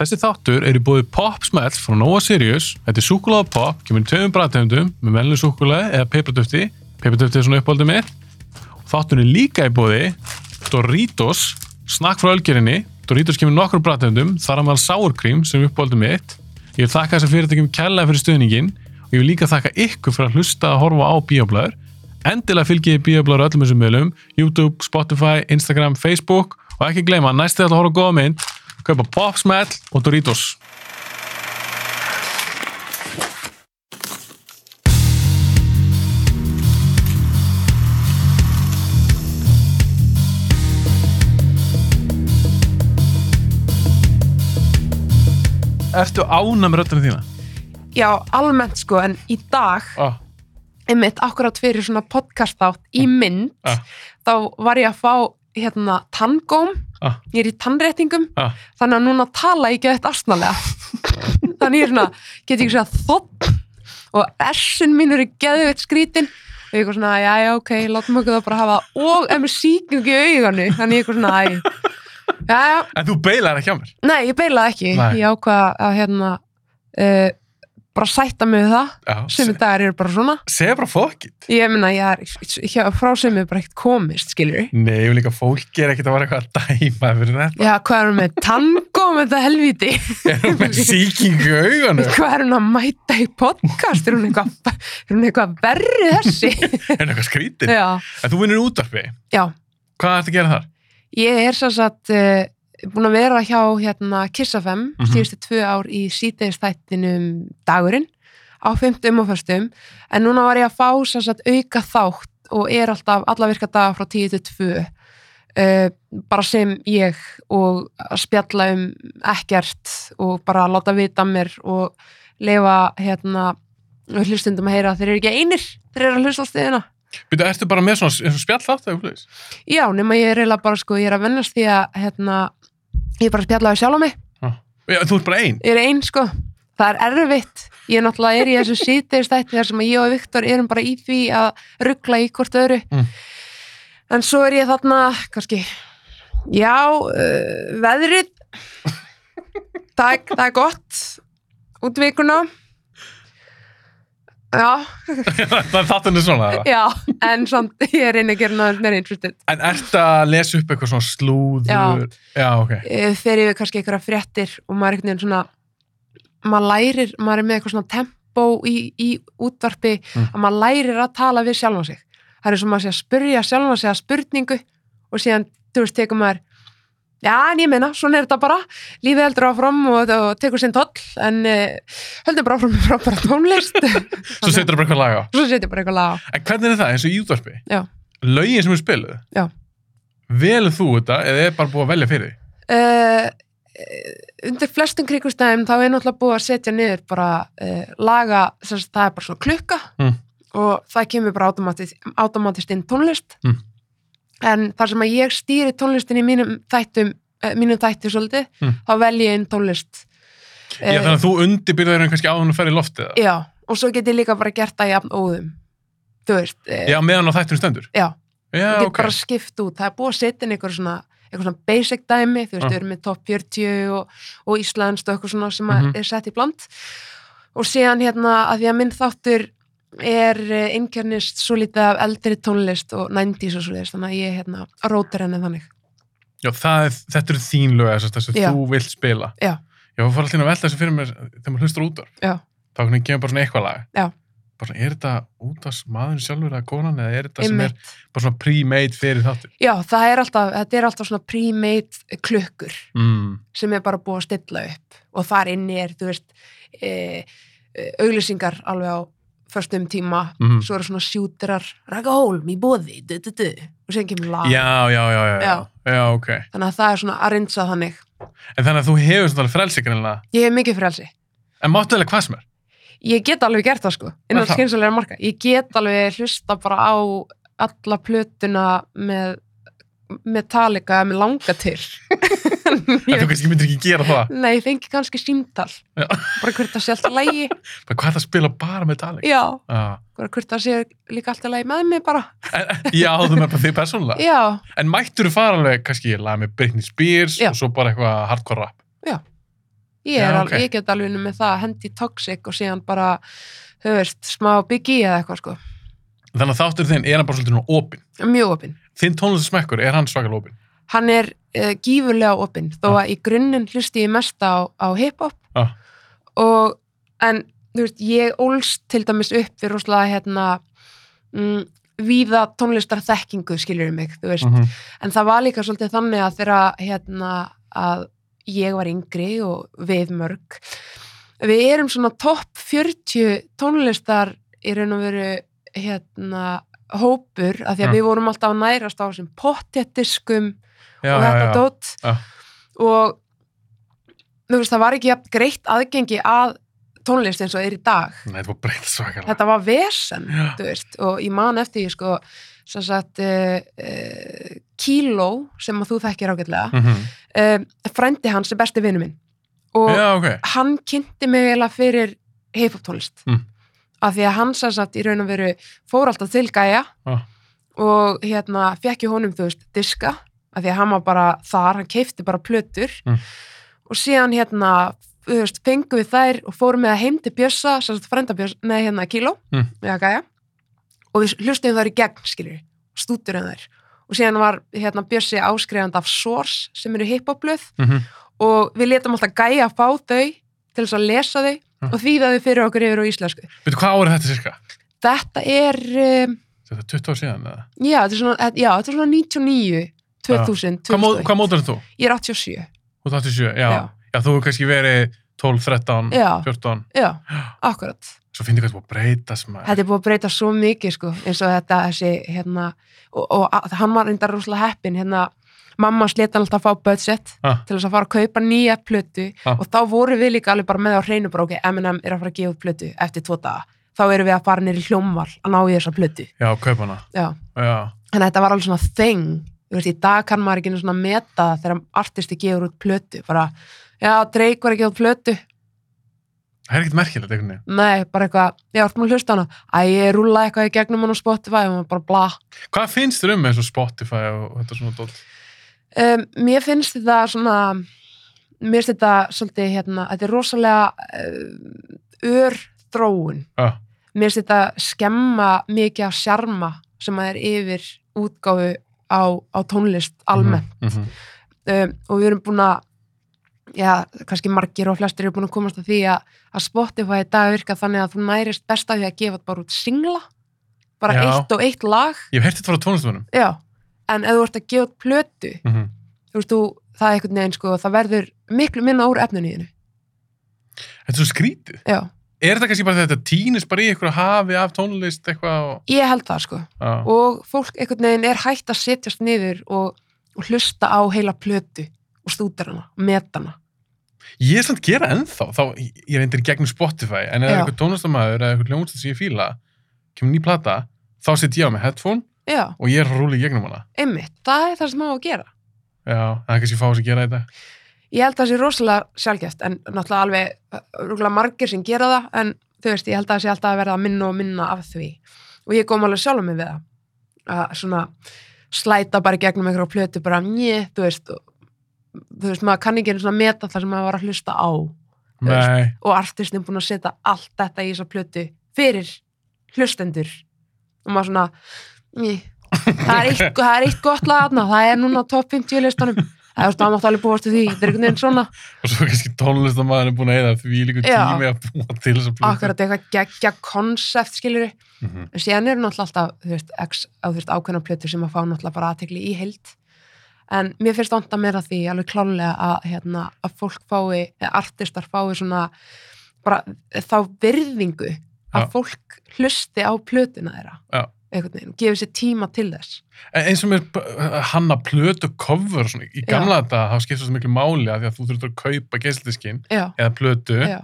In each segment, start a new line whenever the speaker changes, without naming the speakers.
Þessi þáttur er í búið Popsmell frá Nova Sirius. Þetta er súkulega pop, kemur í tveimum bræðtegundum með melnum súkulega eða peipratöfti. Peipratöfti er svona uppáldið mitt. Þáttur er líka í búið Doritos, snakk frá ölgerinni. Doritos kemur í nokkrum bræðtegundum, þar að maður sárkrím sem er uppáldið mitt. Ég vil þakka þessar fyrirtækjum kærlega fyrir stuðningin og ég vil líka þakka ykkur fyrir að hlusta að horfa á bíoblæður. Endilega fylgjið bíoblæður öllum þessum meðlum, YouTube, Spotify, Instagram, Facebook og ekki gleyma, næstu þetta að horfa á góða mynd, kaupa Popsmell og Doritos. Ertu ána með röddina þína?
Já, almennt sko, en í dag,
Ah,
einmitt akkurat fyrir svona podcast þátt í mynd,
Ah.
þá var ég að fá hérna tanngóm,
Ah.
ég er í tannréttingum,
ah,
þannig að núna tala ég geðið astnalega. þannig ég er svona, get ég ekki segja þopp og essin mín eru geðið veitt skrítin og ég er eitthvað svona, já, já, ok, látum okkur það bara hafa og ef mér sýking í auganu, þannig ég er eitthvað svona, æ, já, já,
En þú beilar ekki á mér?
Nei, ég beilaði ekki.
Nei.
Ég ákvað að hérna uh, bara sætta mig við það.
Já,
Sumi dagar eru bara svona.
segja bara fólkið.
Ég meina, ég er hjá, frá sem er bara ekkert komist, skilur við.
Nei, og líka fólki er ekkert að vera eitthvað að dæma fyrir þetta.
Já, hvað erum við? Tango með þetta helvíti.
Er hún með sýkingu í augunum?
Hvað er hún að mæta í podcast? Er hún eitthvað, er hún eitthvað verri þessi?
Er hún eitthvað skrítið?
Já,
En þú vinnur í útvarpi.
já.
Hvað ertu að gera þar?
Ég er sem sagt uh, búin að vera hjá hérna Kissafem mm
Mhm.
síðustu tvö ár í síðdeistættinum dagurinn á fymtum og fyrstum en núna var ég að fá sem sagt auka þátt og er alltaf alla virka daga frá 10 til 2 uh, bara sem ég og að spjalla um ekkert og bara láta vita mér og leifa hérna hlustundum að heyra að þeir eru ekki einir þeir eru að hlusta á stiðina
Býtu, ertu bara með svona, svona spjall þátt eða eitthvað?
Já, nema ég er eiginlega bara sko, ég er að vennast því að hérna, ég er bara að spjalla á sjálf á mig,
Já, þú ert bara einn.
ég er einn sko, það er erfitt, ég náttúrulega er í þessu síðdeistætti þar sem að ég og Viktor erum bara í því að ruggla í hvort öðru,
Mm.
en svo er ég þarna, kannski, já, uh, veðrið, það, er- það er gott, út vikuna, já,
Það er þáttan er svona. eða?
já, en samt ég er einn að gera náður meira interested.
En ertu að lesa upp eitthvað svona slúður? Já. Já, ok.
eh, fer yfir kannski einhverja fréttir og maður er einhvern veginn svona maður lærir, maður er með eitthvað svona tempo í, í útvarpi
Mm.
að maður lærir að tala við sjálfan sig það er eins og maður sé að spurja sjálfan sig að spurningu og síðan, þú veist, tekur maður já, en ég meina, svona er þetta bara lífið heldur áfram og, og tekur sinn toll en uh, höldum bara áfram með frábæra tónlist
Svo setur bara eitthvað lag á.
svo setjum bara eitthvað lag á.
En hvernig er það eins og í útvarpi?
Já.
Lögin sem við spiluðu?
Já.
Velur þú þetta eða er bara búið að velja fyrir því?
uh, undir flestum krikustæðum þá er náttúrulega búið að setja niður bara uh, laga, sem sagt, það er bara svona klukka
Mm.
og það kemur bara automatist, automatist inn tónlist
Mm.
en þar sem að ég stýri tónlistin í mínum þættum uh, mínum þætti svolítið,
Mm.
þá velji ég inn tónlist
Já,
Eh.
þannig að þú undirbyrðar hann kannski á hann að ferja í loftið eða?
já, og svo get ég líka bara gert það jafn óðum þú veist, uh,
Já, meðan á þættunum stendur.
já
Já,
þú getur
ok.
bara skipt út, það er búið að setja inn einhver svona, einhver svona basic dæmi þú veist,
Ah.
við erum með top 40 og, og Íslands og eitthvað svona sem mm
Mhm.
er sett í bland og síðan hérna að því að minn þáttur er eh, einkernist svo lítið af eldri tónlist og 90s og svo leiðist, þannig að ég hérna rótar henni þannig.
Já, það er, þetta eru þín lög þess að
Já.
þú vilt spila.
Já.
Já, það fór alltaf að velta þessu fyrir mér þegar maður hlustur útvarp.
Já.
Þá hvernig kemur bara svona eitthvað lag.
Já.
Bara svona, er þetta útvarps maðurinn sjálfur eða konan eða er þetta sem er
Einmitt.
bara svona pre-made fyrir þáttur?
Já, það er alltaf, þetta er alltaf svona pre-made klukkur
Mm.
sem er bara búið að stilla upp og þar inni er, þú veist, e, e, auglýsingar alveg á förstum tíma
Mm.
svo eru svona sjúterar Raka Holm í bóði du, du, du. og síðan kemur lag
Já, já, já, já, já.
Já.
Já, ok.
þannig að það er svona að rinsa þannig
En þannig að þú hefur svona alveg frelsikrinlega.
ég hef mikið frelsi,
En máttu velja hvað sem er? ég
ég get alveg gert það sko innan
það?
skynsalega marka, ég get alveg hlusta bara á alla plötuna með Metallica með langa til
En þú kannski myndir ekki gera það.
nei, ég fengi kannski símtal
Já.
bara hvert að sé alltaf lægi
Bara hvað er það að spila bara með Dalek?
já,
Ah.
bara hvert að sé líka alltaf lægi með mig bara,
Já, þú með bara þig persónulega.
já,
En mættur þú fara alveg, kannski ég laga með Britney Spears
Já.
og svo bara eitthvað hardcore rap?
Já. ég, er
Já,
alveg,
ok.
ég get alveg unnið með það, hendi toxic og síðan bara, þú veist, smá biggie eða eitthvað sko,
Þannig að þáttur þinn er hann bara svolítið svona opinn.
mjög opinn
Þinn tónlistasmekkur, er hann svakal opinn?
hann er uh, gífurlega opinn þó
Ah.
að í grunninn hlusti ég mest á, á hip-hop
Já.
og en þú veist, ég ólst til dæmis upp fyrir rosalega hérna mm, víða tónlistar þekkingu skilur mig, þú veist
-hmm.
en það var líka svolítið þannig að þegar hérna, að ég var yngri og við mörg við erum svona topp 40 tónlistar í raun og veru hérna, hópur af því að
Mm.
við vorum alltaf að nærast á þessum pottettiskum
Já,
og
já,
þetta
já.
dót
Já.
og þú veist, það var ekki jafn greitt aðgengi að tónlist eins og er í dag
Nei, þetta var breytt svakal.
þetta var vesen
Já.
þú veist, og ég man eftir ég sko sem sagt uh, uh, kíló sem að þú þekkir ágætlega
Mm
mm. frændi hans er besti vinnu minn og
Já, ok.
hann kynnti mig eiginlega fyrir hip-hop tónlist
Mm.
af því að hann sem sagt í raun og veru fór alltaf til gæja
Ah.
og hérna fekk ég honum þú veist diska af því að hann var bara þar, hann keifti bara plötur
Mm.
og síðan hérna þú veist, fengum við þær og fórum með það heim til Bjössa, sem sagt frænda Bjössa, nei hérna Kíló,
Mm.
eða Gæja og við hlustum þar í gegn, skilur stúturum þær og síðan var hérna Bjössi áskrifandi af Source sem eru hiphopblöð
Mm
og við letum alltaf gæja að fá þau til þess að lesa þau
Já.
og því það við fyrir okkur yfir á íslensku.
Veitu, hvað árið þetta cirka?
Þetta er, um,
Þetta er 20 ár síðan, eða?
já, þetta er svona, eh, já, þetta er svona 99, 2000,
Hvað, mó,
2001.
hvað mótar þú?
Ég er 87,
Þú ert 87, já. já.
Já.
þú hefur kannski verið 12, 13,
já,
14.
já, akkurat.
Svo finnir hvað þú búið að breyta sem að...
Þetta er búið að breyta svo mikið, sko, eins og þetta, þessi, hérna, og, og að, hann var reyndar rosalega heppin, hérna, mamma sleta alltaf að fá budget
Ah.
til þess að fara að kaupa nýja plötu
Ah.
og þá voru við líka alveg bara með á hreinu bara, ok, Eminem er að fara að gefa út plötu eftir tvo daga, þá eru við að fara nýri hljómval að ná í þessa plötu
Já, kaup hana.
Já.
Já.
þannig að þetta var alveg svona þing þú veist, í dag kann maður ekki einu svona meta það þegar artisti gefur út plötu bara, já, Drake var að gefa út plötu
Það er ekkert merkilegt einhvern veginn.
nei, bara eitthvað, já, ertu múin að hlusta á hana að ég rúla eitthvað í gegnum hann á Spotify og maður bara bla
Hvað finnst þér um eins og Spotify og þetta svona dótt?
um, mér finnst þetta svona mér finnst þetta svolítið hérna, þetta er rosalega um, ör þróun
Já.
mér finnst þetta skemma mikið af sjarma sem að er yfir útgáfu á, á tónlist almennt
Mm -hmm.
um, og við erum búin að já, kannski margir og flestir eru búin að komast að því að, að Spotify í dag virka þannig að þú nærist best af því að gefa bara út singla bara
Já.
eitt og eitt lag
Ég hef hert þetta frá tónlistunum.
já, en ef þú ert að gefa út plötu
Mm -hmm.
þú veist þú, það er einhvern veginn sko það verður miklu minna úr efninu í þínu
Þetta er svo skrítið.
já,
Er þetta kannski bara þetta týnist bara í einhverju hafi af tónlist eitthvað og...
ég held það sko
Já.
og fólk einhvern veginn er hægt að setjast niður og, og hlusta á heila plötu og stútar hana, meta hana
Ég er samt gera ennþá, þá ég reyndir í gegnum Spotify, en ef það er
Já.
eitthvað tónlistamæður eða eitthvað hljómsveit sem ég fíla, kemur ný plata, þá sitt ég á með headphone
já,
og ég er að rúli í gegnum hana.
einmitt, það er það sem á að gera
Já, en það er kannski fá sem gera þetta.
Ég held að það sé rosalega sjálfgeft en náttúrulega alveg rúglega margir sem gera það en þú veist, ég held að það sé alltaf að verða minna og minna af því og ég kom alveg sjálfum mig við það að svona slæta bara í gegnum einhverja plötu bara njö, þú veist og, þú veist, maður kann ekki einu svona meta það sem maður var að hlusta á Þú veist.
Nei,
og artistin er búin að setja allt þetta í þessa plötu fyrir hlustendur og maður svona njö, það, er eitt, það er eitt gott lag þarna, það er núna á topp 50 listanum Það er stáðmátt alveg búast við því, þetta er einhvern veginn svona
og svo kannski tónlistamæður er búin að eða því líku
Já.
tími að búa til þess að
akkurat eitthvað geggja konsept skilur
Mm -hmm.
en síðan eru náttúrulega alltaf þú veist, x, á, þú veist, ákveðna plötur sem að fá náttúrulega bara aðtekli í heild en mér finnst onda meira því alveg klálega að, hérna, að fólk fái eða artistar fái svona bara eh, þá virðingu að
Já.
fólk hlusti á plötuna þeirra
Já.
einhvern veginn, gefi sér tíma til þess
Eins og með uh, hanna plötu cover, svona, í gamla þetta, þá skiptir svo miklu máli að því að þú þurftur að kaupa geisladiskin
já,
eða plötu,
já.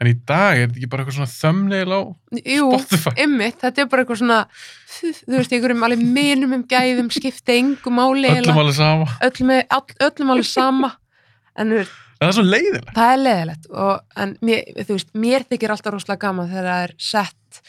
en í dag er þetta ekki bara eitthvað svona thumbnail á
Jú,
Spotify.
ymmit, þetta er bara eitthvað svona þú þú veist, einhverjum alveg minum um gæðum skipti engu máli eiginlega.
Öllum alveg sama.
öllum, er- all, öllum alveg sama en þú veist,
Það er svo leiðilegt.
það er leðilegt og, en mér, þú veist, mér þykir alltaf rosalega gaman þegar það er sett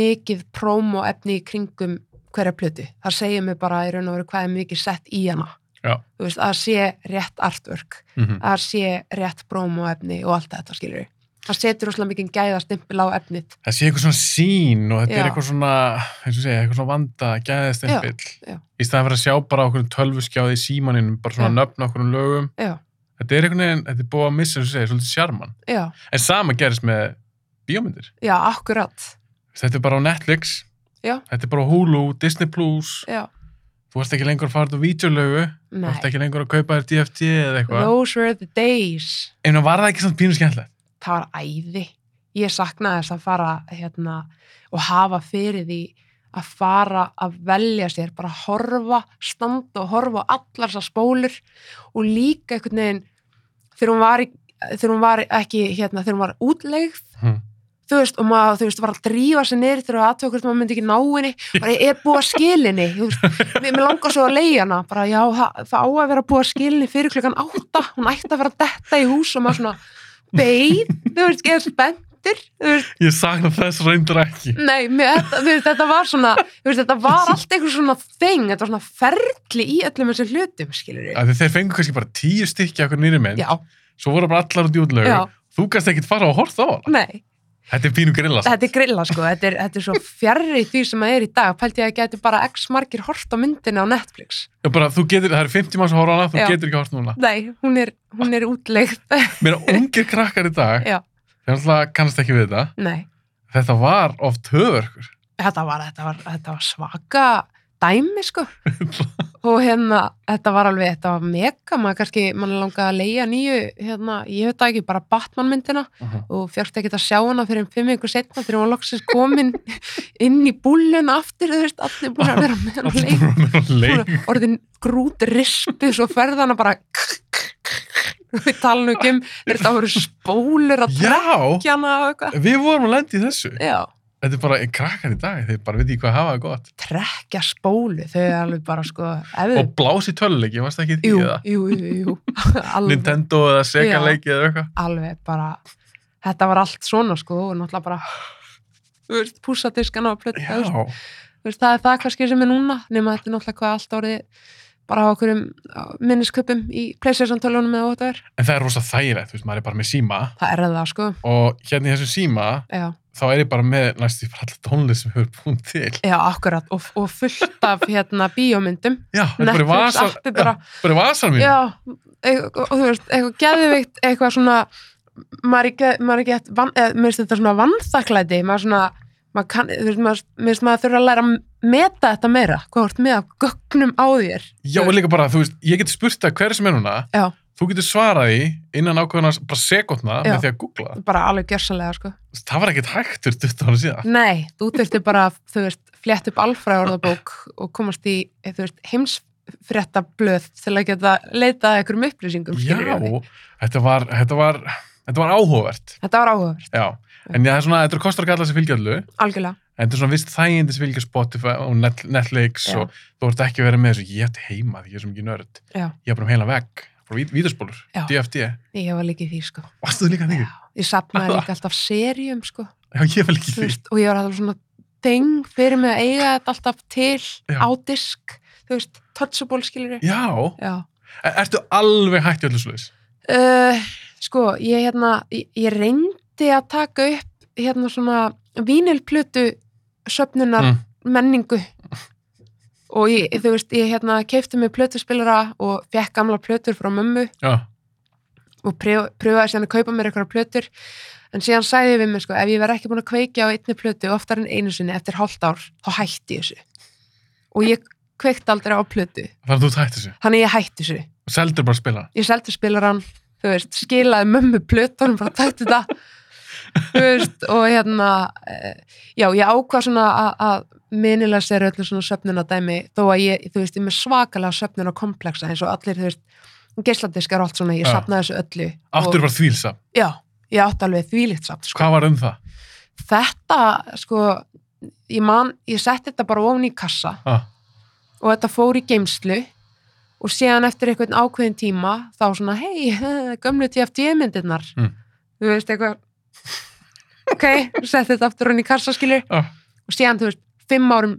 mikið prómo efni í kringum hverja plötu það segir mér bara í raun og veru hvað er mikið sett í hana
Já.
Þú veist, að sé rétt artwork,
Mhm.
að sé rétt brómoefni og allt þetta skilur við. Það setur rosalega mikið gæðastimpil á efnið.
Það sé eitthvað svona sín og þetta
Já.
er eitthvað svona, eins og segja, eitthvað svona vanda, gæðistimpill.
Já, já.
Í staðan fyrir að sjá bara okkur tölvuskjáði í símaninum, bara svona
Já.
nöfn okkur um lögum.
Já.
Þetta er einhvern veginn, þetta er búið að missa, eins og segja, svolítið sjarman.
Já,
En sama gerist með bíómyndir.
já, akkurat.
Þetta er bara á Netflix,
Já.
þetta er bara á Hulu, Disney+, Plus.
Já,
þú ert ekki lengur að fara út á vítjulögu, þú ert
nei.
ekki lengur að kaupa þér DFT eða eitthvað.
Those were the days.
En það var það ekki svona pínu skemmtilegt.
það var æði. Ég saknaði þess að fara hérna, og hafa fyrir því að fara að velja sér, bara horfa, standa og horfa á allar þessar spólur og líka einhvern veginn þegar hún var, í, þegar hún var ekki, hérna, þegar hún var útlegð,
Hm.
þú veist, og maður, þú veist, var að drífa sér niður þegar það aðtökur, maður myndi ekki ná henni, bara ég er búið að skilinni, þú veist, mér, mér langar svo að leiða hana, bara já, það, það á að vera búið að skilinni fyrir klukkan átta, hún ætti að vera að detta í hús og maður svona beið, þú veist, ég er spenntur, þú veist,
Ég sakna þess reyndur ekki.
nei, mér, þetta, þú veist, þetta var svona, þú veist, þetta var allt einhver svona þing, þetta var svona ferli í öllum þessum hlutum, skilur við.
Af því Þeir fengu kannski bara tíu stykki okkur nýri mynd,
Já,
svo voru bara allar út í útlögu.
Já.
Þú kannst ekkit fara og horta á hana.
nei,
Þetta er pínu grilla.
þetta er grilla, sko, þetta er, þetta er svo fjarrri því sem það er í dag, pælti ég að geti bara x margir hort á myndinu á Netflix.
Já, bara, þú getur, það eru 50 manns að horfa á hana, þú
Já.
getur ekki að horfa núna.
Nei, hún er, hún er útlegð.
Mér að ungir krakkar í dag,
Já.
þeir alltaf kannast ekki við þetta.
Nei,
Þetta var oft höfverkur.
þetta var, þetta var, þetta var svaka dæmi, sko. og hérna, þetta var alveg, þetta var mega, maður kannski, maður langaði að leia nýju, hérna, ég veit það ekki, bara Batman-myndina og fjart ekki að sjá hana fyrir um fimm ykkur setna þegar hún var loksins komin inn í búlun aftur, þú veist, allir búin að vera með
Allt
hann leik.
bara með að leik.
Svona orðin grút rispu svo ferða hana bara við talum ekki um, þetta voru spólur að
Já,
trekja hana og eitthvað.
við vorum að lenda í þessu.
Já.
Þetta er bara krakkar í dag, þeir bara veit ekki hvað hafa það gott.
trekkja spólu, þau er alveg bara sko, ef
Og blási töluleiki, varst ekki því
jú,
eða?
jú, jú, jú, alveg,
Nintendo eða Sega
Já.
leiki eða eitthvað.
alveg bara, þetta var allt svona sko, og náttúrulega bara, þú veist, pússadiskana og plötta, þú veist,
Já,
þú veist, það er það kannski sem er núna, nema þetta er náttúrulega hvað allt orðið, bara á okkurum minnisköpum í Playstation 12-unum eða óttu er,
en það er rosa þægilegt, þú veist, maður er bara með síma
það er það sko,
og hérna í þessu síma,
já,
þá er ég bara með næstu bara alla tónlist sem hefur búin til.
já, akkurat, og, og fullt af hérna bíómyndum,
Já, þetta er bara í
Netflix,
vasar,
allt er bara-
já, bara í vasar mín.
Já, eitthvað, og þú veist, eitthvað geðvikt, eitthvað svona, maður er ekki, maður er ekki eftir, van, eða, mér finnst þetta svona vannþaklæti, maður svona, maður kann, þú veist, maður, mér finnst maður þurfa að læra að meta þetta meira, hvað þú ert með af gögnum á þér.
Já, og líka bara, þú veist, ég get spurt það hver sem er núna,
Já,
þú getur svarað því innan ákveðna bara sekundna
Já.
með því að googla.
bara alveg gjörsalega, sko.
Það var ekkert hægt fyrir 20 ára síðan.
Nei, þú þurfti bara, þú veist, flett upp alfræð orðabók og komast í, eh, þú veist, heimsfrétta til að geta leitað að einhverjum upplýsingum,
Já,
skilurðu mig.
þetta var, þetta var, þetta var áhugavert.
Þetta var áhugavert,
Já, en það er svona, þetta er kostar ekki alla sem fylgja allu,
algjörlega.
en þetta er svona vist þægindi sem fylgja Spotify og Net, Netflix
Já.
og þú ert ekki að vera með þessu, ég ætti heima því ég er sem ekki nörd.
Já.
Ég er bara um heila vegg, bara vít, vítaspólur,
Já.
DFD.
Ég var líka í því, sko.
Varstu þú líka þig?
Já, ég sapnaði líka alltaf serjum, sko.
Já, ég vel ekki
Þú
því.
veist, og ég var alltaf svona deng fyrir mig að eiga þetta alltaf til
Já.
á disk, þú veist, touchable skilur ég.
Já,
Já.
er, ertu alveg hægt í öllu sluðis?
Uh, sko, ég hérna, ég, ég reyndi að taka upp hérna svona vínilplötu söfnunar
Mm.
menningu og ég, þú veist, ég hérna keifti mig plötuspilara og fekk gamla plötur frá mömmu
Já,
og prjó- pröfaði síðan að kaupa mér eitthvað plötur en síðan sagði ég við mig sko ef ég verð ekki búin að kveikja á einni plötu oftar en einu sinni eftir hálft ár þá hætti ég þessu og ég kveikti aldrei á plötu
þannig að þú ert hægt þessu.
þannig ég hætti þessu
Og seldur bara að spila.
ég seldi spilaran, þú veist, skilaði mömmu plötunum bara tætti þetta þú veist, og hérna eh, já, ég ákvað svona að- að minilega sér öllu svona söfnunadæmi þó að ég, þú veist, ég er með svakalega söfnunakomplexa eins og allir, þú veist geisladiskar og allt svona, ég
Já.
sapnaði þessu öllu og-
Áttur bara þvílsa.
Já, ég átti alveg þvílíkt samt. Sko.
Hvað var um það?
Þetta, sko, ég man, ég setti þetta bara ofan í kassa
Ah,
og þetta fór í geimslu og síðan eftir einhvern ákveðin tíma þá svona, hei, gömlu TFT-myndirnar,
Mm.
þú veist eitthvað, ok, setti þetta aftur ofan í kassa, skilur,
ah,
og síðan, þú veist, fimm árum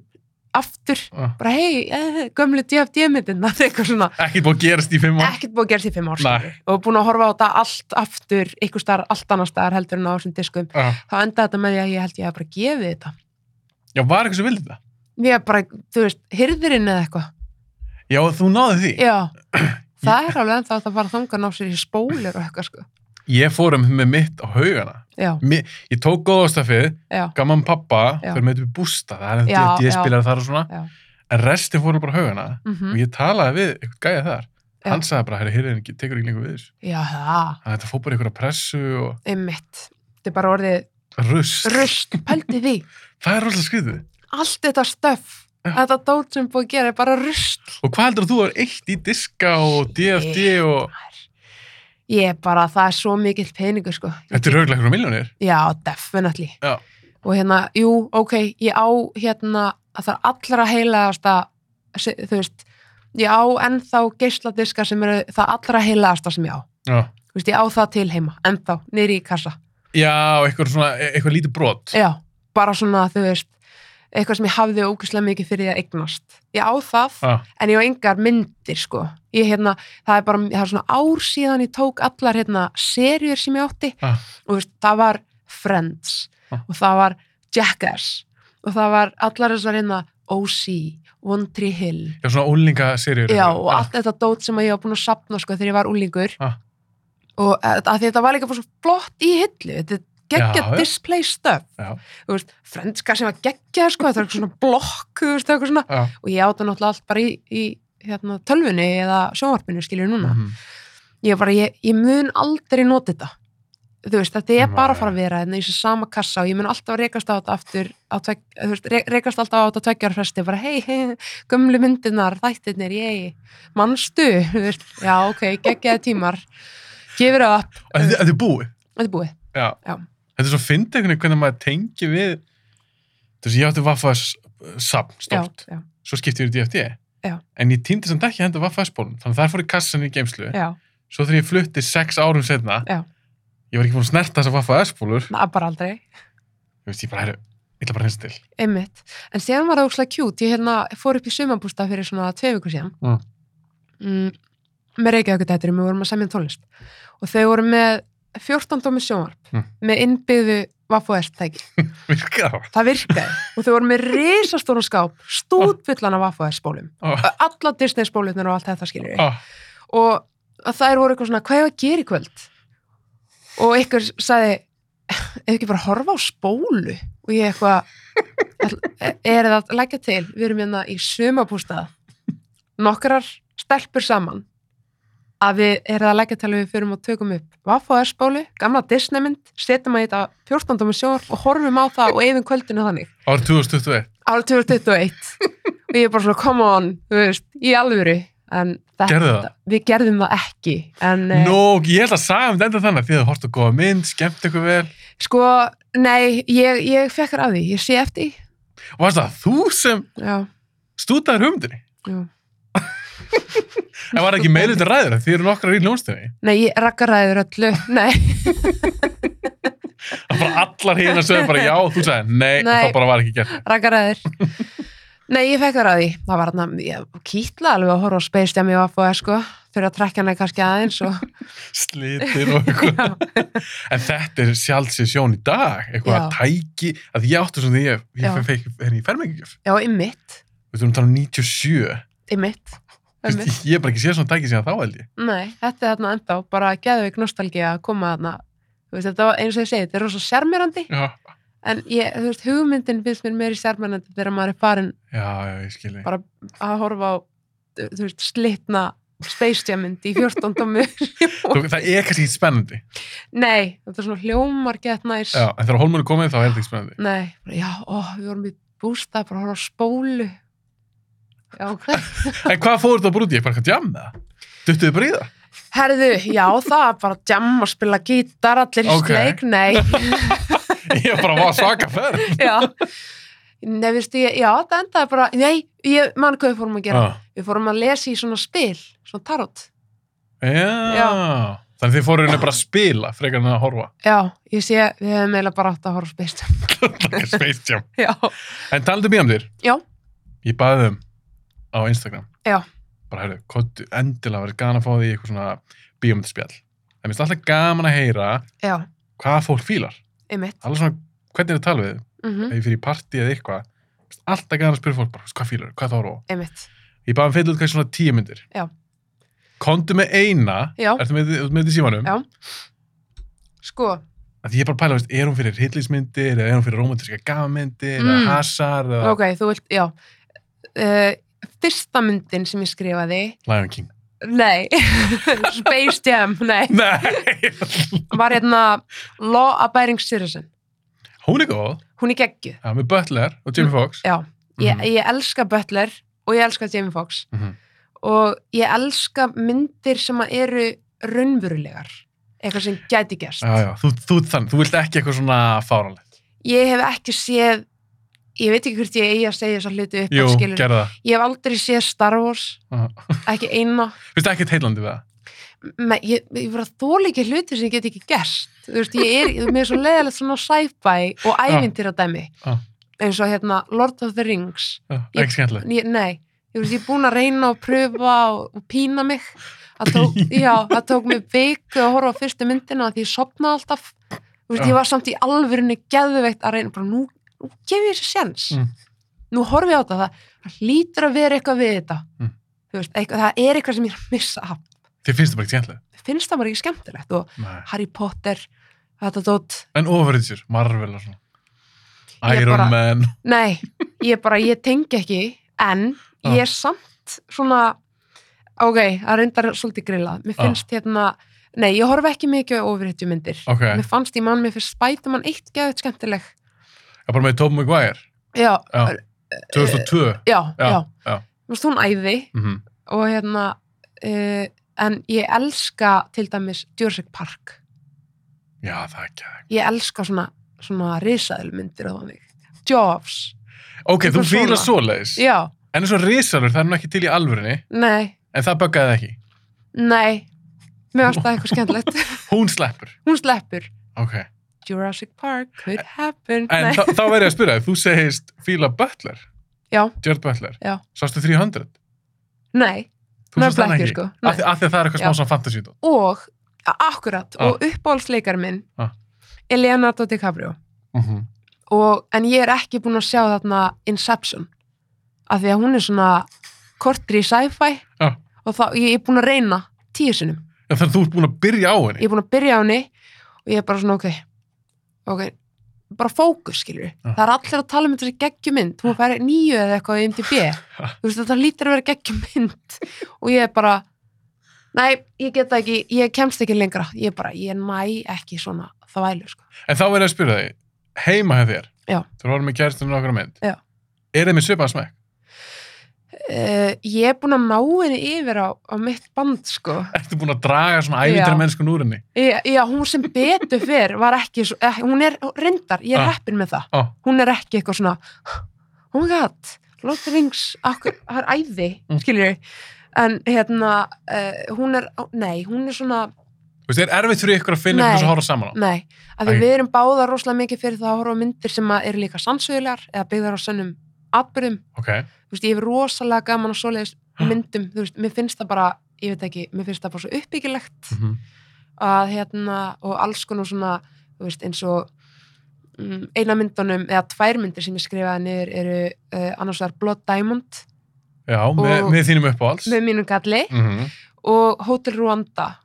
aftur bara hei, eh, gömlu DFD-myndin það er eitthvað svona,
Ekkert búið að gerast í fimm ár.
ekkert búið að gera því fimm ár
Mm. Nei.
skilur. og búin að horfa á þetta allt aftur ykkur starf, allt annar starf heldur en á þessum diskum
Ah.
þá endaði þetta með því að ég held ég að bara gefið þetta
Já, var eitthvað sem vildi þetta?
mér bara, þú veist, hirðirinn eða eitthvað
Já, þú náði því.
já, það er alveg ennþá að það bara þangar ná sér í spólir og eitthvað sko
Ég fór um með mitt á haugana.
já,
Mi- Ég tók góðastafið,
já,
gaman pappa,
Já.
fyrir með upp í bústa, það er
Já,
þetta ég spilar þar og svona.
já
En restin fórum bara á haugana
mm
og ég talaði við eitthvað gæja þar.
Já.
Hann sagði bara, herri, herri, ekki, tekur ekki lengur við þessu.
já, það,
Þannig að Þetta fór bara ykkur að pressu og
einmitt þetta er bara orðið
rust.
röst, pældi því
Það er rosalega skrítið.
allt þetta stöf
Já.
þetta dót sem búið að gera er bara röst
Og hvað heldur þú er eitt í diska og DFD og...
ég er bara, það er svo mikill peningur sko Ég
Þetta er rauglega ykkur miljónir.
Já, definitely.
Já.
Og hérna, jú, ok, ég á hérna að það er allra heilaðasta, se- þú veist, ég á ennþá geisladiska sem eru það allra heilaðasta sem ég á.
Já.
Þú veist, ég á það til heima, ennþá, niðri í kassa.
Já, eitthvað svona, e- eitthvað lítið brot.
Já, bara svona, þú veist, eitthvað sem ég hafði ógustlega mikið fyrir því að eignast. Ég á það,
Já.
en ég á engar myndir, sko. Ég, hérna, það er bara, það er svona ár síðan ég tók allar, hérna, serjur sem ég átti
Ah.
og þú veist, það var Friends
Ah.
og það var Jackass og það var allar þessar, hérna, OC, One Tree Hill,
Já, svona ólinga serjur.
já, og allt þetta dót sem ég var búin að sapna, sko, þegar ég var úlingur
Ah.
og að, að því þetta var líka bara svo flott í hillu, þetta er geggja
Já, já.
display stuff
Já.
þú veist, franska sem að geggja sko, þetta er eitthvað svona blokk þú veist, eitthvað svona.
Já.
og ég áta náttúrulega allt bara í, í hérna, tölvunni eða sjónvarpinu skilur núna
Mhm.
ég, bara, ég, ég mun aldrei nota þetta þú veist, þetta er
Nei.
bara að fara að vera hérna, í þessu sama kassa og ég mun alltaf rekast á þetta aftur á tvek, þú veist, re- rekast alltaf á þetta tveggjar fresti, bara hei, hei gömlu myndirnar, þættirnir, ég mannstu, þú veist, já ok geggjaði tímar, gefur það upp
Og Þetta þetta er búið.
þetta er búið,
Já.
Já.
Þetta er svo fyndið einhvern veginn hvernig maður tengi við þú veist, ég átti Vaffaðs sapn
já,
stort,
já,
svo skipti ég í DFD
Já.
en ég týndi samt ekki að henda Vaffaðsbólum þannig að þar fór ég kassan í geimslu
já,
svo þegar ég flutti sex árum setna
Já.
ég var ekki búin að snerta þess að Vaffaðsbólur
það er bara aldrei
ég veist, ég bara, heru, ég ætla bara að hreinsa til
einmitt, en síðan var það ógslag kjút ég hérna fór upp í sumabústa fyrir svona tvei vikur síðan
Mm.
mm, með Reykjavíkutætturum, við vorum að semja um tónlist og þau voru með 14 dómi sjónvarp
Mm.
með innbyðu Vaff og S-tæki,
virka það
það virkaði og þau voru með risastóru skáp stútfullan af Vaff og S-spólum
Ah,
alla Disney spólutnir og allt þetta skilur
ah,
og að þær voru eitthvað svona, hvað er að gera í kvöld? Og ykkur sagði, eða ekki bara horfa á spólu? Og ég eitthvað, "Ætl- e, er það að leggja til, við erum hérna í sumabústað, nokkrar stelpur saman, að við erum að leggja til að við fyrum og tökum upp Vaff og S-spólu, gamla Disneymynd, setjum að þetta 14. með sjór og horfum á það og eyfum kvöldinu þannig
árið 2021
ára 2021 og ég er bara svona, come on, þú veist, í alvöru en þetta,
Gerðu það?
við gerðum það ekki en eh,
Nó, ég held að sagði um þetta enda þannig að því að hortu góða mynd, skemmt eitthvað vel
sko, nei, ég, ég fekkar af því, ég sé eftir því.
og varst það þú sem
já,
stútaðir humdini
já.
en var það ekki meilutið ræður því eru nokkrar í ljónstinni
nei, ég rakkaræður öllu nei,
Það bara allar hérna sögum bara já, þú sagði nei,
Nei.
og það bara var ekki gert.
rakkaræður nei, ég fekkar af því, það var hann ég kýtla alveg að horfa á Space Jam í AFOS sko, fyrir að trekja hana kannski aðeins og
Slitir og eitthvað. en þetta er sjálfsig sjón í dag, eitthvað
Já.
að tæki, að ég átti svona því ég,
Já.
ég fekk, hérna ég fer mig ekki,
já, ymmit,
við þurfum að tala um 97,
ymmit
Þú veist, ég hef bara ekki séð svona tæki síðan þá held ég.
Nei, þetta er þarna ennþá, bara geðveik nostalgi að koma þarna, þú veist, þetta var eins og ég segi, þetta er rosa sérmyrandi,
Já,
en ég, þú veist, hugmyndin finnst mér meiri sérmyrandi þegar maður er farin
já, já ég skilji.
Bara- að horfa á, þú veist, slitna Space Jammynd í 14 dómur.
Þú, það er kannski ekki spennandi.
Nei, þetta er svona hljómar gett næs.
Já, en þegar hólmunni komið þá er þetta ekki spennandi.
Nei, bara, já, ó, við vorum í bústað, bara að horfa á spólu. Já, ok.
En hvað fóruð það brúti? Ég bara eitthvað jamma það? Duttuðu bara í það?
Herðu, já, það var bara jam og spila gítar, allir í
Ok.
sleik, nei.
Ég bara var svaka ferð.
já Nei, veistu, ég, já, þetta endaði bara Nei, ég man hvað við fórum að gera
Já.
Við fórum að lesa í svona spil, svona tarot
já. Þannig þið fóruð henni bara að spila frekar en að horfa.
Já, ég sé, við hefum eiginlega bara átt að horfa á spil
Space Jam.
Já,
En talandi um bíamdir,
já,
ég baði þeim á Instagram
Já.
bara heyrðu, kottu endilega verið gaman að fá því í eitthvað svona bíómyndaspjall það finnst alltaf gaman að heyra
já,
hvað fólk fílar
einmitt
alveg svona, hvernig er að tala við þau
mm
ef ég fyrir í partí eða eitthvað Mér finnst alltaf gaman að spyrja fólk bara, hvað fílar, hvað þá eru
einmitt,
ég baði þeim fyrir út kannski svona tíu myndir
Já.
kontu með eina
já,
ertu með, ertu með þetta í símanum
Já. sko
að því ég er bara að pæla, veist, er hún fyrir hryllismyndir eða er hún fyrir romantíska gafmyndir
Mm.
eða hasar eða
ok, þú vilt, já uh, fyrsta myndin sem ég skrifaði
Lion King
nei Space Jam, nei
Nei,
var hérna Law Abiding Citizen
hún er góð
hún er geggju,
Já, með Butler og Jimmy Fox
Mm, já ég,
Mhm.
ég elska Butler og ég elska Jamie Foxx
Mhm.
og ég elska myndir sem að eru raunverulegar eitthvað sem gæti gerst
Já, já, þú, þú, þann, þú vilt ekki eitthvað svona fáranlegt
ég hef ekki séð ég veit ekki hvort ég eigi að segja þess hluti upp
Jú,
á skilur.
gerðu það
ég hef aldrei séð Star Wars
Aha.
ekki eina
Finnst það ekkert heillandi við það?
Me, ég, ég var að þóla ekki hluti sem ég get ekki gerst þú veist, ég er, mér er svo leiðilegt svona sci-fi og ævindir að dæmi
Já.
eins og hérna Lord of the Rings
Já,
Ég-
Ekki skemmtilegt
ég, nei, ég, veist, ég er búin að reyna og pröfa og, og pína mig það tók,
Pína.
já, það tók mig viku að horfa á fyrstu myndina af því ég sopnaði alltaf Þú veist,
Já.
ég var samt í alvörinu geðveikt að reyna bara nú, nú gef ég þessu sjens
Mm.
nú horfi ég á þetta það, það hlýtur að vera eitthvað við þetta
Mm.
Þú veist, eitthvað, það er eitthvað sem ég er að missa af
Þið finnst það bara ekki skemmtilegt
Mér finnst það bara ekki skemmtilegt og
Nei.
Harry Potter þetta dótt,
En ofurðið sér, Marvel og svona
Ég er
Iron
bara-
Man
nei, ég bara ég tengi ekki, en
Já.
ég er samt svona ok, það reyndar svolítið grillað mér
Já.
finnst hérna, nei, ég horf ekki mikið ofurhetju myndir,
Ok,
mér fannst í mann mér finnst spæta mann eitt geðut skemmtileg
ég bara með Tobey Maguire
já,
Já, 2002
já,
Já,
já,
já.
Þú veist, hún æði
Mhm.
og hérna uh, en ég elska til dæmis Jurassic Park,
Já, það er ekki það
ég elska svona svona risaðilmyndir á þannig Jaws,
Ok,
Eitthvað
þú fílar
svona.
svoleiðis
já,
En eins og risalur, það er nú ekki til í alvörinni
nei
En það böggaði ekki
Nei, mér varst það eitthvað skemmtilegt.
Hún sleppur
Hún sleppur.
Ok,
Jurassic Park could happen.
en
Nei,
þá, þá verður ég að spyrja þig, Þú segist fíla Butler
já,
Jared Butler
Já.
Sástu 300
nei,
Þú
nefnilega
sást hann
ekki,
ekki
sko.
af
Nei.
því af því að það er eitthvað
Já.
smá svona fantasy dót.
Og, a- akkurat,
Ah.
og uppáhaldsleikar minn
Ah.
er Leonardo DiCaprio. Og, en ég er ekki búin að sjá þarna Inception. Af því að hún er svona kortri í sci-fi
Ah.
og þá, ég er búin að reyna tíu sinnum.
Já, þannig að þú ert búin að byrja á henni
Ég er búin að byrja á henni og ég er bara svona, ok, ok, bara fókus, skilur við.
Ah.
Það er allir að tala um þessi geggjumynd. Hún færi nýju eða eitthvað í MDB. þú veist þetta lítur að vera geggjum mynd og ég er bara nei, ég get það ekki, ég kemst ekki lengra ég er bara, ég næ ekki svona þvælu sko.
En þá verður ég að spyrja þig Heima hefur þér
Já.
Þú voru með kæristunum okkur mynd
Já.
Er þið með svipaðan smekk?
uh, ég er búin að ná henni yfir á, á mitt band sko
Ertu búin að draga svona ævindra mennskun úr henni?
ég, já, hún sem betur fyrr var ekki svo, eh, hún er hún- reyndar, ég er
Ah.
heppin með það
Ó,
hún er ekki eitthvað svona oh my god, Lord of the Rings akkur, það er æði,
Mm.
skilur en hérna uh, hún er, nei, hún er svona
þú veist, er erfitt fyrir ykkur að finna
Nei. Mm.
eitthvað að horfa saman á?
Nei, af því
Æ.
við erum báða rosalega mikið fyrir það að horfa á myndir sem að eru líka sannsögulegar eða byggðar á sönnum atbyrðum.
Ok,
Þú veist, ég hef rosalega gaman á svoleiðis
Ha.
myndum, þú veist, mér finnst það bara, ég veit ekki, mér finnst það bara svo uppbyggilegt
Mhm.
að hérna, og alls konar svona, þú veist, eins og mm, eina myndunum eða tvær myndir sem ég skrifaði niður eru uh, annars vegar Blood Diamond
já, með,
Og-
með þínum uppáhalds
með mínum galli
Mhm.
og Hotel Rwanda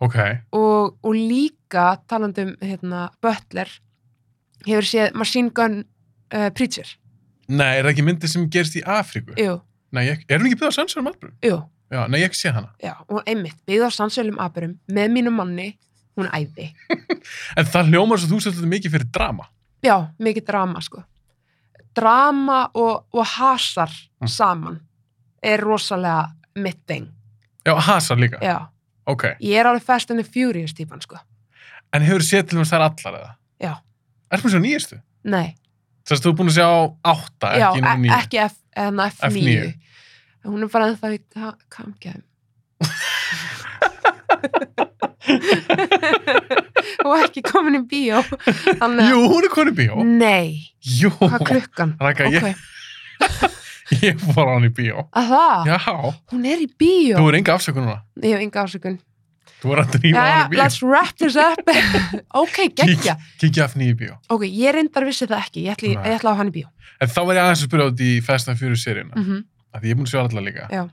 Ok,
og, og líka talandi um hérna, Butler hefur séð Machine Gun uh, Preacher
nei, er það ekki myndi sem gerist í Afríku?
jú,
Nei, ég, er hún ekki byggðað sannsverðum atbyrðum?
jú,
Já, nei, ég hef ekki sé hana
já, og einmitt byggð á sannsölum apurum með mínum manni hún æði,
En það hljómar svo þú sett þetta mikið fyrir drama
já, mikið drama sko drama og, og hasar
Mm.
saman er rosalega mitt þeng,
Já, hasar líka,
já
ok
ég er alveg Fast and the Furious típan sko
En hefur séð til dæmis þær allar eða?
Já.
Ertu með svo nýjastu?
nei,
Þess að þú er búin að sjá átta,
já,
ekki nú
e-
nýja.
ekki F, hérna F9
F9.
hún er bara ennþá í ka- kamgeðum og ekki komin í bíó þannig að Mm.
Jú, hún er konu bíó.
nei,
Jú.
hvað er klukkan
Raka, ég-
Ok.
Ég fór á hann í bíó.
Að það?
Já,
Hún er í bíó.
þú er enga afsökun núna.
Ég hef enga ásökun.
Þú er að drífa á
Jæja,
hann í bíó.
let's wrap this up. ok, geggja.
Kikki af nýju bíó.
Ok, ég reyndar vissi það ekki. Ég ætla,
Nei.
ég ætla á hann í bíó.
En þá var ég aðeins að spyrja út í Fast and Furious seríuna.
Mm
Af Því ég er búin að sjá allar líka.
Já.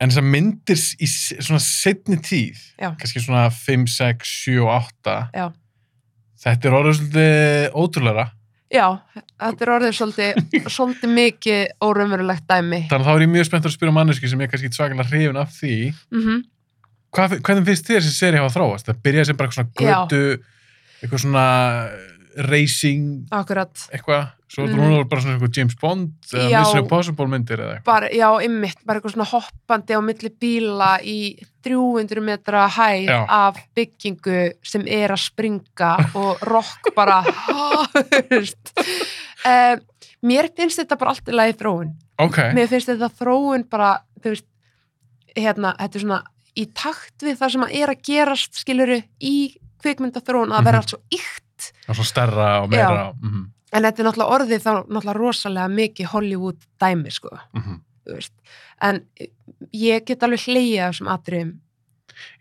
En þess að myndir í s- svona setni tíð,
Já.
kannski svona 5, 6, 7, 8,
Já.
þetta er orðið svolítið ótrúlega.
Já, þetta er orðið svolítið, svolítið mikið órumverulegt dæmi.
Þannig að þá er ég mjög spenntur að spyrja manneski sem ég er kannski ekki svakalega hrifin af því.
Mm
Hvað, hvernig finnst þér þessi seri hafa þróast? Það byrjaði sem bara eitthvað svona
Já.
götu, eitthvað svona racing,
Akkurat.
eitthvað. Svo mm.
Mhm.
núna er bara svona eitthvað James Bond eða
Já.
Mission Impossible myndir eða eitthvað.
Bara, já, ymmit, bara eitthvað svona hoppandi á milli bíla í 300 metra hæð
Já.
af byggingu sem er að springa og rokk bara, ha, þú veist. Uh, mér finnst þetta bara allt í lagi þróun.
Ok,
Mér finnst þetta þróun bara, þú veist, hérna, þetta er svona í takt við það sem að er að gerast, skiluru, í kvikmyndaþróun að
Mhm.
vera allt svo ykt
og svona stærra og meira. Mm -hmm.
En þetta er náttúrulega orðið þá náttúrulega rosalega mikið Hollywood dæmi, sko.
mhm.
þú veist. En ég get alveg hleyja þessum atriðum.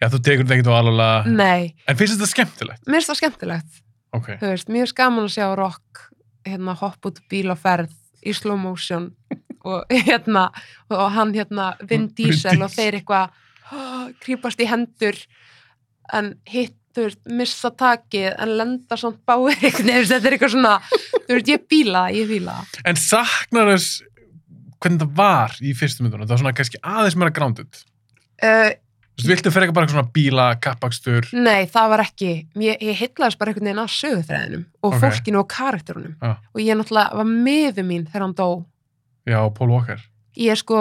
Já, þú tekur þetta ekkert á alveg.
Nei,
En finnst þetta skemmtilegt?
mér finnst það skemmtilegt.
Ok.
Þú veist, mér finnst gaman að sjá rock, hérna, hopp út úr bíl og ferð í slow motion og hérna, og hann hérna
Vin
Vin Diesel og
Diesel.
þeir eitthvað "Ah", krýpast í hendur en hitt, þú veist, missa takið en lenda samt báir eitthvað, þú veist, þetta er eitthvað svona, þú veist, ég bíla, ég bíla.
En saknar þess hvernig það var í fyrstu myndunum? Það var svona kannski aðeins meira grounded.
Uh,
Þú veist, viltu fyrir eitthvað bara svona bíla, kappakstur?
Nei, það var ekki, ég, ég heitlaðis bara einhvern veginn að söguþræðinum
Ok.
og
Ah.
fólkinu og karakterunum
Já.
og ég náttúrulega var miður mín þegar hann dó
Já, Paul Walker.
ég sko,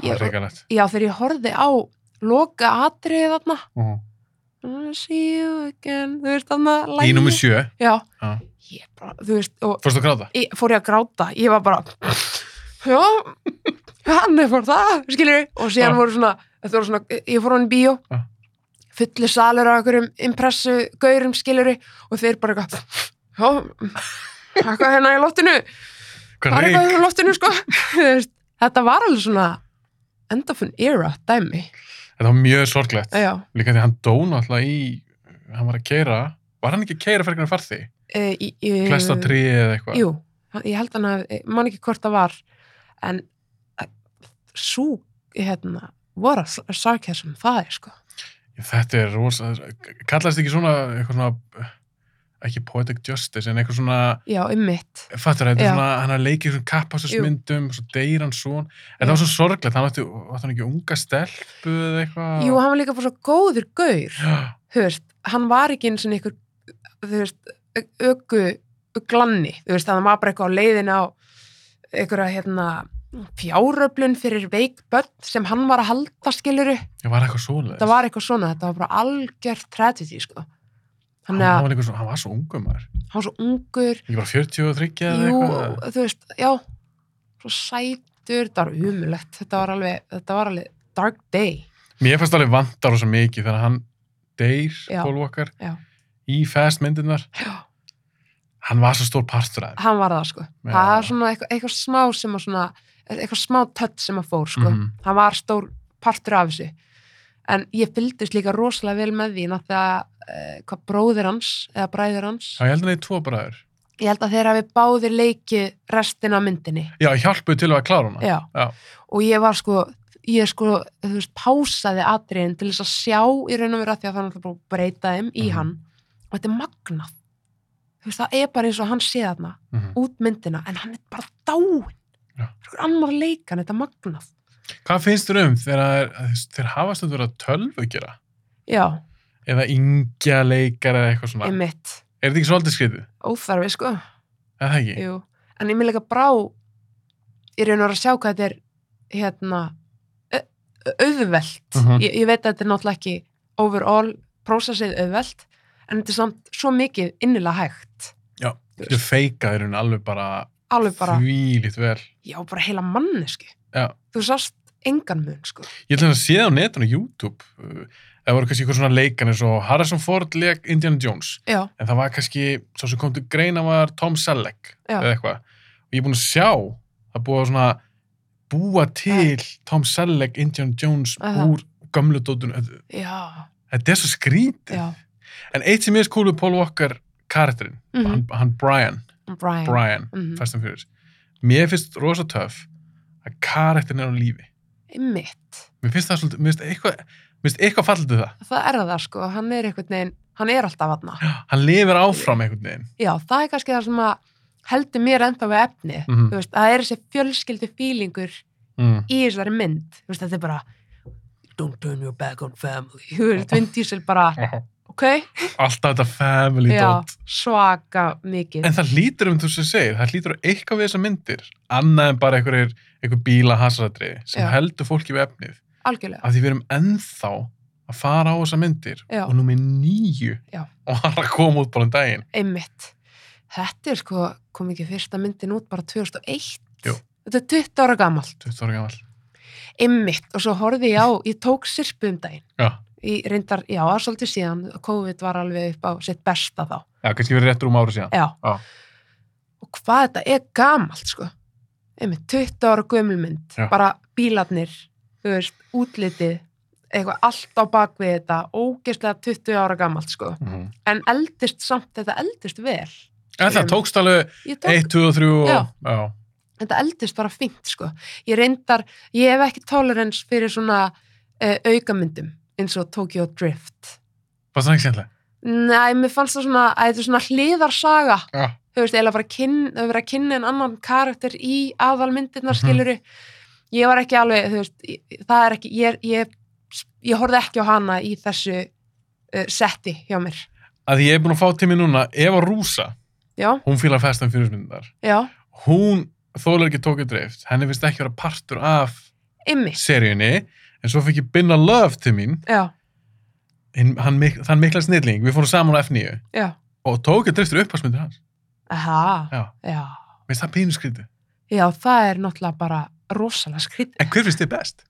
Það
ég,
er reygalegt.
já þegar ég horfði á loka atriðið þarna
Uh -huh.
"I'll see you again, þú veist þarna
Í
lagið.
nummi sjö.
já,
Já.
ég bara, þú veist og
Fórstu að gráta?
ég, fór ég að gráta, ég var bara já, hann er fór það skilur, og síðan
Já.
voru svona, þetta voru svona ég fór hann í bíó
Já.
fullu salur á einhverjum impressu gaurum skilur, og þeir bara eitthvað já, eitthvað hérna í loftinu
Hvað
það er
reyk?
eitthvað í loftinu sko Þú veist, þetta var alveg svona end of an era, dæmi
Þetta var mjög sorglegt.
já,
Líka því hann dóna alltaf í, hann var að keira. Var hann ekki að keira fyrir einhvern farþi?
e, í, í,
Klesta trí eða eitthvað?
Jú, ég held hann að, eh, man ekki hvort það var, en svo, hérna, voru að sarkjæðsum það er, sko.
Þetta er rosa, kallast ekki svona, eitthvað svona, eh, ekki poetic justice, en eitthvað svona,
Já, ymmit.
Fattur, þetta er
Já.
svona, hann er að leika í svona
Jú.
kappastusmyndum, svo deyr hann svo, en það
Já.
var svo sorglegt, hann átti, átti hann ekki unga stelpu eða eitthvað.
Jú, hann var líka bara svo góður gaur,
hann...
þú veist, hann var ekki eins og einhver, þú veist, öku, glanni, þú veist, hann var bara eitthvað á leiðin á einhverja, hérna, fjáröflun fyrir veik börn sem hann var að halda skiluru.
Ég var eitthvað svoleiðis.
Þetta var eitthvað svona, þetta var bara algjört tragedy, sko.
hann,
Þannig að
hann, var líka svo, hann var svo ungu maður,
hann var svo ungur,
ekki bara 43 eða
Jú,
eitthvað.
þú veist, já svo sætur, þetta var umulett þetta var alveg, þetta var alveg dark day
Mér fannst alveg vantar rosa mikið þegar hann deyr,
Já.
Paul Walker,
Já.
í fast myndirnar.
Já.
Hann var svo stór partur af þeim.
hann var það sko,
Já.
það var svona eitthvað, eitthvað smá sem að svona, eitthvað smá tött sem að fór sko,
Mhm.
hann var stór partur af þessu, en ég fylgdist líka rosalega vel með því náttúrulega eh, hvað bróðir hans, eða bræðir hans
Já, ég held að það er tvo bræður.
ég held að þeir hafi báðir leikið restina af myndinni,
Já, ég hjálpuði til við að klára hana.
já
Já.
og ég var sko ég sko, þú veist, pásaði atriðin til þess að sjá í raun og vera því að það er náttúrulega búið að breyta þeim í
Mhm.
hann og þetta er magnað þú veist, það er bara eins og hann sé þarna
Mhm.
út myndina, en hann er bara dáin
Já.
það er einhver annar leikan, þetta er magnað
Hvað finnst þér um þegar þeir hafast að vera tölvugjara?
já,
eða yngja leikar eða eitthvað svona.
einmitt,
Er þetta ekki svolítið skriðið?
óþarfi sko
Er það ekki?
Jú. en ég mér leika brá ég raun og vera að sjá hvað þetta er hérna au- auðvelt,
Mhm.
ég, ég veit að þetta er náttúrulega ekki overall prósessið auðvelt, en þetta er samt svo mikið innilega hægt
Já,
Þú
Þetta feikaði hún alveg bara,
alveg bara,
þvílít vel.
já bara heila manneski
Já.
þú sást engan mun sko
Ég ætla að sé það á netinu á YouTube. uh, Það voru kannski eitthvað svona leikan eins og Harrison Ford leik Indiana Jones.
já,
En það var kannski, svo sem kom til greina var Tom Selleck
Já.
eða eitthvað. Og ég er búin að sjá, það það er búið að svona búa til Tom Selleck, Indiana Jones
Aha.
úr gamlu dótun þetta
já,
þetta er svo skrítið
já,
en eitt sem ég er skúlið Paul Walker karakterinn,
Mhm.
hann, hann Brian
Brian,
Brian,
Mhm.
Fast and Furious mér finnst rosa töff að karakterinn er á lífi
mitt
mér finnst það svolítið, mér finnst eitthvað mér finnst eitthvað fallið það,
það er það sko, hann er einhvern veginn hann er alltaf aðna,
hann lifir áfram einhvern veginn
já, það er kannski það sem að heldur mér ennþá við efni
mm
þú veist, það er þessi fjölskyldu fílingur
mm.
í þessari mynd, þú veist, þetta er bara don't turn your back on family þú veist, Vin Diesel bara, ok
alltaf þetta family
já,
dot
svaka mikið
en það lítur um þú sem segir, það lítur á eitthvað við þessar myndir, annað en bara einhver, einhver bíla hasratri sem
Já.
heldur fólki við efnið
algjörlega,
að því við erum ennþá að fara á þessar myndir
Já.
og númið nýju
Já.
og hann er að koma út bara um daginn
einmitt þetta er sko, kom ekki fyrsta myndin út bara 2001
Jú.
þetta er 20 ára gamalt,
20 ára gamall
einmitt og svo horfði ég á, ég tók sirpu um daginn
já,
ég reyndar, já, það er svolítið síðan COVID var alveg upp á sitt besta þá
já kannski verið réttur um ára síðan
já,
Já.
og hvað þetta er gamalt sko, einmitt 20 ára gömulmynd,
Já.
bara bílarnir þú veist, útlitið eitthvað allt á bakvið þetta ógeðslega 20 ára gamalt sko
mm -hmm.
en eldist samt, þetta eldist vel
en það
Ég-
tókst alveg
ég tók
1, 2 og 3 og,
Já.
já.
þetta eldist bara fínt sko. ég reyndar, ég hef ekki tolerance fyrir svona uh, aukamyndum eins og Tokyo Drift
Fannst það ekki skemmtilega?
Nei, mér fannst það svona, að þetta er svona hliðarsaga
Já.
þú veist, eða bara kyn, að vera að kynna en annan karakter í aðalmyndirnar
Mhm.
skiluru ég var ekki alveg, þú veist, ég- það er ekki ég, ég, ég horfði ekki á hana í þessu uh, setti hjá mér,
að því ég er búin að fá til mér núna Eva Rúsa,
já,
hún fílar fast en fyrirsmyndar
já
hún þólar ekki tókið dreift henni finnst ekki vera partur af
ymmi,
seríunni en svo fekk ég Binna Love til mín
já,
hinn- hann, mik hann mikla snilling, við fórum saman á F9
já
og tókið dreift er upphagsmyndir hans
aha,
Já.
já,
Mér finnst það pínu skrítið.
já, það er náttúrulega bara rosalega skrítið
En hver finnst þið best?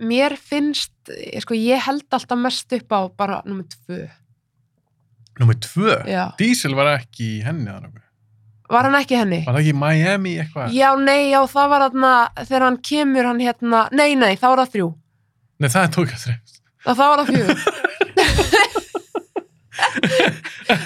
mér finnst, eh, sko, ég held alltaf mest upp á bara nummer tvö.
Númer tvö.
Já.
Diesel var ekki í henni þannig.
Var hann ekki henni?
Var það ekki í Miami eitthvað?
Já, nei, já, það var þarna, þegar hann kemur hann hérna, nei, nei, þá var það þrjú.
Nei, það er tókið þreifst.
Já, Það var það fjögur.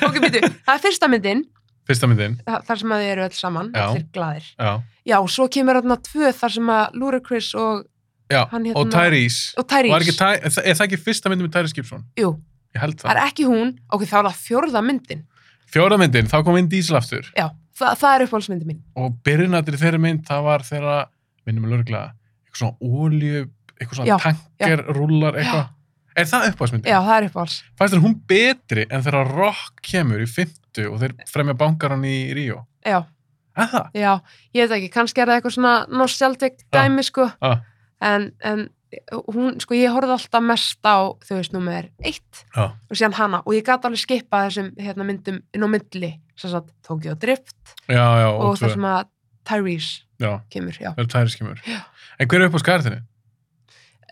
ok, býtu, það er fyrsta myndin,
Fyrsta myndin.
þa- þar sem að þið eru öll saman,
Já.
allir glaðir.
Já.
Já, svo kemur þarna tvö þar sem að Ludacris og,
Já.
Hann hérna-
Og Tyrese.
og Tyrese.
Var ekki Ty... er það- Er það ekki fyrsta myndin með Tyrese Gibson?
Jú,
Ég held það.
það er ekki hún, ok, þá er það fjórða myndin.
Fjóra myndin, þá kom inn Diesel aftur.
Já, það, það er uppáhaldsmyndin mín.
Og byrjunatri þeirri mynd, það var þeirra, minnum við lörglega, eitthvað svona olju, eitthvað svona
Já,
tanker, rúlar, eitthvað. Er það uppáðsmyndin?
Já, það er uppáhalds.
Fæst þér hún betri en þeirra rock kemur í 50 og þeir fremja bankaran í Ríó?
Já.
Er það?
Já, ég veit ekki, kannski er það eitthvað svona nostalgic
Já.
dæmi, sko,
Ah.
en, en hún, sko, ég horfði alltaf mest á, þú veist, nummer eitt
Já.
og síðan hana og ég gat alveg skipað þessum hérna, myndum inn á myndli, sem sagt, Tokyo Drift
Já, já, og,
og,
og
það
tvö.
sem að Tyrese
Já,
kemur, já.
það eru tæri skimur. En hver er upp á skarðinni?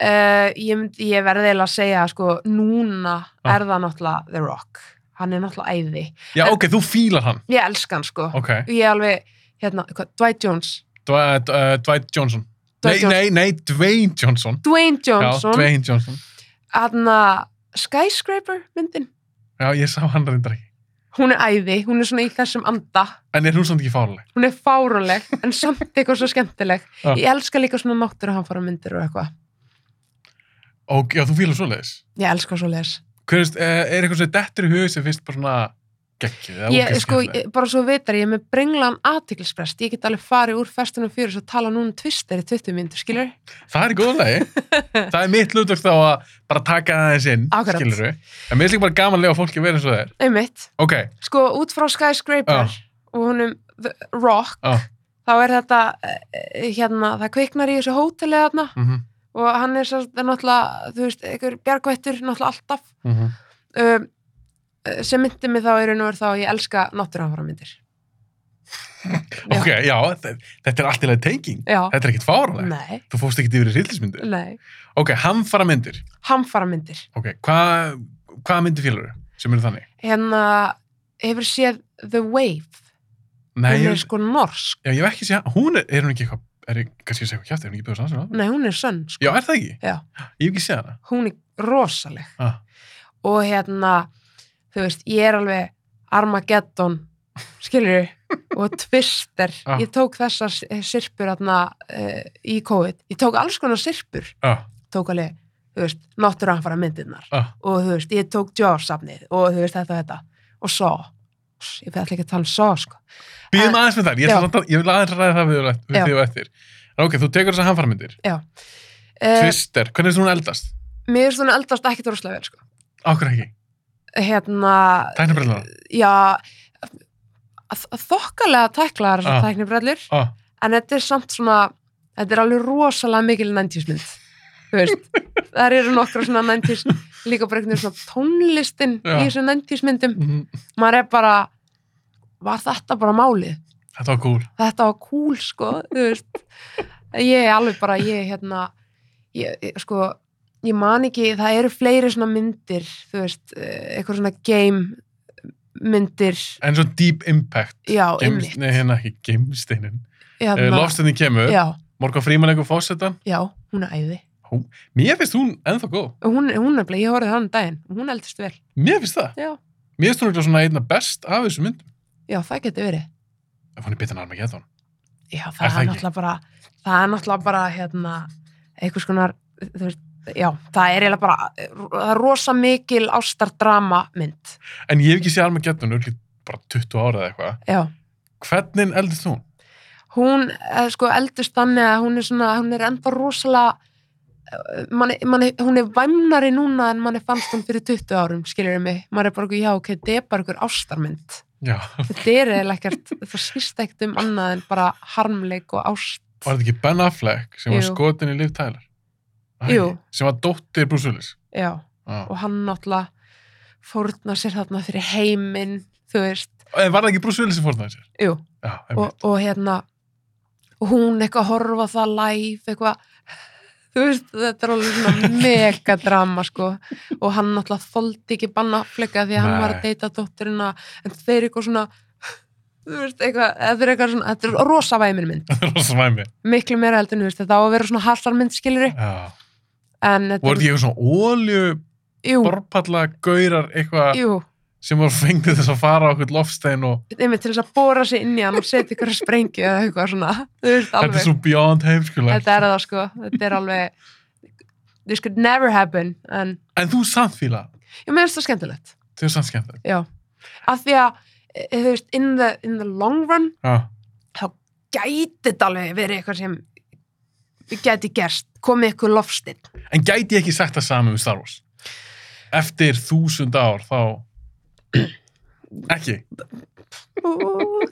Uh, ég, mynd, ég verði eiginlega að segja, sko, núna
Já.
er það náttúrulega The Rock, hann er náttúrulega æði,
Já,
En-
ok, þú fílar hann.
ég elska hann, sko,
Ok,
ég er alveg, hérna, hvað, Dwight Jones,
Dwight, uh, Dwight Johnson. nei,
Dwight Johnson.
nei, nei, Dwayne Johnson.
Dwayne Johnson,
Já, Dwayne Johnson.
aðna Skyscraper myndin
Já, ég sá hann reyndar ekki.
hún er æði, hún er svona í þessum anda
En er hún samt ekki fáraleg?
hún er fáruleg en samt eitthvað svo skemmtileg
Já.
ég elska líka svona náttúruhamfara myndir og eitthvað
Og já, þú fílar svoleiðis.
ég elska svo les
Hver veist, eh, er eitthvað sem dettur í hug sem finnst bara svona geggjuð? eða
ég,
ógeðslega
sko,
skemmtileg?
ég, bara svo vitar, ég er með brenglan aðtiklisprest, ég get alveg farið úr festunum fyrir og tala núna tvistir í 20 myndur, skilur
Það er í góðu lagi. það er mitt hlutverk þá að bara taka það aðeins inn,
Akkurat.
skilur við. En mér er líka bara gaman að lega fólki að vera eins og það er.
einmitt,
Ok,
sko út frá Skyscraper
Já.
og honum The Rock
á,
þá er þetta eh, hérna, það kviknar í þessu hóteli þarna
mhm,
og hann er svo er náttúrulega, þú veist, einhver bjargvættur náttúrulega alltaf
mhm.
um, eh, sem myndi mig þá í raun og veru þá að ég elska náttúruhamfaramyndir Já.
Ok, já, þe- þetta er allt í lagi tenging.
já,
Þetta er ekkert fáraleg.
nei,
Þú fórst ekki yfir í hryllismyndir?
nei
Ok, hamfara myndir.
hamfaramyndir,
Ok, hvað hva myndir félur sem eru þannig?
hérna hefur séð The Wave
Nei,
hún er
ég,
sko norsk,
já, ég hef ekki sé hún er, er hún ekki eitthvað, er ég kannski að segja eitthvað kjátt, er hún ekki bjóðs aðeins hana?
nei hún er sönn sko.
Já, er það ekki?
Já.
Ég hef ekki séð hana.
hún er rosaleg
Ah,
og hérna, þú veist, ég er alveg Armageddon skilur og Twister
Ah.
ég tók þessar s- sirpur þarna, uh, í COVID, ég tók alls konar sirpur
ah,
tók alveg, þú veist, náttúranfara myndirnar
ah.
og þú veist, ég tók Jaws-safnið og þú veist þetta og þetta og svo, ég veit ekki að tala um svo sko.
Býðum
En-
aðeins með það, ég, ætla
Já.
samt að, ég vil aðeins ræða það við, við
Já.
þig og eftir. En ok, þú tekur þessar hanfarmyndir.
uh,
Twister, hvernig er hún eldast?
mér finnst hún eldast ekki droslega vel sko.
Ákveð ekki,
hérna,
tæknabrellar.
já þ- þokkalega tæklar
Ah.
þessar tæknibrellur
Ah,
en þetta er samt svona þetta er alveg rosalega mikil 90s mynd þú veist, þar eru nokkra svona 90s líka bara einhvern veginn svona tónlistin
Já.
í þessum 90s myndum
mm,
maður er bara, var þetta bara málið
þetta var cool.
þetta var cool sko þú veist ég er alveg bara ég hérna ég, ég- sko ég man ekki það eru fleiri svona myndir þú veist eh, eitthvað svona game myndir
En svo Deep Impact.
já
Geims-
einmitt
Nei, hérna ekki, Gemsteinin. Uh,
hérna,
Lofstinni kemur,
já,
Morgan Freeman eitthvað fósettan.
já hún er æði
Mér finnst hún ennþá góð.
Og hún, hún er bleið, ég horfði á hann um daginn hún eldist vel
Mér finnst það.
já,
Mér finnst hún eitthvað svona einna best af þessum myndum.
já það getur verið
Ef hún er betur en Armageddon.
já, það
Er
er,
það ekki?
náttúrulega bara það er náttúrulega bara hérna einhvers konar þú veist, já, það er eiginlega bara það er rosa mikil ástardrama mynd
En ég hef ekki séð Armageddon örugglega bara 20 ára eða eitthvað.
já
Hvernig eldist hún?
hún eh, sko eldist þannig að hún er svona, hún er enda rosalega eh, manni, manni, hún er væmnari núna en manni fannst hún fyrir 20 árum skilur mig, maður er bara okkur, já ok, þetta er bara okkur ástarmynd,
Já,
þetta er eiginlega ekkert það snýst ekkert um annað en bara harmleik og ást,
var þetta ekki Ben Affleck sem var
Jú.
skotin í Liv Tyler? Æ,
Jú.
Sem var dóttir Bruce Willis.
já
Já.
og hann náttúrulega fórnar sér þarna fyrir heiminn þú veist,
En Eh, var það ekki Bruce Willis sem fórnaði sér?
jú
Já,
og,
einmitt.
og hérna og hún eitthvað að horfa á það live eitthvað þú veist, þetta er alveg svona megadrama sko, og hann náttúrulega þoldi ekki banna flika því að hann
Nei.
var að deyta dótturina, en þeir eitthvað svona þú veist, eitthvað, þetta er eitthvað svona þetta er rosa væmir mynd,
Það er rosa svæmi.
miklu meira heldur en þú veist, þetta á að vera svona hasarmynd skilur
Já.
en
Voru
þetta
þetta ekki eitthvað svona ólju,
jú,
borpalla, gaurar, eitthvað
jú, sem
sem voru fengið þess að fara á eitthvað lofstein og
einmitt til þess að bóra sig inn í hann og setja ykkur að sprengju eða eitthvað svona, þú veist,
þetta
alveg
er svo beyond heimskulega.
þetta er það sko, þetta er alveg this could never happen en
En þú samt fíla,
ég meðist það skemmtilegt
þau er samt skemmt það.
já, af því að e, þú veist, in the, in the long run
Já,
gæti þetta alveg verið eitthvað sem gæti gerst, komið eitthvað lofstinn
en gæti ég ekki sagt það saman um Star Wars? Eftir þúsund ár þá... Ekki,
um,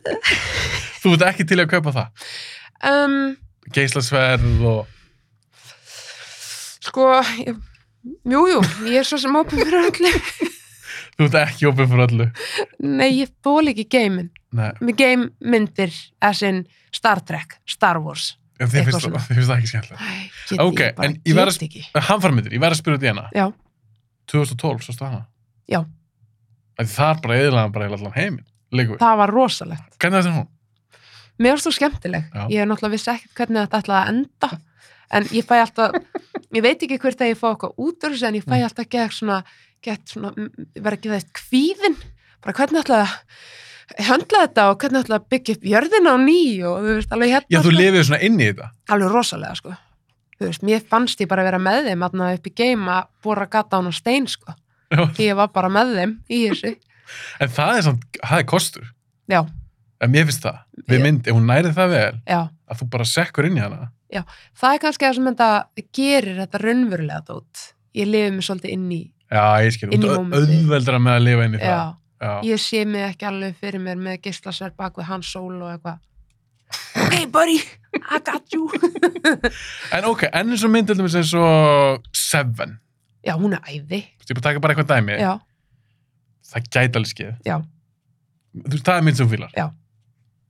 þú ert ekki til að kaupa það.
Um,
Geislasverð og...
sko ég, jú, jú, ég er svo sem opið fyrir öllu
Þú ert ekki opið fyrir öllu.
nei, ég þóli ekki geimin
Nei,
með game myndir, as in Star Trek, Star Wars
en þið
Eitthvað
finnst,
svona.
það- þið finnst það ekki skemmtilegt.
Æ, get,
Ok,
ég bara
en ég verð að-
get ekki
Hamfarmyndir, ég verð að spyrja út í hana.
Já.
2012, svo stað hana.
Já.
Að það er bara eðlaðan bara eiginlega allan heiminn. Leikur.
það var rosalegt
Hvernig þetta er hún?
Mér finnst þú skemmtileg.
Já.
Ég er náttúrulega vissi ekkert hvernig þetta ætlaði að enda. En ég fæ alltaf, ég veit ekki hvert að ég fá eitthvað út úr þessu, en ég fæ
Mm.
alltaf gett svona, gett svona, mm, ég verð ekki það eitt kvíðin. Bara hvernig ætlaði að höndla þetta og hvernig ætlaði að byggja upp jörðina á ný og þú veist, alveg hérna.
Já, þú
sko.
lifið svona inn í þetta.
Alveg rosalega, sko. Þú veist, mér fannst ég bara að vera með þeim aðna upp í geim að bóra gata án á stein, sko.
Já.
Því ég var bara með þeim í þessu.
En það er samt, það er kostur.
Já,
En mér finnst það. Við
Já.
mynd, ef hún nærið það vel,
já.
að þú bara sekkur inn í hana.
það er kannski það sem þetta gerir þetta raunverulega dót ég lifi mig svolítið inn í
Já, ég skil.
Inn í
Þú ert
momentið.
auðveldra með að lifa inn í það.
já,
Já.
ég sé mig ekki alveg fyrir mér með geislasverð bak við hans sól og eitthvað ok buddy, I got you
En ok, enn eins og mynd, til dæmis eins og Seven.
já, hún er æði
Þú veist, Ég bara taka bara eitthvað dæmi.
já,
Það gæti alveg skeið.
Já.
Þú veist, það er mynd sem þú fílar.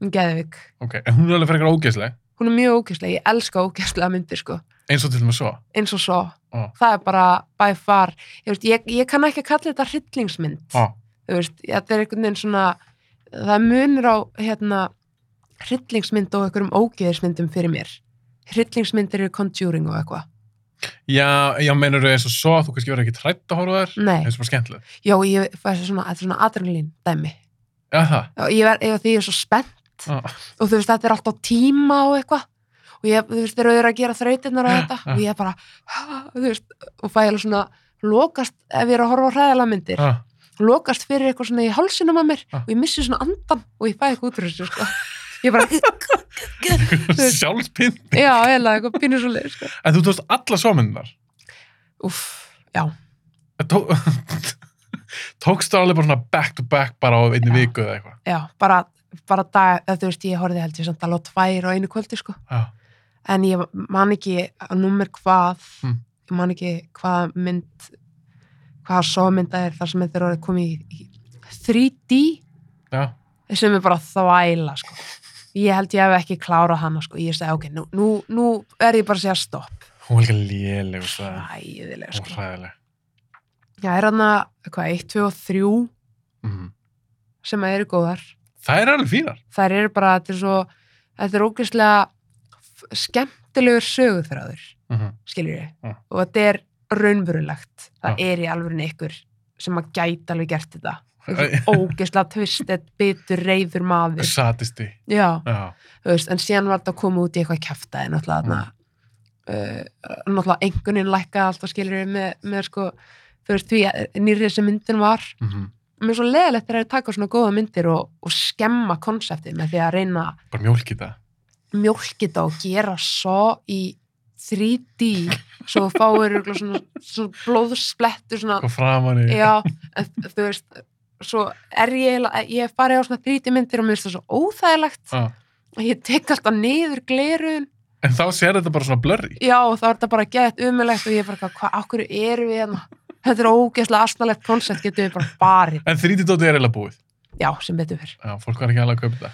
hún geðvik
Ok, en hún er alveg frekar ógeðsleg.
hún er mjög ógæslega, ég elska ógæslega myndir sko
Eins og til dæmis svo.
eins og svo,
Ó.
það er bara by far, ég, veist, ég, ég kann ekki að kalla þetta hryllingsmynd
Á,
þú veist, þetta er einhvern veginn svona það munur á hérna hryllingsmynd og einhverjum ógeðismyndum fyrir mér hryllingsmyndir eru conjuring og eitthvað
Já, já, mennur þau eins og svo, þú kannski verður ekki trætt að horfa á þær,
nei,
eins og bara skemmtileg.
já, ég fæ svona, þetta er svona adrenalín dæmi,
Já, það.
já, ég verð, ef því ég er svo spennt
Ah,
og þú veist, þetta er alltaf tíma og eitthvað og ég, þú veist, þeir eru að gera þrautinnar og
Ja,
þetta
ja.
og ég er bara, þú veist og fæ alveg svona, lokast ef ég er að horfa á hræðilega myndir,
ah.
lokast fyrir eitthvað svona í hálsinum að mér
Ja.
og ég missi svona andan og ég fæ eitthvað út úr þessu, sko ég bara, veist-
Sjálfspinn.
já, eða eitthvað pínu svo leið, sko
En þú tókst alla sómyndunar.
Úff, já,
Tó... Tókst þú alveg bara svona back to back bara á einni
Já.
viku eða eitthvað.
já, bara bara dag, eða þú veist, ég horfði held ég samt alveg á tvær og einu kvöldi, sko
Já.
en ég man ekki að nummer hvað
Mm.
ég man ekki hvað mynd hvað sómynda er þar sem þetta er orðið komið í, í 3D
Já.
sem er bara þvæla sko. ég held ég hef ekki klárað hana sko. ég segi ok, nú, nú, nú er ég bara að segja stopp
Hún var líka léleg og svo.
ræðilega
Hún var
sko.
hræðileg.
já, er hana, hvað, 1, 2 og 3
Mm.
sem eru góðar
Það er alveg fínar.
þær eru bara, þetta er svo þetta er ógeðslega f- skemmtilegur söguþráður
Mm -hmm.
skilur ég,
Já.
og þetta er raunverulegt, það
Já.
er í alveg ykkur sem að gæti alveg gert þetta ógeðslega tvistet, bitur, reyður maður
Satisti.
já,
Já.
þú veist, en síðan var þetta að koma út í eitthvað kjaftaði, náttúrulega þarna, uh, náttúrulega engunin lækkaði alltaf skilur ég með, með sko þú veist, því nýrið sem myndin var
Mm -hmm.
mér er svo leðilegt er að taka svona góða myndir og, og skemma konseptið með því að reyna að
Bara mjólki það.
mjólkið það og gera svo í 3D svo þú fáir örugglega svona, svona blóðsplettur svona,
Hvað framan í.
já, en þú veist svo er ég, eiginlega- ég hef farið á svona 3D myndir og mér finnst það svo óþægilegt
Já.
og ég tek alltaf niður glerun
En þá sér þetta bara svona blurry.
já og þá er þetta bara gett umilegt og ég er bara, hvað, af hverju erum við hérna þetta er ógeðslega asnalegt koncept getum við bara barið,
En 3D-dótið er eiginlega búið.
já, sem betur fyrr
Já, fólk var ekki alveg að kaupa það.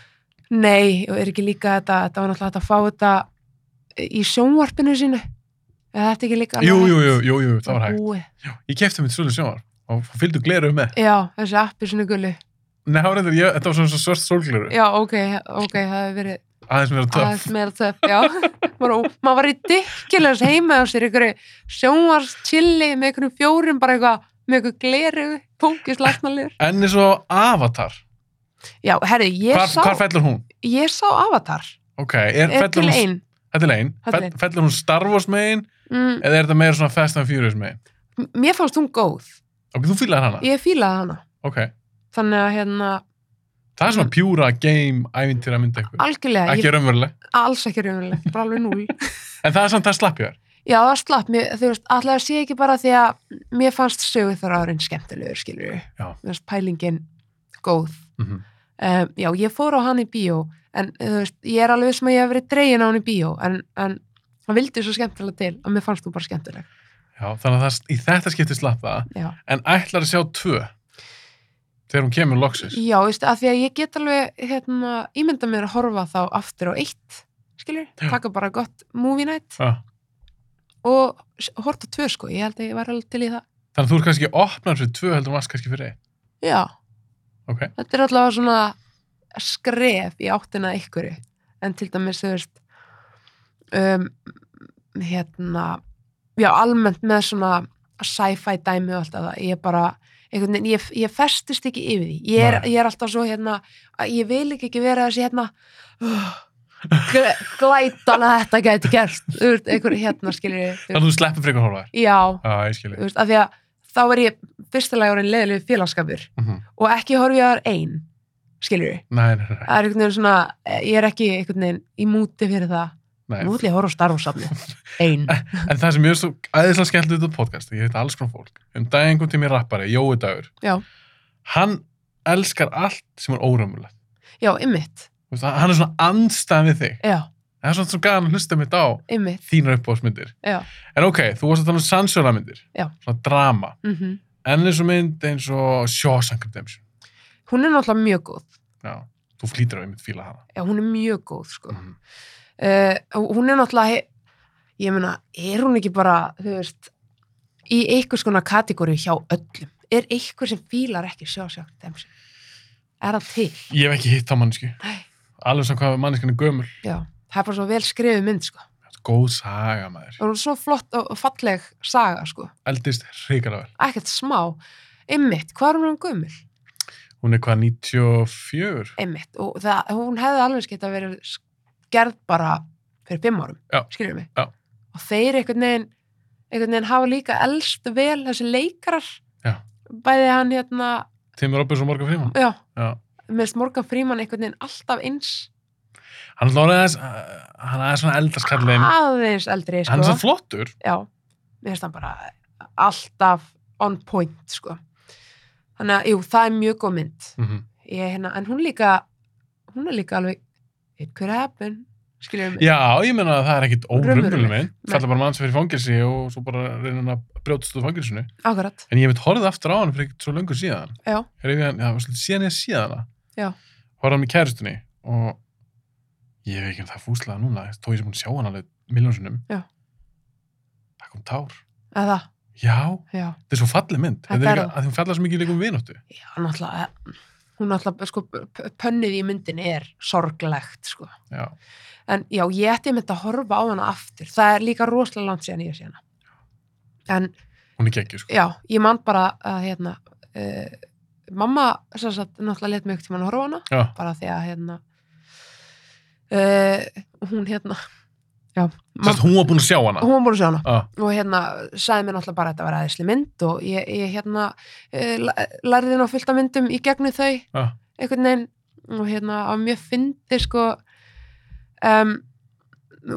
Nei, og er ekki líka þetta, þetta var náttúrulega hægt að fá þetta í sjónvarpinu sínu eða þetta ekki líka
Jú, jú, jú, jú, jú, það var hægt.
Búið.
Ég kefti mitt svolítið sjónar og fylgdu gleru með.
Já, þessi appi svona gullu
Nei, það var reyndar, ég, þetta var svona svona svört sólgleru.
Já, ok, ok, það hefur verið
Aðeins meira töff.
aðeins meira töff, já Maður ó- maður var í dykkilegs heima á sér einhverju sjónvars chili með einhverjum fjórum, bara eitthvað með einhverju gleru, pókis læknalegur
En eins og Avatar,
Já, herri, ég
hvar,
sá
hvar fellur hún?
ég sá Avatar,
Ok, er,
er
fellur
til
hún,
ein
þetta er legin,
Þetta er
fell,
legin.
fellur hún Star Wars megin
mm,
eða er þetta meira svona Fast and Furious megin?
Mér fannst hún góð,
Ok, þú fýlar hana?
ég fílaði hana
Ok,
þannig að hérna,
það er svona pjúra game ævintýra mynda ykkur.
algjörlega ég
Ekki raunveruleg.
alls ekki raunverulegt, bara alveg núl
En það er samt það slappið þar.
já það slapp, mér, þú veist, allavega sé ekki bara því að mér fannst sögur þar árin skemmtilegur skilur,
Já.
mér fannst pælingin góð,
Mm -hmm.
um, já ég fór á hann í bíó, en þú veist ég er alveg sem að ég hef verið dregin á hann í bíó en, en hann vildi svo skemmtilega til að mér fannst þú bara skemmtileg,
Já, þannig að það, í þetta skipti slapp það.
já
En ætlar að sjá tvö þegar hún kemur loksis.
já, veist, að því að ég get alveg hérna, ímynda mér að horfa þá aftur á eitt skilur,
Já.
taka bara gott movie night
Ah.
og horta tvö sko, ég held að ég var alveg til í það
Þannig að þú er kannski opnar fyrir tvö heldur hún varst kannski fyrir einn.
já
Ok.
þetta er allavega svona skref í áttina að einhverju en til dæmis þú veist um, hérna já almennt með svona sci-fi dæmi og allt að það ég bara, einhvern veginn, ég, ég festist ekki yfir því ég er,
Nei.
ég er alltaf svo hérna að ég vil ekki ekki vera þessi hérna uh, gl- glætan að þetta gæti gert Þú veist, einhver hérna skilur ég þú
Þannig
veist.
að þú sleppir frekar horfa þær.
já,
Já, ég skilji.
þú veist, af því að þá er ég fyrstulega orðin leðilegu félagskapur
Mm -hmm.
og ekki horfi ég að það er ein skilur við,
Nei, nei, nei,
það er einhvern veginn svona eh, ég er ekki einhvern veginn í múti fyrir það
nei.
múti að horfa á starfsafni ein,
En það sem ég er svo æðislega skemmt við þetta podcast, ég heit alls konar fólk, um daginn kom til mér rappari, Jói Dagur,
já,
hann elskar allt sem er óraumulegt.
já, ymmit
Þú veist, Hann er svona andstæðan við þig.
já,
Það er svona svo gaman að hlusta mitt á
ymmit,
þínar uppbóðsmyndir.
já
En ok, þú varst að tala um sannsjólamyndir,
Já.
svona drama,
mm
en eins og mynd eins og Shawshank Redemption.
hún er náttúrulega mjög góð
Já, þú flýtir á einmitt fíla hana.
já, hún er mjög góð, sko
Mhm.
uh, hún er náttúrulega he- ég meina, er hún ekki bara þú veist, í einhvers konar kategóri hjá öllum, er einhver sem fílar ekki sjá sjá, er það til
Ég hef ekki hitt á mannsku,
Nei.
alveg sem hvað manneskan er gömul
já, það er bara svo vel skrifu mynd sko.
góð saga maður,
og hún er svo flott og og falleg saga sko,
eldist hrikalega vel
ekkert smá einmitt, hvað er hún um gömul?
hún er hvað 94
einmitt, og það, hún hefði alveg skeitt að vera gerð bara fyrir fimm árum,
Já.
skilur mig
Já.
og þeir einhvern veginn einhvern veginn hafa líka elst vel þessi leikarar
Já.
bæði hann hérna
Tim Robbins og Morgan Freeman
já,
Já.
minnst Morgan Freeman einhvern veginn alltaf eins
hann er svona aðeins eh, hann er aðeins svona eldarskallin
aðeins eldri, sko
hann er svo flottur
já, mér finnst hann bara alltaf on point, sko þannig að, jú, það er mjög góð mynd
mm
ég, hérna, en hún líka hún er líka alveg it could happen, skilur mig
já, ég meina að það er ekkit
Raunveruleg.
órumrunum minn
Nei.
falla bara mann sem fyrir fangilsi og svo bara reynir hann að brjótast úr fangilsinu
akkurat,
en ég hef horfið aftur á hann fyrir ekkert svo löngu síðan
já
Heyrðu, ég- það var svolítið síðan ég síðan
Já.
hana horfði hann í kærustunni og ég hef ekki um það fúslega núna þó ég sem búin að sjá hann alveg miljónsunum
Já.
það kom tár
Eða,
já,
já,
þetta er svo fallið mynd
Þetta
þetta er
er
líka,
það.
að hún falla svo mikið líka um vinóttu
já, náttúrulega eh, hún náttúrulega, sko, p- pönnið í myndin er sorglegt, sko
já,
en já, ég ætti mynd að horfa á hana aftur það er líka rosalega langt síðan ég sé hana en
hún er geggjur sko
já, ég man bara að hérna uh, mamma, sem sagt, náttúrulega let mig ekki tíma að horfa á hana
já,
bara því að hérna uh, hún hérna já,
Sest,
mamma,
hún var búin að sjá hana
hún var búin að sjá hana
ah,
og hérna sagði mér náttúrulega bara að þetta var aðeinsli mynd og ég, ég hérna eh, la- lærði ná fullt af myndum í gegnum þau
ah.
einhvern veginn og hérna á mjög fyndi sko um,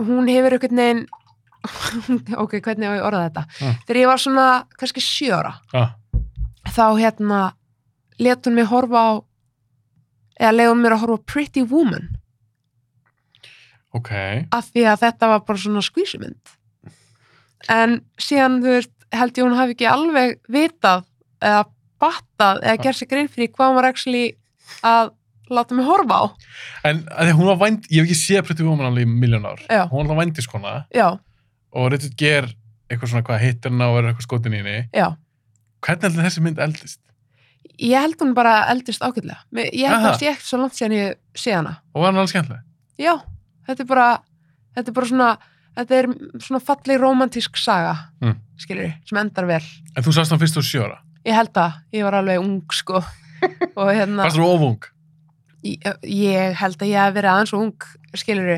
hún hefur einhvern veginn ok, hvernig á ég að orða þetta
Mm.
þegar ég var svona kannski sjö ára
Ah.
þá hérna let hún mig horfa á eða leiði hún mér að horfa á Pretty Woman
ok,
af því að þetta var bara svona skvísumynd en síðan þú veist held ég hún hafi ekki alveg vitað eða battað eða gerð sér grein fyrir hvað hún var actually að láta mig horfa á
en að því að hún var vænd ég hef ekki séð Pretty Woman alveg í miljón ár
Já.
hún var alltaf vændiskona
já, og
og Richard Gere eitthvað svona hvað hittir hana og verður eitthvað skotin í henni
já,
hvernig heldur þessi mynd eldist?
ég held hún bara eldist ágætlega Mér- ég held
Aha.
það sé ekkert svo langt síðan ég sé hana
og var hann alveg skemmtileg?
já, þetta er bara þetta er bara svona þetta er svona falleg romantísk saga
Mm.
skilur sem endar vel
En þú sast hann fyrst úr sjóra.
ég held það, ég var alveg ung sko og hérna
Fast þú ofung.
Ég- ég held að ég hef verið aðeins og ung skilur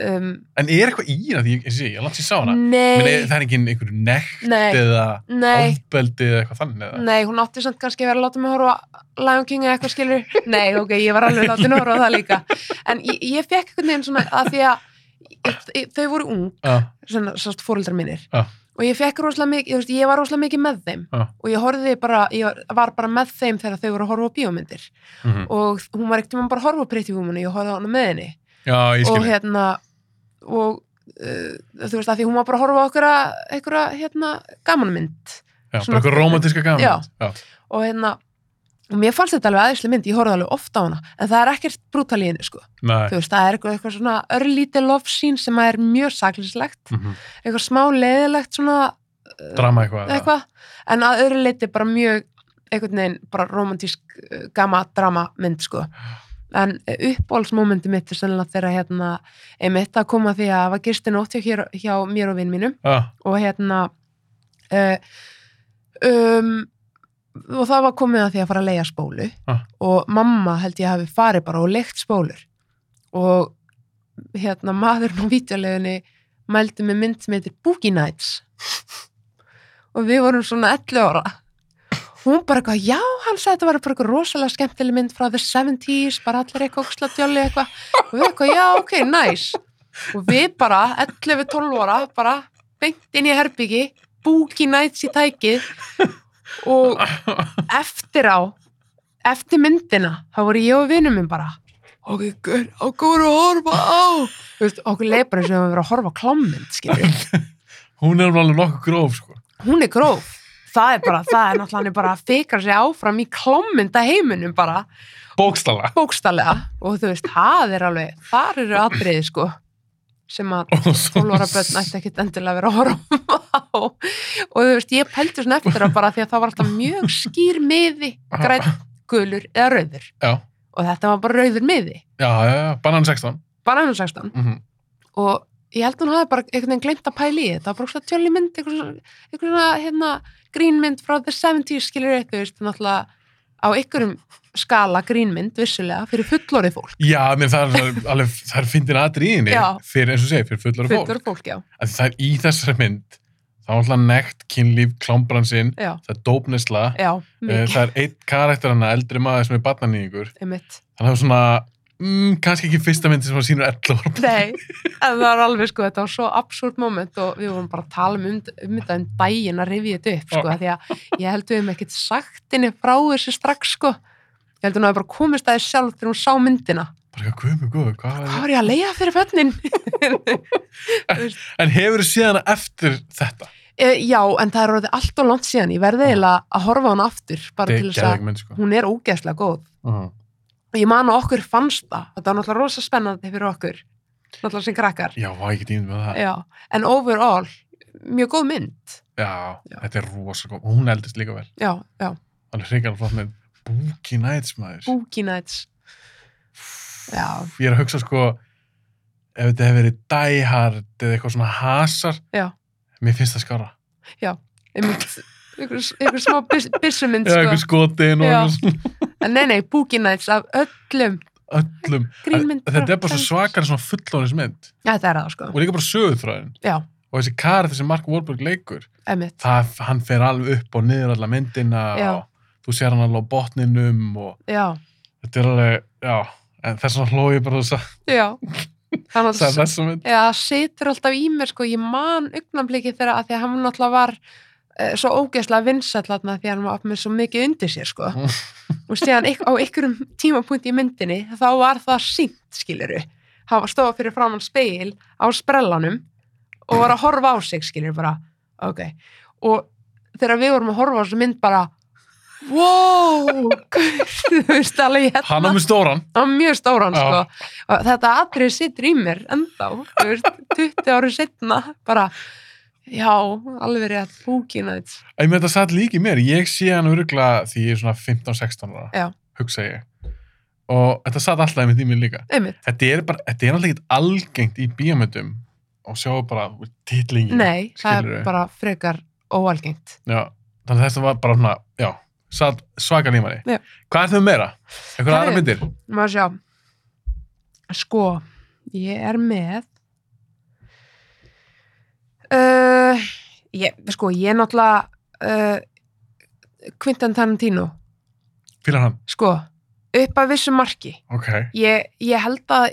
um,
En er eitthvað í hérna því ég sé, ég langt sér sá hana. Men er,
nei,
það er ekki einhver nekt
nei,
eða
nei
ofbeldi eða eitthvað þannig eða.
nei, hún átti samt kannski að vera að láta mig horfa á Lion King eða eitthvað skilur nei, ok, ég var alveg látin að horfa á það líka en ég, ég fekk einhvern veginn svona að því að ég- þau voru ung
Ah,
svona, svona fóreldrar mínir
Já.
og ég fekk rosalega mikið, þú veist, ég var rosalega mikið með þeim
Já.
og ég horfði bara, ég var bara með þeim þegar þau voru að horfa á bíómyndir
mhm.
og hún var ekkert um bara að horfa á Pretty Woman og ég horfði á hana með henni
Já, ég
og
skil. Hér...
hérna og uh, þú veist að því hún var bara að horfa á okkur einhverja hérna gamanmynd
Já, bara
svona-
eitthvað romantíska gaman.
Já.
Já.
og hérna og mér fannst þetta alveg aðeinslega mynd, ég horfði alveg ofta á hana en það er ekkert brútal í henni sko
Nei.
þú veist, það er eitthvað, eitthvað svona örlítið love scene sem er mjög saklislegt
Mhm.
eitthvað smá leiðilegt svona
Drama eitthvað. eða-
eitthvað, en að öðru leiti bara mjög einhvern veginn bara romantísk uh, gama drama mynd sko en uh, uppbólsmómenti mitt er sennilega þegar hérna einmitt að koma því að það var gistin ótt hjá, hér- hjá mér og vinn mínum
Ah,
og hérna uh, um, og það var komið að því að fara að leia spólu
Ah.
og mamma held ég hafi farið bara og leikt spólur og hérna maðurinn á vítjulegunni mældi með mynd sem heitir Boogie Nights og við vorum svona 11 ára hún bara eitthvað, já, hann sagði þetta var bara eitthvað rosalega skemmtileg mynd frá the 70s bara allir eitthvað óksla djóli eitthvað og við eitthvað, já, ok, nice og við bara, 11-12 ára bara, beint inn í herbyggi Boogie Nights í tækið og eftir á eftir myndina, þá voru ég og vinnum minn bara ok, gaur, okkur voru að horfa á Þú veist, okkur leið bara eins og við höfum verið að horfa á klámynd skilur.
hún er alveg nokkuð gróf, sko.
hún er gróf það er bara, það er náttúrulega hann er bara að fikra sig áfram í klámynda heiminum bara,
Bókstala.
bókstallega og þú veist, það er alveg þar eru atriði sko sem að 12 ára börn ætti ekkit endilega að vera að horfa á og þú veist, ég pældi svona eftir að bara því að það var alltaf mjög skýr miði græn, gulur eða rauður
Já.
og þetta var bara rauður miði,
já, já, já, banan 16
bananum 16
mm
og ég held hún hafi bara einhvern veginn glemt að pæla í þetta, það var bara svona tjöli mynd einhvern svona, einhvern svona hérna, grínmynd frá the 70s skilur eitthvað, þú veist, náttúrulega á einhverjum skala grínmynd vissulega fyrir fullorðið fólk
Já, menn það er alveg, það er fyndin aðri í henni
Já.
fyrir, eins og segir, fyrir fullar fólk.
fullorðið fólk, já,
Af því Það er í þessari mynd, þá er alltaf nekt, kynlíf, klámbransinn,
já,
það er dópnesla,
já
eh,
mikið,
það er einn karakter hana, eldri maður sem er barnanýðingur.
einmitt
Þannig að það er svona, mm, kannski ekki fyrsta myndi sem hann sýnur 11 ára.
Nei, en það var alveg sko, þetta var svo absúrt moment og við vorum bara að tala um, um, um þetta um daginn að rifja þetta upp sko, af því að ég held við hefum ekkert sagt henni frá þessu strax sko. Ég held hún hafi bara komist að þið sjálf þegar hún sá myndina.
Bara eitthvað, guð mig, guð, hvað var ég?
Hvað var ég að leiða fyrir fönnin?
En hefur þið séð hana eftir þetta?
Eh, Já, en það er orðið allt og langt síðan. Ég verði eiginlega að horfa á hún aftur bara
Þetta
til
er
þess að
gerðeg mynd, sko.
hún er ógeðslega góð.
Uh.
Og ég man að okkur fannst það. Þetta var náttúrulega rosa spennandi fyrir okkur. Náttúrulega sem krakkar.
Já, vá, ég get ímynd með það.
Já, en overall, mjög góð mynd.
Já,
Já.
þetta er rosa góð. Og Hún eldist líka vel.
Já, já.
Alveg hrigalega flott mynd. Boogie Nights, maður.
Boogie Nights Já.
ég er að hugsa sko ef þetta hefur verið Die Hard eða eitthvað svona hasar
Já.
mér finnst það skára
einmitt, einhver, einhver smá byss- byssumynd
eða eitthvað
sko.
skotin og
Já.
eitthvað svona
en nei, nei, Boogie Nights af öllum
öllum
grínmynd
Að- þetta er bara svo svakar svona fullónis mynd
Já, þetta er það sko,
og líka bara söguthröðin
já,
og þessi kar þessi Mark Wahlberg leikur
einmitt
það, hann fer alveg upp og niður alla myndina
Já.
og þú sér hann alveg á botninum og
Já,
þetta er alveg, já en þess vegna hló ég bara þess að
já Þannig
það
að
er þessa mynd
það situr alltaf í mér sko, ég man augnambliki þegar að því að hann alltaf var eh, svo ógeðslega vinsæll þarna því að hann var með svo mikið undir sér sko
Mm.
og síðan eik- á einhverjum tímapunkt í myndinni þá var það sínt skiluru hann stóð fyrir framann speil á sprellanum og var að horfa á sig skiluru bara, ok og þegar við vorum að horfa á þessu mynd bara wow guð, þú veist alveg hérna
hann á með stóran
á mjög stóran
Já.
sko. og þetta atrið situr í mér ennþá, þú veist, 20 ári setna bara, já alveg rétt, búkina þitt
Ég með þetta satt líki mér, ég sé hann örugla því ég er svona 15-16 ára,
Já.
hugsa ég. Og þetta satt alltaf einmitt í mér líka.
einmitt,
Þetta er bara, þetta er alltaf ekkert algengt í bíómyndum og sjá bara titlingin.
nei, það
skilurðu.
er bara frekar óalgengt
Já, þannig að þetta var bara svona, já, satt svakar í manni.
Já.
Hvað er þau meira? Eitthvað
Herri.
aðra myndir?
maður sjá sko, ég er með uh, ég, sko, ég er náttúrulega uh, Quintan Tarantino
Fýlar hann?
sko, upp að vissu marki
Ok.
ég, ég held að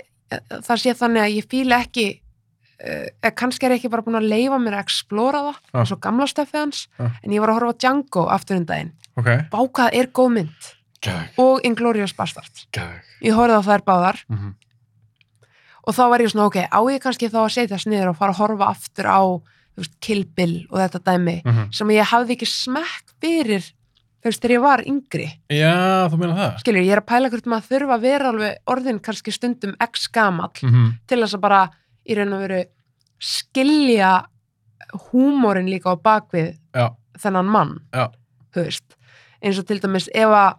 það sé þannig að ég fíla ekki uh, eða kannski er ég ekki bara búin að leifa mér að explora það,
Ah.
eins og gamla stefið hans
Ah.
en ég var að horfa á Django aftur um daginn
Ok.
bákað er góð mynd
Gæðug,
og Inglourious Bastard
gæðug.
ég horfði á þær báðar
Mm -hmm.
og þá var ég svona, ok, á ég kannski þá að setjast niður og fara að horfa aftur á þú veist, Kill Bill og þetta dæmi
mhm.
sem ég hafði ekki smekk fyrir þú veist, þegar ég var yngri
Já, þú meina það?
skilur, ég er að pæla hvort maður þurfa að vera alveg orðin kannski stundum x gamall
Mm -hmm.
til þess að bara í raun og veru skilja húmórin líka á bakvið
Já,
þennan mann
Já.
þú veist, eins og til dæmis ef að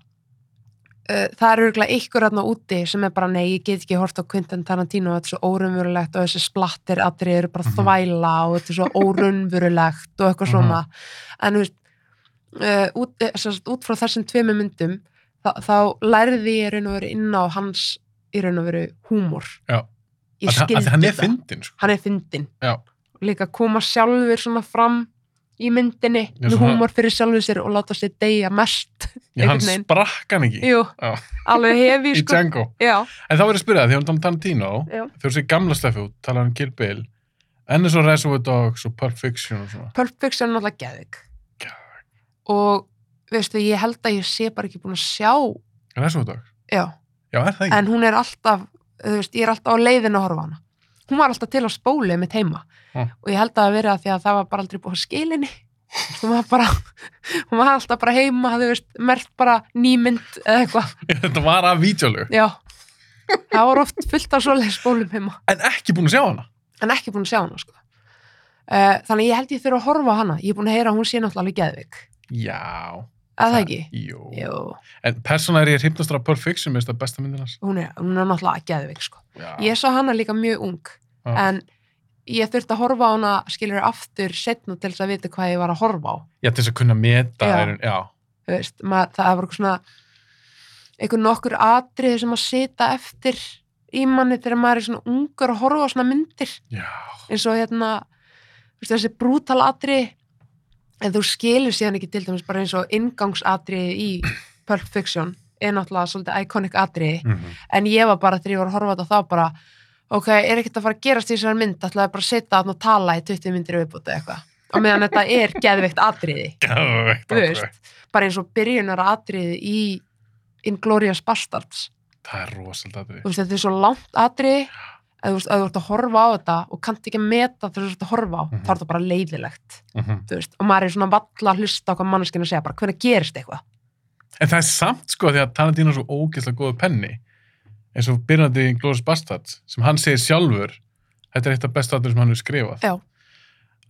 uh, það er örgulega ykkur hérna úti sem er bara nei, ég get ekki hort á Quentin Tarantino þetta er svo órunvörulegt og þessi splattir atrið eru bara
Mhm.
þvæla og þetta er svo órunvörulegt og eitthvað
Mhm.
svona en þú veist uh, út, eh, sem sagt, út frá þessum tveimur myndum þá, þá lærði ég í raun og veru inn á hans í raun og veru húmor
Já.
ég
Af því- af því
skildi
hann er
það
fyndin, sko.
hann er fyndin
Já.
líka koma sjálfur svona fram í myndinni
Já,
með
svona-
húmor fyrir sjálfur sér og láta sér deyja mest
Já, hann
Einhvern veginn.
sprakk hann ekki
Jú,
Já.
alveg hefi
í
sko.
Django.
já,
En þá verður að spyrja það, því hún Tarantino,
Já.
þegar þessi gamla sleffi út, tala um Kill Bill, enn eins og Reservoir Dogs og Pulp Fiction og svona.
Pulp Fiction er náttúrulega geðig
Geðveik.
og veistu, ég held að ég sé bara ekki búin að sjá
Reservoir Dogs?
já,
Já, er það ekki?
en hún er alltaf þú veist, ég er alltaf á leiðinu að horfa á hana hún var alltaf til á spóli mitt heima
Mm.
og ég held að það hafi verið að því að það var bara aldrei búið að skilinni hún var bara hún var alltaf bara heima, þú veist, mert bara nýmynd eða eitthvað,
Þetta var af vídeolög.
já það var oft fullt af svoleið spólum heima
En ekki búin að sjá hana.
en ekki búin að sjá hana sko. Eh, uh, þannig að ég held ég þurfa að horfa á hana ég er búin að heyra að hún sé náttúrulega alveg geðvik
Já.
að það ekki?
Jú.
Jú,
En persóna er ég hrypnast á Perfection, mér finnst það besta myndin hans.
hún er, hún er náttúrulega geðveik sko.
Já.
Ég sá hana líka mjög ung,
Já.
en ég þurfti að horfa á hana, skilur aftur setna til þess að vita hvað ég var að horfa á.
Já, til þess að kunna meta.
Já.
er- já.
Þú Veist, maður, það var eitthvað svona, eitthvað nokkur atriði sem að sita eftir í manni þegar maður er svona ungur að horfa á svona myndir.
Já.
eins og hérna þú veist, þessi brútal atri en þú skilur síðan ekki til dæmis bara eins og ingangsatri í Pulp Fiction er náttúrulega svolítið iconic atri
Mhm.
en ég var bara þegar ég var að horfa á þetta þá bara ok, er ekkert að fara að gerast í þessari mynd ætlaði bara að setja þarna og tala í 20 myndir viðbúti eitthvað og meðan þetta er geðveikt atriði
Geðveikt
Þú veist.
atriði.
bara eins og byrjunar atriði í Inglourious Bastards
Það er rosalega atriði.
þú veist, þetta er svo langt atriði að þú veist, að þú ert að horfa á þetta og kannt ekki að meta þegar þú ert að horfa á
Mhm.
þá er þetta bara leiðilegt
Mhm.
þú veist, og maður er svona valla að hlusta á hvað manneskinn er að segja, bara hvernig gerist eitthvað
En það er samt sko því að Tarantino er svo ógeðslega góðu penni eins og byrjandi í Glorious Bastards sem hann segir sjálfur þetta er eitt af bestu atriðum sem hann hefur skrifað
Já.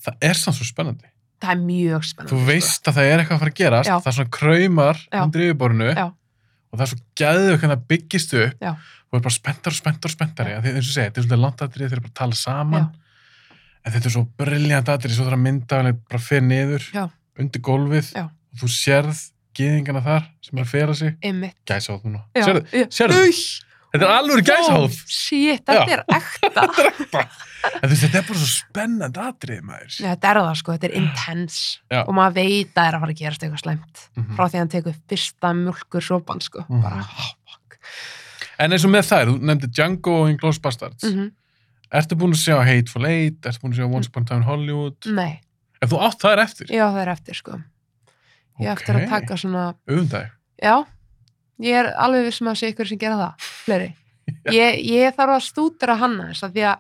Það er samt svo spennandi
það er mjög spennandi
Þú
sko.
veist að það er eitthvað að fara að gerast
Já.
það er svona kraumar
Já.
undir yfirborinu
Já.
og það er svo gæðu hvernig það byggist upp
Já.
og er bara spenntar og spenntar og spenntar eins og segja, þetta er svolítið langt atrið þeir eru bara að tala
Já.
saman en þetta er svo briljant atrið svo það er að mynda bara fyrir niður
Já.
undir gólfið
Já.
og þú sérð gýðingana þar sem er að fela sig
einmitt
gæsáð núna,
Já.
sérðu,
Já.
sérðu þetta er alveg
Ó,
gæsáð
shit, þetta
Já.
er ekta
en þú veist, þetta er bara svo spennandi atrið maður
Nei, þetta er það sko, þetta er intense
Já.
og maður veit að það er að fara að gerast eitthvað slæmt
Mhm.
frá því að hann tekur fyrsta mjölkur sopan sko,
Mhm.
bara oh, fuck.
en eins og með þær, þú nefndi Django og Inglourious Bastards
Mhm.
Ertu búin að sjá Hateful Eight? Ertu búin að sjá Once Upon a Time in Hollywood?
nei,
Ef þú átt það er eftir?
Mhm. já það er eftir sko ég okay. eftir að taka svona
Öfundag.
Já, ég er alveg viss um að sé ykkur sem gera það, fleiri. Ég, ég þarf að stúdra hann aðeins að því að,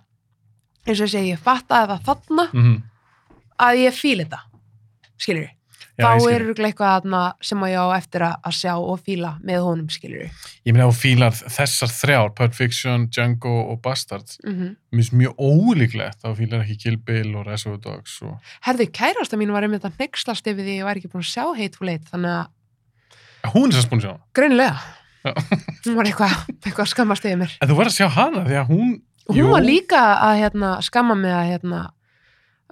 eins og ég segi, ég fattaði það þarna
Mm -hmm.
að ég fíla þetta, skilur við. Þá er örugglega eitthvað þarna sem að ég á eftir að, að sjá og fíla með honum, skilur við.
Ég meina, ef þú fílar þessar þrjár, Pulp Fiction, Django og Bastards, mér finnst mjög ólíklegt að þú fílar ekki Kill Bill og Reservoir Dogs og...
Herðu, kærasta mín var einmitt að hneykslast yfir því að ég væri ekki búin að sjá Hateful Eight, þannig að
Hún er sérst búin að sjá hana.
greinilega,
Já.
hún var eitthvað, eitthvað að skammast yfir mér.
En þú verður að sjá hana því að hún...
Og Hún var líka að hérna, skamma mig að, hérna,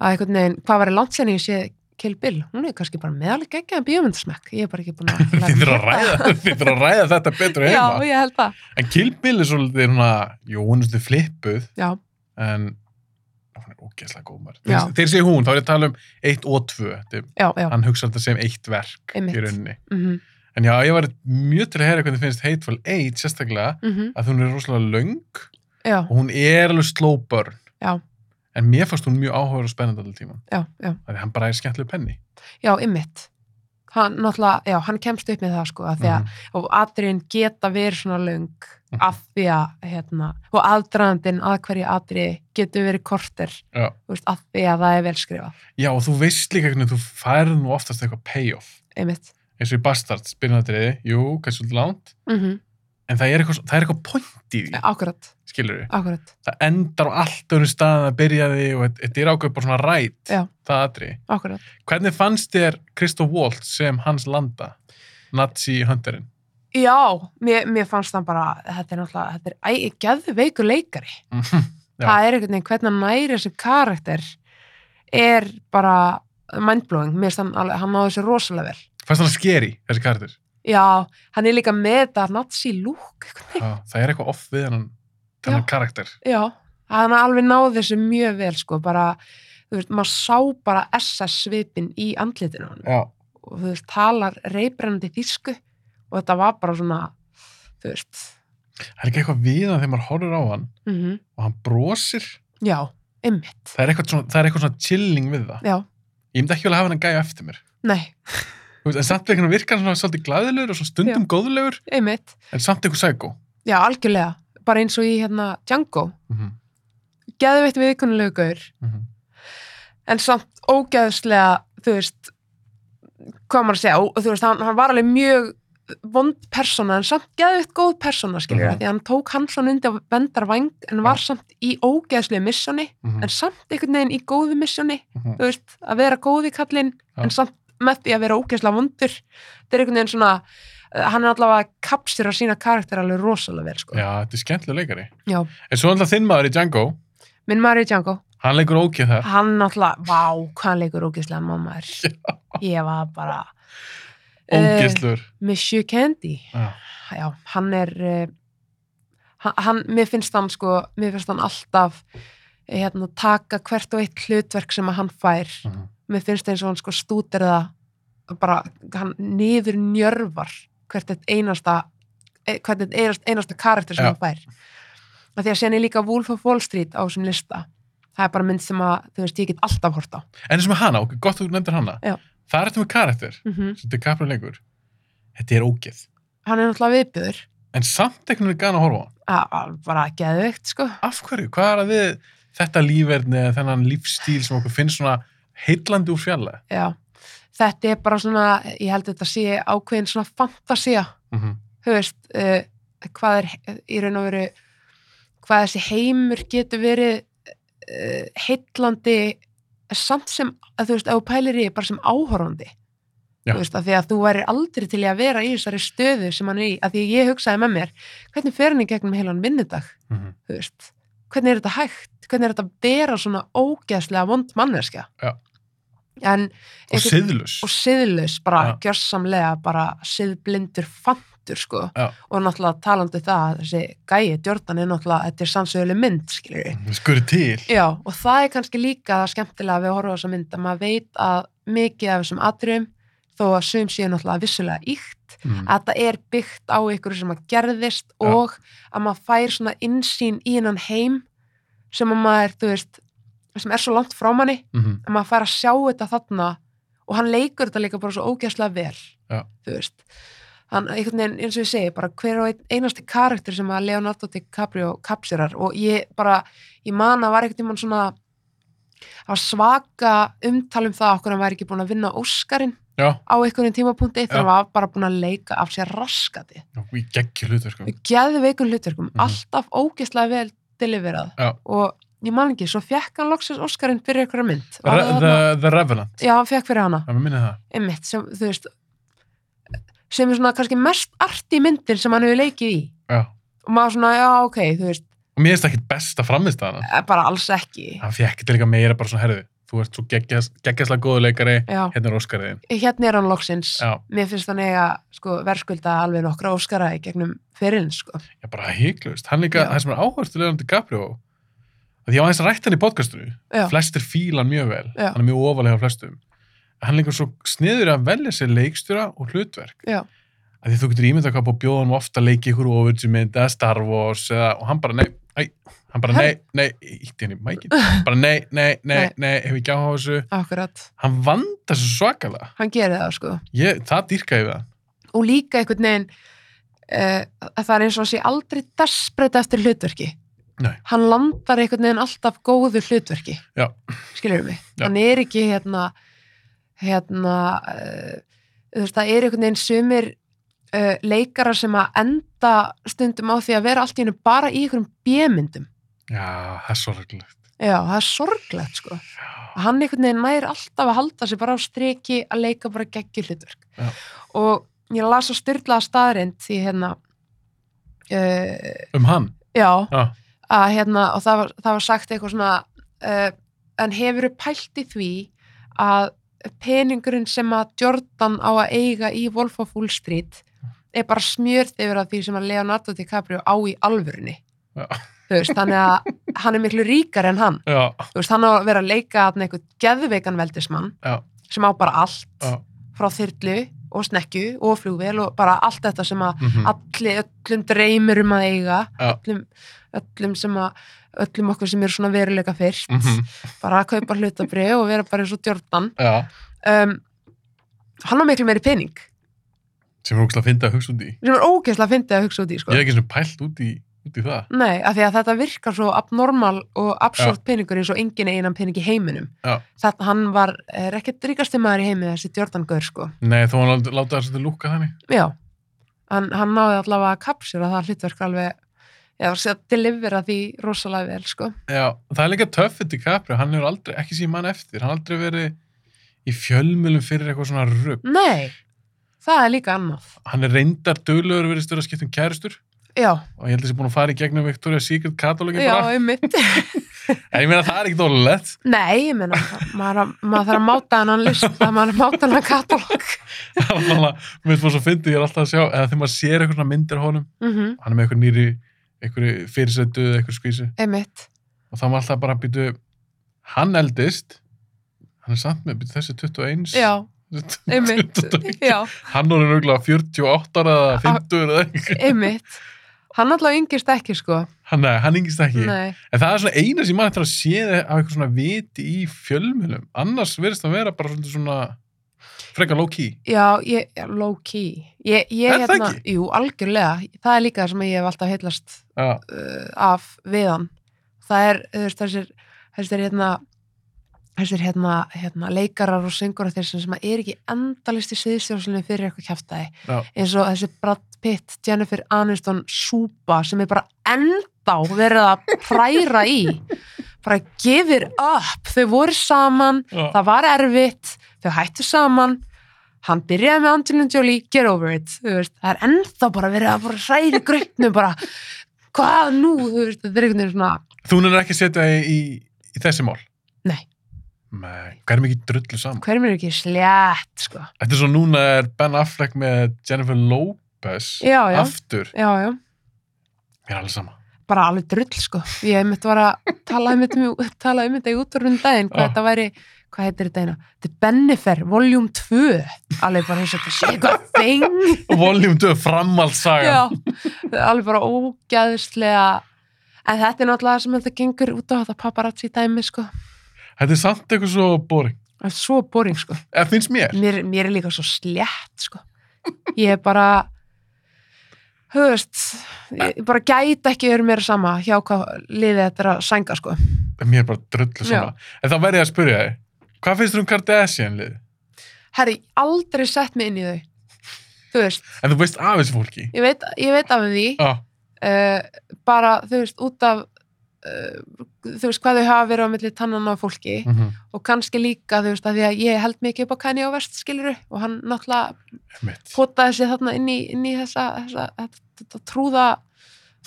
að einhvern veginn, hvað var í landsenni ég sé Kill Bill, hún er kannski bara meðalega geggjaðan bíómyndasmekk, ég er bara ekki búin að læra
Þið þurfa að
þetta.
ræða, þið þurfa að ræða þetta betur
Já,
heima.
ég held það.
En Kill Bill er svolítið svona, jú, hún er svolítið flippuð,
Já,
en hún er ógeðslega góð maður.
Já.
Þeir, þeir segja hún, þá er ég að tala um 1 og 2, þetta er
já, já.
hann hugsa þetta sem eitt verk
Einmitt.
í rauninni.
Mm -hmm,
En já, ég var mjög til að heyra hvernig finnst Hateful Eight sérstaklega að hún er rosalega löng
mhm. já,
og hún er alveg slow burn.
Já.
En mér fannst hún mjög áhugaður og spennandi allir tíman.
já, já,
Þannig að hann bara er skemmtileg penni.
já, ymmit. Hann, náttúrulega, já, hann kemst upp með það, sko, að því að, og atriðin geta verið svona löng
Mhm.
af því að, hérna, og aðdraðandinn að hverju atriði getur verið korter,
Já.
þú veist, af því að það er velskrifað,
Já, og þú veist líka hvernig þú færð nú oftast eitthvað payoff.
ymmit.
Eins og í Bastards, byrjunadriði, jú, kannski svolítið langt,
Mm -hmm,
en það er eitthvað, það er eitthvað point í því,
akkurat,
skilur við.
akkurat,
Það endar á allt öðru staðan að byrja því og þetta- þetta er ákveð bara svona rætt,
Já.
það atriði.
akkurat.
Hvernig fannst þér Kristof Waltz sem hans landa? Nazi hunterinn.
Já, mér, mér fannst það bara, þetta er náttúrulega, þetta er æ, geðveikur leikari.
Já.
Það er einhvern veginn hvernig hann næri þessi karakter er bara mindblowing. Mér finnst hann, alveg- hann náði þessi rosalega vel.
Fannst hann skeri, þessi karakter?
Já, hann er líka með þetta nazi lúk, einhvern veginn.
Já, það er eitthvað off við hann,
Já.
þennan karakter.
Já, hann alveg náði þessu mjög vel, sko, bara, þú veist, maður sá bara SS-svipin í andlitinu á hann.
Já.
Og þú veist, talar reybrennandi þýsku og þetta var bara svona, þú veist,
Það er ekki eitthvað við hann þegar maður horfir á hann
mhm,
og hann brosir.
já, einmitt,
Það er eitthvað svona, það er eitthvað svona chilling við það.
já,
Ég myndi ekki vel að hafa hann gæja eftir mér.
nei.
Þú veist, En samt einhvern virkar hann svona svolítið glæðilegur og svona stundum góðulegur,
einmitt,
en samt eitthvað sækó.
já algjörlega bara eins og í hérna Django
Mm -hmm.
geðveitt viðkunnulegu gaur
mm -hmm.
en samt ógeðslega þú veist hvað maður að segja, og þú veist, hann, hann var alveg mjög vond persóna, en samt geðveitt góð persóna, skilur
Mhm.
mm. því að hann tók hann svona undir á vendarvæng, en var
Já.
samt í ógeðslegu Mhm, missjóni, en samt einhvern veginn í góðu missjóni, þú veist, að vera góði kallinn,
Já.
en samt með því að vera ógeðslega vondur þetta er einhvern veginn svona eh, hann er allavega kapsir að sína karakter alveg rosalega vel sko.
Já, þetta er skemmtilega leikari.
Já.
En svo alltaf þinn maður í Django,
minn maður í Django,
hann leikur ógeð þar.
hann náttúrulega vá, hvað hann leikur ógeðslega mamma er ég var bara eh,
Ógeðslur.
Monsieur Candy
Já.
já, hann er eh, hann, hann, mér finnst hann sko mér finnst hann alltaf eh, hérna, taka hvert og eitt hlutverk sem að hann fær
Mhm.
mér finnst eins og hann sko stútir það bara, hann niður njörvar hvert eitt einasta eh, hvert eitt einasta, einasta karakter sem
Já.
hann fær af því að séðan er líka Wolf of Wall Street á þessum lista það er bara mynd sem að, þú veist, ég get alltaf hort á
En eins og með hana, ok, gott þú nefndir hana.
Já.
Það er þetta með karakter,
mm
sem þetta er kapra leikur. Þetta er ógeð.
hann er náttúrulega viðbjöður
En samt einhvern veginn er gana að horfa á hann.
að- að- bara geðveikt, sko
Af hverju? Hvað er að við þetta lífverðni eða þennan lífstíl sem okkur finnst svona heillandi úr fjallega?
Já, þetta er bara svona, ég held að þetta sé ákveðin svona fantasia,
Mm -hmm.
þú veist, uh, hvað er eh, í raun og veru, hvað þessi heimur getur verið uh, heitlandi samt sem, að þú veist, ef þú pælir í því, bara sem áhorfandi.
Já.
Þú veist, af því að þú væri aldrei til í að vera í þessari stöðu sem hann er í, af því að ég hugsaði með mér, hvernig fer hann í gegnum heilan vinnudag, þú veist, hvernig er þetta hægt, hvernig er þetta að vera svona ógeðslega vond manneskja.
Já.
En
Og
einhvern-
siðlus.
og siðlaus, bara
Já.
gjörsamlega bara siðblindur fantur sko.
Já.
og náttúrulega talandi um það þessi gæi, Jordan er náttúrulega þetta er sannsöguleg mynd, skilur við
Skurri Mhm, til.
Já, og það er kannski líka það skemmtilega við að horfa á þessa mynd að maður veit að mikið af þessum atriðum þó að sum séu náttúrulega vissulega íkt
Mm.
að þetta er byggt á ykkur sem að gerðist
Já.
og að maður fær svona innsýn í hennan heim sem að maður, þú veist sem er svo langt frá manni
Mhm.
að maður fær að sjá þetta þarna og hann leikur þetta líka bara svo ógæslega vel
Já.
þú veist hann, einhvern veginn, eins og ég segi, bara hver og einn einasti karakter sem að Leonardo DiCaprio kapsirar og ég bara, ég man að var einhvern tímann svona það var svaka umtal um það okkur hann væri ekki búin að vinna Óskarinn
Já,
á einhvern tímapunkti
Já.
þegar hann var bara búin að leika af sér raskati
og ég geggjur hlutur sko.
við geðum veikum hlutverkum,
Mhm.
alltaf ógæslega vel deliverað
Já.
og ég man ekki, svo fekk hann loksins Óskarinn fyrir einhverja mynd Var
Re
það þarna-
the, the Revenant,
Já, hann fekk fyrir hana,
það er minnið það.
einmitt, sem, þú veist, sem er svona kannski mest arti myndin sem hann hefur leikið í.
Já.
Og maður svona, já, ok, þú veist,
Og mér finnst það ekkit best að framist það hana.
eh, bara alls ekki.
Hann fekk til líka meira bara svona herði. Þú ert svo geggjast- geggjastlega góðu leikari,
Já,
hérna er Óskariðin.
hérna er hann loksins.
Já,
Mér finnst hann eiga, sko, verðskulda alveg nokkra óskara í gegnum fyririnn, sko.
ég bara hygglust. Hann líka,
Já.
það sem er áhverst til Leonardo DiCaprio, að ég var aðeins að rætt hann í podcastinu,
Já,
flestir fíla hann mjög vel,
Já.
hann er mjög ofalega flestum. En Hann líka svo sniður að velja sér leikstjóra og hlutverk.
já,
að því þú getur ímyndað hvað búið bjóðan ofta leiki ykkur ofurðsmynd eða Star Wars eða, og hann bara nei, æ, hann bara nei, nei, ítti henni mækin, bara nei, nei, nei,
Nei.
nei, hef ekki áhuga á þessu.
akkurat.
Hann vanda svo svakalega.
Hann gerir það, sko.
Ég, það dýrkaði við hann.
Og líka einhvern veginn, uh, að það er eins og að sé aldrei desperate eftir hlutverki.
Nei.
Hann landar einhvern veginn alltaf góðu hlutverki.
Já.
skilur mig,
Já.
hann er ekki hérna hérna uh, þú veist, það er einhvern veginn sumir uh, leikara sem að enda stundum á því að vera allt í hennu bara í einhverjum bjömyndum
Já, það er sorglegt.
já, það er sorglegt sko
Já.
hann einhvern veginn nær alltaf að halda sig bara á streki að leika bara geggjur hlutverk
Já.
og ég las að styrlaða staðrind því hérna uh,
Um hann.
já,
Já.
að hérna, og það var, það var sagt eitthvað svona uh, en hefur pælt í því að peningurinn sem að Jordan á að eiga í Wolf of Wall Street er bara smjörð yfir að því sem að Leonardo DiCaprio á í alvörunni
Já.
þú veist, þannig að hann er miklu ríkar en hann,
Já.
þú veist, hann á að vera að leika þarna eitthvað geðveikan veldismann
Já.
sem á bara allt
Já.
frá þyrlu og snekju og flugvél og bara allt þetta sem að
Mm
allir, öllum dreymir um að eiga
Já.
öllum, öllum sem að öllum okkur sem eru svona veruleika fyrst
-hmm.
bara að kaupa hlutabrið og vera bara eins og Jordan
Já.
um, hann var miklu meiri pening
Sem er ógst að finna að hugsa út í.
sem er ógeðslega fyndið að hugsa út í
Ég
sko.
er ekki svona pælt út í, út í það.
nei, af því að þetta virkar svo abnormal og absúrt peningur eins og engin einan pening í heiminum
Já.
það, hann var er ekkert ríkasti maður í heimi þessi Jordan Gaur sko
Nei, þó hann láta- láta þess að lúka þannig.
já, hann, hann náði allavega að kapsjur að það hlutverk alveg Já, að delivera því rosalega vel, sko.
Já, það er líka töffið til Capri, hann hefur aldrei, ekki sem ég man eftir, hann aldrei verið í fjölmjölum fyrir eitthvað svona rugg.
Nei, það er líka annað.
Hann er reyndar döglegur verið stöður að skipta um kærustur
Já,
og ég held að þessi búin að fara í gegnum Victoria's Secret katalógin
já,
bara.
einmitt.
En ég meina það er ekkit ólulegt.
Nei, ég meina, maður, maður þarf að máta hennan lista, maður þarf að máta hennan katalóg.
Það var svona, mér finnst maður svo fyndið, ég er alltaf að sjá, eða þegar maður sér eitthvað svona myndir af honum,
Mm
hann er með eitthvað nýri, eitthvað fyrirsættu eða eitthvað skvísi
Einmitt.
og þá var alltaf bara að býtu, hann eldist, hann er samt með býtu þessi 21,
Já, einmitt.
21.
Já,
hann orðin auðvitað 48 ára eða 50 eða eitthvað,
einmitt. Hann allavega yngist ekki, sko.
hann, nei, hann yngist ekki.
Nei,
En það er svona eina sem maður eftir að sé þið af eitthvað svona viti í fjölmjölum, annars verðist það vera bara svolítið svona frekar low-key.
já, ég, já, low key. Ég, ég,
Er það
hérna, jú, algjörlega. Það er líka það sem ég hef alltaf heillast
Já,
uh, af viðan það er, þú veist, þessir þessir hérna þessir hérna, hérna leikarar og syngur þeir sem, sem er ekki endalist í siðstjórnslunni fyrir eitthvað kjaftaði
Já.
eins og þessi Brad Pitt, Jennifer Aniston súpa sem er bara endá verið að præra í bara give it up þau voru saman,
Já.
það var erfitt þau hættu saman hann byrjaði með Angelina Jolie, get over it þú veist, það er ennþá bara verið að bara hræði gröpnum bara, hvað nú þú veist, þetta er einhvern veginn svona
þú nennir ekki að setja þig í, í, í þessi mál.
Nei.
Nei, hvað er mikið drullu saman?
hverjum er ekki slétt, sko
Þetta er svo núna er Ben Affleck með Jennifer Lopez
Já, já.
aftur.
já, já,
Mér er alveg sama.
bara alveg drull, sko ég hef mitt var að tala um þetta mjög- tala um þetta í útvarfinn daginn, hvað
Já.
þetta væri hvað heitir þetta eina, þetta er Bennifer voljúm 2, alveg bara eins og þetta sé eitthvað þeng
Voljum 2 framhaldssaga.
Já, alveg bara ógæðislega en þetta er náttúrulega sem þetta gengur út á þetta paparazzi dæmi sko
Þetta er samt eitthvað svo boring.
það er svo boring sko,
Það finnst mér.
mér, mér er líka svo slétt sko, ég er bara höfust ég bara gæti ekki verið mér sama hjá hvað liðið þetta er að sænga sko
Mér er bara drullu sama. En þá verð ég að spyrja þig. Hvað finnst þú um Kardashian-lið?
herri, aldrei sett mig inn í þau þú veist,
En þú veist af þessu fólki.
ég veit, ég veit af því
Já.
uh, bara, þú veist, út af uh, þú veist, hvað þau hafa verið á milli tannan á fólki
Mm
og kannski líka þú veist að því að ég held mikið upp á Kanye West skiluru og hann náttúrulega
Mitt.
potaði sig þarna inn í, inn í þessa, þessa þetta, þetta trúða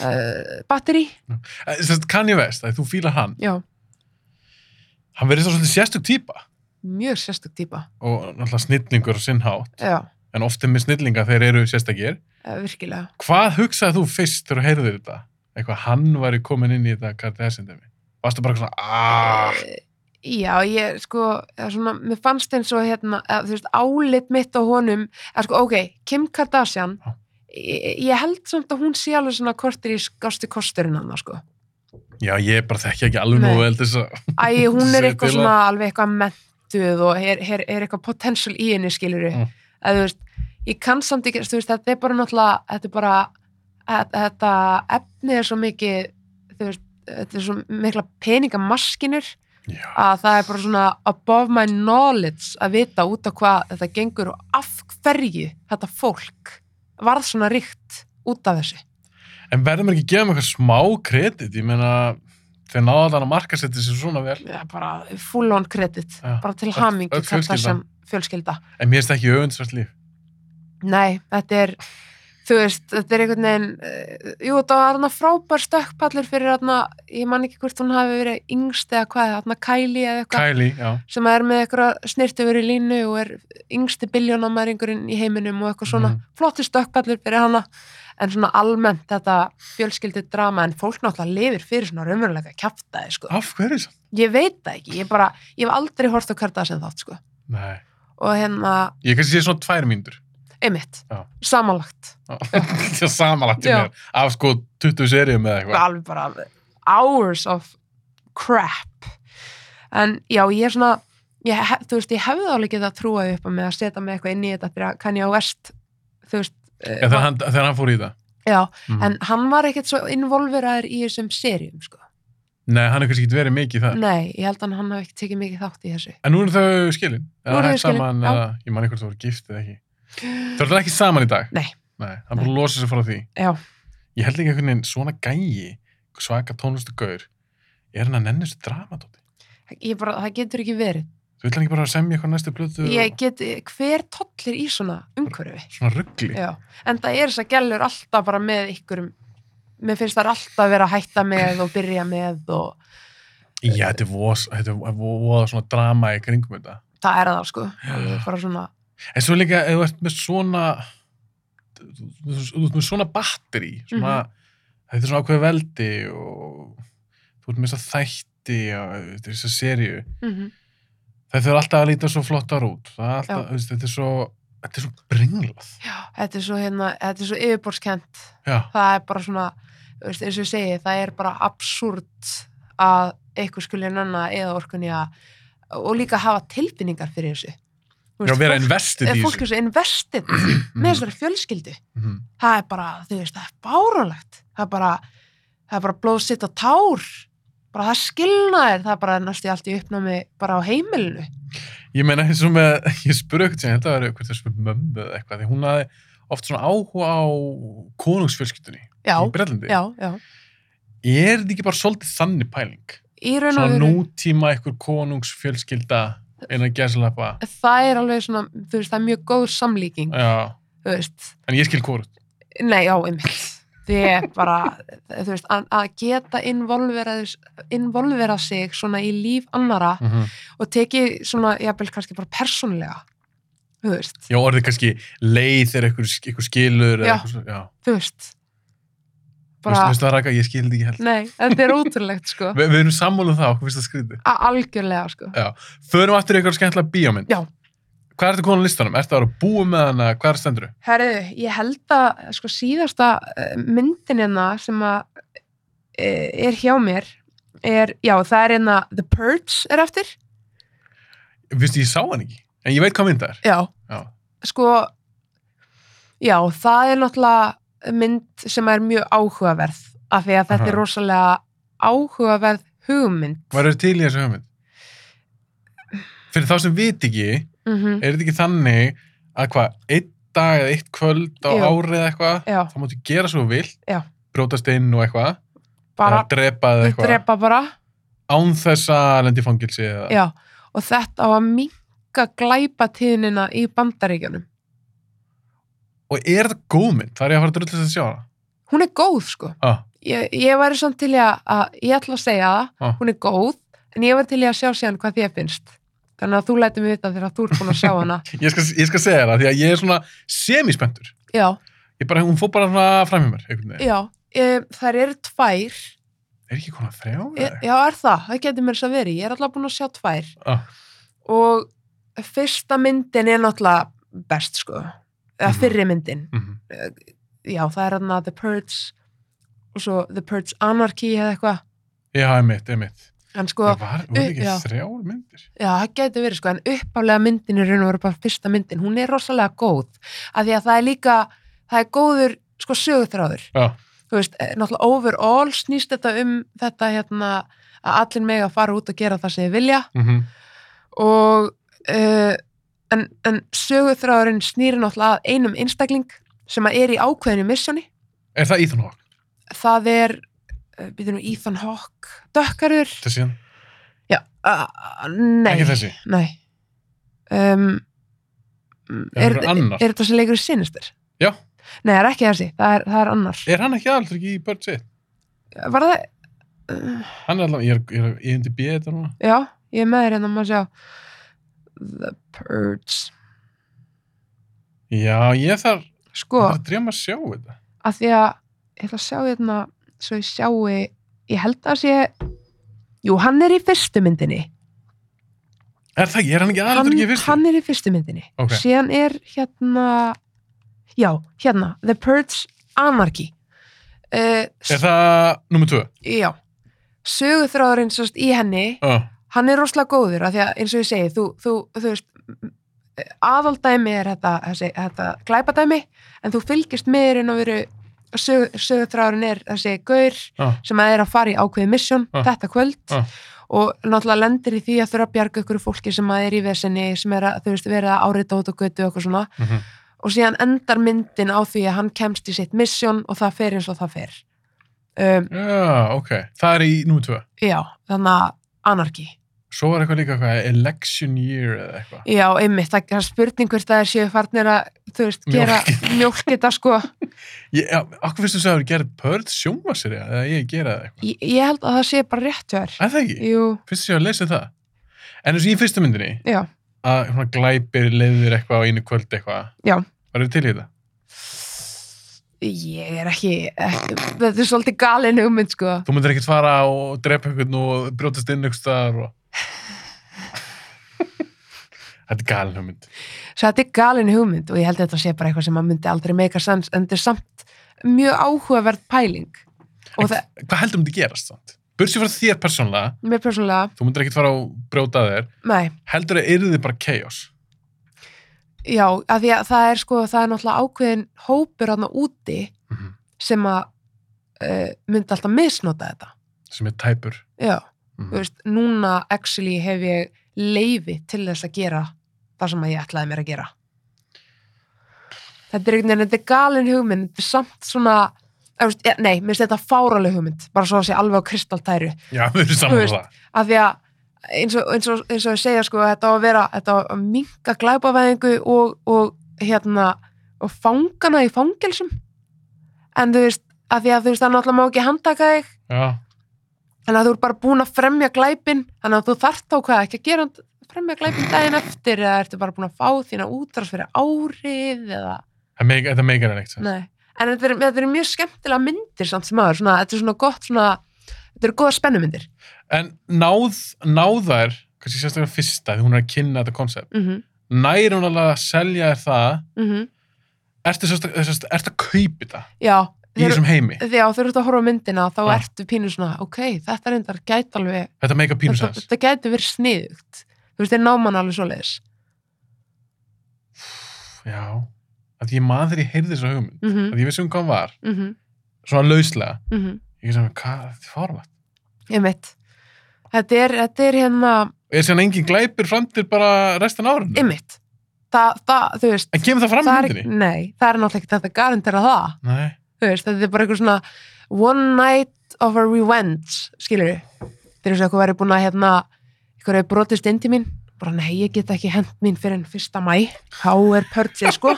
uh, batteri
Sest, Eh, Kanye West, að þú fíla hann.
já,
Hann verið svo svolítið sérstök típa.
mjög sérstök típa
Og náttúrulega snillingur og sinnhátt.
já,
En ofte með snillinga þeir eru sérstakir.
eh, virkilega
Hvað hugsaði þú fyrst þegar þú heyrðir þetta? Eitthvað hann væri komin inn í þetta Kardashian-dæmi. Varstu bara eitthvað svona, "Ah." aaaah,
Eh, Já, ég sko, eða svona, mér fannst eins og hérna, eða, þú veist, álit mitt á honum, eða sko, ok, Kim Kardashian,
Já.
ég, ég held samt að hún sé alveg svona kortir í skosti kosturinn hann, sko.
já, ég bara þekki ekki alveg nógu
Nei.
vel til þess að,
Æ, hún
Segir
er eitthvað
til
svona alveg eitthvað mentuð og er, er, er eitthvað potential í henni skilur
Mm.
að þú veist, ég kann samt ekki þú veist, þetta er bara náttúrulega þetta, er bara, að, þetta efni er svo mikið þú veist, þetta er svo mikla peningamaskinur
já,
að það er bara svona above my knowledge að vita út á hvað þetta gengur og af hverju þetta fólk varð svona ríkt út af þessu
en verðum ekki að gefa mig eitthvað smá kredit, ég meina, þeir náða þannig að marka setja sér svona vel,
Já, bara full on credit
Já,
bara til
öll-
hamingju
öll fjölskyldan.
Kardashian fjölskylda
en mér er þetta ekki öfundsvært líf.
Nei, þetta er þú veist, þetta er einhvern veginn uh, jú, þetta var hann frábær stökkpallur fyrir hann ég man ekki hvort hún hafi verið yngst eða hvað, hann Kylie eða eitthvað
Kylie, já,
sem er með eitthvað snirti verið línu og er yngsti biljónamæringurinn í heiminum og eitthvað svona,
Mhm.
flotti stökkpallur fyrir hana, en svona almennt þetta fjölskyldi drama, en fólk náttúrulega lifir fyrir svona raunverulega kjaftaði sko.
af hverju svo?
ég veit það ekki, ég bara ég hef aldrei hort á Kardashian þátt sko.
Nei,
og hérna,
ég kannski sé svona tvær mínútur.
einmitt,
Já.
samanlagt
Það er samanlagt í
Já.
mér, af sko 20 seríum eða eitthvað.
alveg bara hours of crap en já, ég er svona ég, hef- þú veist, ég hefði alveg getað trúað upp á mig að setja mig eitthvað inn í þetta fyrir að kann ég á vest þú veist eh,
Já, þegar hann, þegar hann fór í það.
já,
Mm.
en hann var ekkert svo involveraður í þessum serjum sko.
Nei, hann er kannski ekki verið mikið í það.
nei, ég held að hann hafi ekki tekið mikið þátt í þessu
En nú eru þau skilin.
Nú eru þau skilin,
saman,
já.
eða, ég man eitthvað þú voru gift eða ekki. Þau eru ekki saman í dag?
Nei.
Nei, hann búið að losa sig frá því.
já,
Ég held ekki einhvern veginn svona gæi, svaka tónlistu gaur, er hann að nenni þessu dramatóti?
ég bara, það getur ekki verið
Þú vil ekki bara semja eitthvað næstu plötu og
Ég get, hver tollir í svona umhverfi?
svona ruggli?
Já, en það er þess að gælur alltaf bara með ykkurum mér finnst það alltaf vera að hætta með og byrja með og
Já, þetta er voða þetta er voða svona drama í kringum þetta.
það er það sko
Já.
Alveg bara svona,
En svo líka, ef þú ert með svona þú þú- þú ert með svona batteri svona,
Mhm.
þetta er svona ákveð veldi og þú ert með þess að þætti og þetta er þess að serju
mm
það þurfa alltaf að líta svo flottar út það er alltaf, þú veist, þetta er svo þetta er svo bringlað
já, þetta er svo hérna, þetta er svo yfirborskent
já,
það er bara svona, þú veist, eins og ég segi það er bara absúrt að eitthvað skuli nanna eða orkunni að, og líka hafa tilfinningar fyrir þessu Þú
já
veist,
vera
fólk-
investið í
eh, fólk
þessu
er svo investið með þessari fjölskyldu
Mhm.
það er bara, þú veist, það er báralegt það er bara, það er bara blóð sitt og tár bara það skilnaðir það er bara næstu í allt í uppnámi bara á heimilinu
ég meina eins og með, ég spurði eitthvað sem þetta var eitthvað sem spurði mömmu eða eitthvað því hún hafði oft svona áhuga á konungsfjölskyldunni
já,
í Brellandi
já, já,
er þetta ekki bara svolítið þannig pæling
í raun og
svona
veru
nútíma eitthvað konungsfjölskylda innan gæslappa
það er alveg svona, þú veist, það er mjög góð samlíking,
já,
þú veist
en ég skil hvort
nei, já, einmitt því er bara, þú veist, að, að geta involvera, involvera sig svona í líf annara
mm -hmm.
og tekið svona, jafnvel kannski bara persónulega, þú veist
já, orðið kannski leið þegar eitthvað, eitthvað skilur eða
Já.
eitthvað svona, já.
þú veist
Bara... Vistu, það raka, ég skil þetta ekki heldur
Nei, þetta er ótrúlegt sko
Vi, við erum sammáluð það, okkur finnst það skrítið
A- algjörlega sko
förum aftur í eitthvað skemmtilega bíómynd
Já.
hvað er þetta konan á listanum? er þetta að búa með hana, hvað er stendur?
Herðu, ég held að sko síðasta eh, myndin hérna sem að eh, er hjá mér er, já það er hérna The Purge er eftir
Vistu, ég sá hann ekki, en ég veit hvað mynd það er
já.
já,
sko já, það er náttúrulega mynd sem er mjög áhugaverð af því að þetta
Aha.
er rosalega áhugaverð hugmynd
hvað er til í þessu hugmynd? fyrir þá sem vit ekki
mm
er þetta ekki þannig að hvað, einn dag eða eitt kvöld á
Jú.
ári eða eitthvað,
já,
þá máttu gera svo vilt
Já.
brjótast inn og eitthvað
bara
eða drepa eða eitthvað,
drepa bara
án þess að lendi fangilsi eða,
já, og þetta á að minka glæpatíðnina í bandaríkjunum
og er þetta góðmynd? Það er ég að fara að drullast að sjá það
hún er góð sko
ah,
ég, ég væri samt til í að, að ég ætla að segja það,
Ah.
hún er góð en ég væri til í að sjá síðan hvað þér finnst þannig að þú lætur mig vita þegar þú ert búin að sjá hana
ég, skal, ég skal segja þér það, því að ég er svona semispendur,
já,
ég bara, hún fór bara svona fram í mér, einhvern veginn,
já, e, þær eru tvær
er ekki konar þrjá?
e,
eða?
já, er það, það getur mér þess að veri ég er alltaf búin að sjá tvær
Ah.
og fyrsta myndin er náttúrulega best sko eða
Mhm.
fyrri myndin
Mhm.
já, það er hann The Purge og svo The Purge Anarchy eða eitthvað
Já, einmitt, einmitt
en sko,
Það var, voru ekki
já.
þrjár myndir
Já, það getur verið sko, en uppálega myndin er raun og verið bara fyrsta myndin, hún er rosalega góð af því að það er líka, það er góður sko sögutráður,
Já,
þú veist, eh, náttúrulega overall snýst þetta um þetta hérna að allir mega fara út og gera það sem þið vilja
mm
og uh, en, en sögutráðurinn snýri náttúrulega að einum einstakling sem að er í ákveðinu missjóni,
er það Ethan Hawke?
það er býtum við Ethan Hawke, dökkarur
Þessi hann?
uh, nei,
Ekki þessi,
Nei um, mm,
Er
er,
einhver
er,
annar?
þetta sem leikur í sinister?
Já.
Nei, það er ekki þessi, það er, það er annar
er hann ekki aldrei ekki í börn sitt?
Var það uh,
Hann er allavega, ég er, ég er, ég er undir bíð þetta núna.
Já, ég er með þér hérna, maður sjá The Purge
Já, ég þarf,
Sko,
það er dreyma að sjá þetta.
af því að ég ætla að sjá hérna, svo ég sjái ég held að sé Jú, hann er í fyrstu myndinni
Er það ekki, er hann ekki
hann,
aldrei ekki fyrst?
hann er í fyrstu myndinni
Ok.
síðan er hérna já, hérna The Purge Anarchy uh,
Er það nummer tvö?
Já, sögutráðurinn sérst í henni,
Já,
hann er rosalega góður af því að eins og ég segi, þú, þú, þú veist m- aðaldæmi er þetta, þessi, þetta glæpadæmi en þú fylgist með meirinn og veru sög, sögutráðurinn er þessi gaur
já,
sem að er að fara í ákveðið misjón
Ah.
þetta kvöld
Ah.
og náttúrulega lendir í því að þurfa að bjarga ykkur fólki sem að er í vesenni sem er að, þú veist, verið að árita út og götu og eitthvað svona
mhm.
og síðan endar myndin á því að hann kemst í sitt misjón og það fer eins og það fer um,
já, ok. Það er í nummer tvö.
Já, þannig að anarki
Svo var eitthvað líka eitthvað, election year eða eitthvað.
Já, einmitt, það er spurning hvort það er séu farnir að, þú veist, gera mjólk þetta sko.
Ég, já, akkur finnst þú að það gerð pörð sjómaserja eða ég gera það eitthvað.
Ég, ég held að það sé bara rétt hjá þér.
Er það ekki?
Jú,
Finnst þú að lesa það? En eins og í fyrstu myndinni,
já,
að svona glæpir leiðir eitthvað á einu kvöld eitthvað.
Já.
Var þetta til í þetta?
ég er ekki, ekki þetta er svolítið galin hugmynd sko.
Þú myndir ekkert fara og drepa einhvern og brjótast inn einhvers staðar og... þetta er galin hugmynd.
Svo þetta er galin hugmynd og ég held að þetta sé bara eitthvað sem maður myndi aldrei meika sens, en þetta er samt mjög áhugaverð pæling. Og
En
það,
Hvað heldur myndi gerast þannig? Bursið frá þér persónlega,
mér persónulega,
þú myndir ekkert fara og brjóta að þér,
nei,
heldur að yrði bara chaos.
já, af því að það er sko, það er náttúrulega ákveðin hópur hann úti
Mhm.
sem að uh, myndi alltaf misnota þetta.
sem er tæpur.
Já.
Mm.
þú veist, núna actually hef ég leifi til þess að gera það sem að ég ætlaði mér að gera þetta er einhvern veginn þetta er galin hugmynd, þetta er samt svona eða, þú veist, ja, nei, mér finnst þetta fáraleg hugmynd bara svo að sé alveg á kristaltæru
Já, við erum saman
Þú
á
veist.
það.
af því að eins og, eins og, eins og ég segja sko, þetta á að vera, þetta á að minka glæpavæðingu og, og hérna og fangana í fangelsum en þú veist, af því að þú veist, það náttúrulega má ekki handtaka þig
Já,
þannig að þú ert bara búin að fremja glæpin þannig að þú þarft þá hvað ekki að gera fremja glæpin daginn eftir eða ertu bara búin að fá þína útrás fyrir árið eða,
það meik- þetta meikar en eitt.
nei en þetta er, þetta er mjög skemmtilega myndir samt sem aður, svona, þetta er svona gott svona, þetta eru góða spennumyndir
En náð, náðar, kannski sérstaklega fyrsta, því hún er að kynna þetta konsept,
mm -hmm,
nær hún alveg að selja þér það,
mm
ertu, sérstaklega, sérstaklega, ertu að kaupi þetta
já,
í
þegar
þessum heimi?
þegar þú ert að horfa á myndina þá
Ah.
ertu pínu svona, ok, þetta reyndar gæti alveg,
Þetta meikar pínu
þetta,
sens.
þetta gæti verið sniðugt þú veist, þeir náman alveg svoleiðis
Já, að ég maður ég heyrði þessa hugmynd,
mm
að ég vissi um hvað hann var,
mm -hmm,
svona lauslega.
mm -hmm.
Ég sem, hvað, þetta er forvægt.
ég mitt þetta er, þetta er hérna
Er síðan engin glæpir framtir bara restan árinu?
ymmit það, það, þú veist
En kemur það fram í
það er,
myndinni?
nei, það er náttúrulega ekki þetta garantera það
Nei.
þú veist, þetta er bara eitthvað svona one night of a revenge skilur við, þeir eru svo eitthvað væri búin að hérna, eitthvað er brotist indi mín bara nei, ég get ekki hent mín fyrir en fyrsta mæ, há er pörtsið sko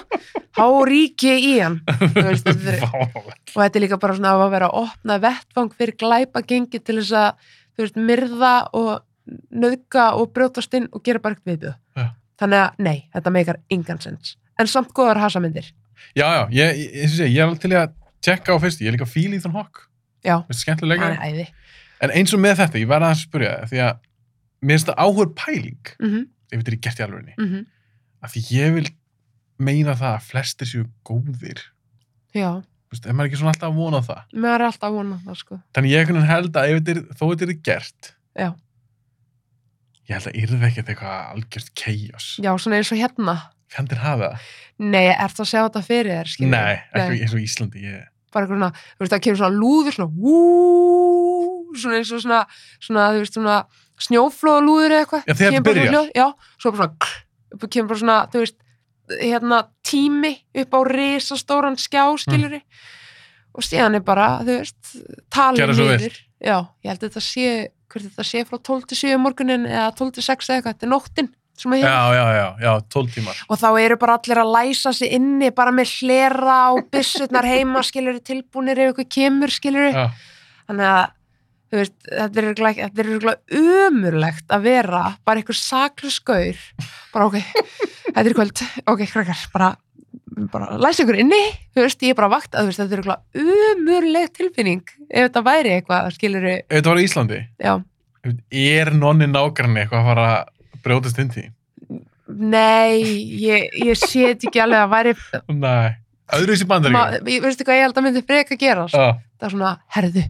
há ríki í hann Þú veist, þetta er,
Fáránlegt.
og þetta er líka bara svona að vera að opna vettvang fyrir glæpa gengi til þess að þú veist, myrða og nöðka og brjótast inn og gera bara ekkert viðbjöð
Já.
þannig að nei, þetta meikar engan sens en samt góðar hasamyndir
Já, já, ég, ég, ég, ég, ég er alveg til í að tjekka á fyrstu, ég er líka fíl í þann hokk.
já,
Mér finnst skemmtilega
það er
leikari.
æði
En eins og með þetta, ég verða aðeins að spyrja það, því að mér finnst það áhör pæling,
mm -hmm,
ég veit ekki gert í alvegni,
mm -hmm.
af því ég vil meina það að flestir séu góðir,
já,
þú veist, ef maður er ekki svona alltaf að vona það.
maður er alltaf að vona það sko
Þannig ég einhvern veginn held að ef þetta er, þó þetta er gert,
Já.
ég held að yrði ekkert eitthvað algjört keios.
já, svona eins og hérna,
Fjandir hafa það?
nei, ert það að sjá þetta fyrir þér skilur
Nei,
Nei.
ekki eins og í Íslandi, ég...
bara eitthvað svona, þú veist, það kemur svona lúður svona, vú, svona eins og svona, svona, þú veist, svona snjóflóða lúður eða eitthvað.
Já, þegar
Kemur
þetta
bara
byrjar.
svona hljóð, Já, svo bara svona, kl, kemur bara svona, þú veist, hérna, tími upp á risastóran skjá,
Mm.
skilur og síðan er bara, þú veist, talið
Gerðu svo vel.
Já, ég held að þetta sé, hvert þetta sé frá 12 til 7 morgunin eða 12 til 6 eða eitthvað, þetta er nóttin sem
Já,
að hérna
já, já, já, tól tímar.
og þá eru bara allir að læsa sig inni bara með hlera og byssurnar heima skilur tilbúinir ef ykkur kemur skilur
Já,
þannig að þú veist, þetta er örugglega ekki- þetta er örugglega umurlegt að vera bara einhver saklus gaur bara ok, þetta er í kvöld ok, krakkar, bara, bara læsa ykkur inni, þú veist, ég er bara á vakt að þú veist, þetta er örugglega umurleg tilfinning ef þetta væri eitthvað, skilur
ef þetta var í Íslandi,
já,
er nonni nágranni eitthvað að fara að brjótast inn til?
nei ég, ég sé þetta ekki alveg að væri
Nei. Öðru þessi bandar
ma, ég veistu hvað ég held að myndi freka gerast
Já,
það er svona, herðu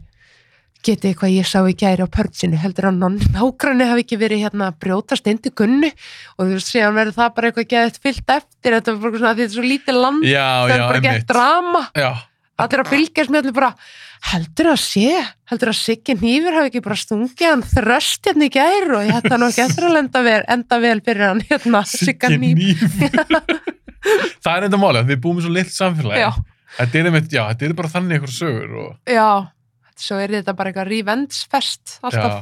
getið þið hvað ég sá í gæri á pörtsinu heldur að nonni nágranni hafi ekki verið hérna að brjóta stendi gunnu og þú sé hann verður það bara eitthvað geðið fyllt eftir þetta er bara svona, því þetta er svo lítið land
já,
það
já,
er bara gett
einmitt.
drama
Já,
allir að fylgjast með allir bara heldur að sé, heldur að Siggi Nýfur hafi ekki bara stungið hann þröst hérna í gæri og þetta er nú ekki eftir að lenda vel, enda vel fyrir hann hérna Sigga
Siggi
Nýfur
nýf. það er enda málið, við búum í svo lill samfélagi.
já,
Þetta er einmitt, já, þetta er bara þannig einhver sögur og
já, svo er þetta bara eitthvað revenge fest alltaf
já,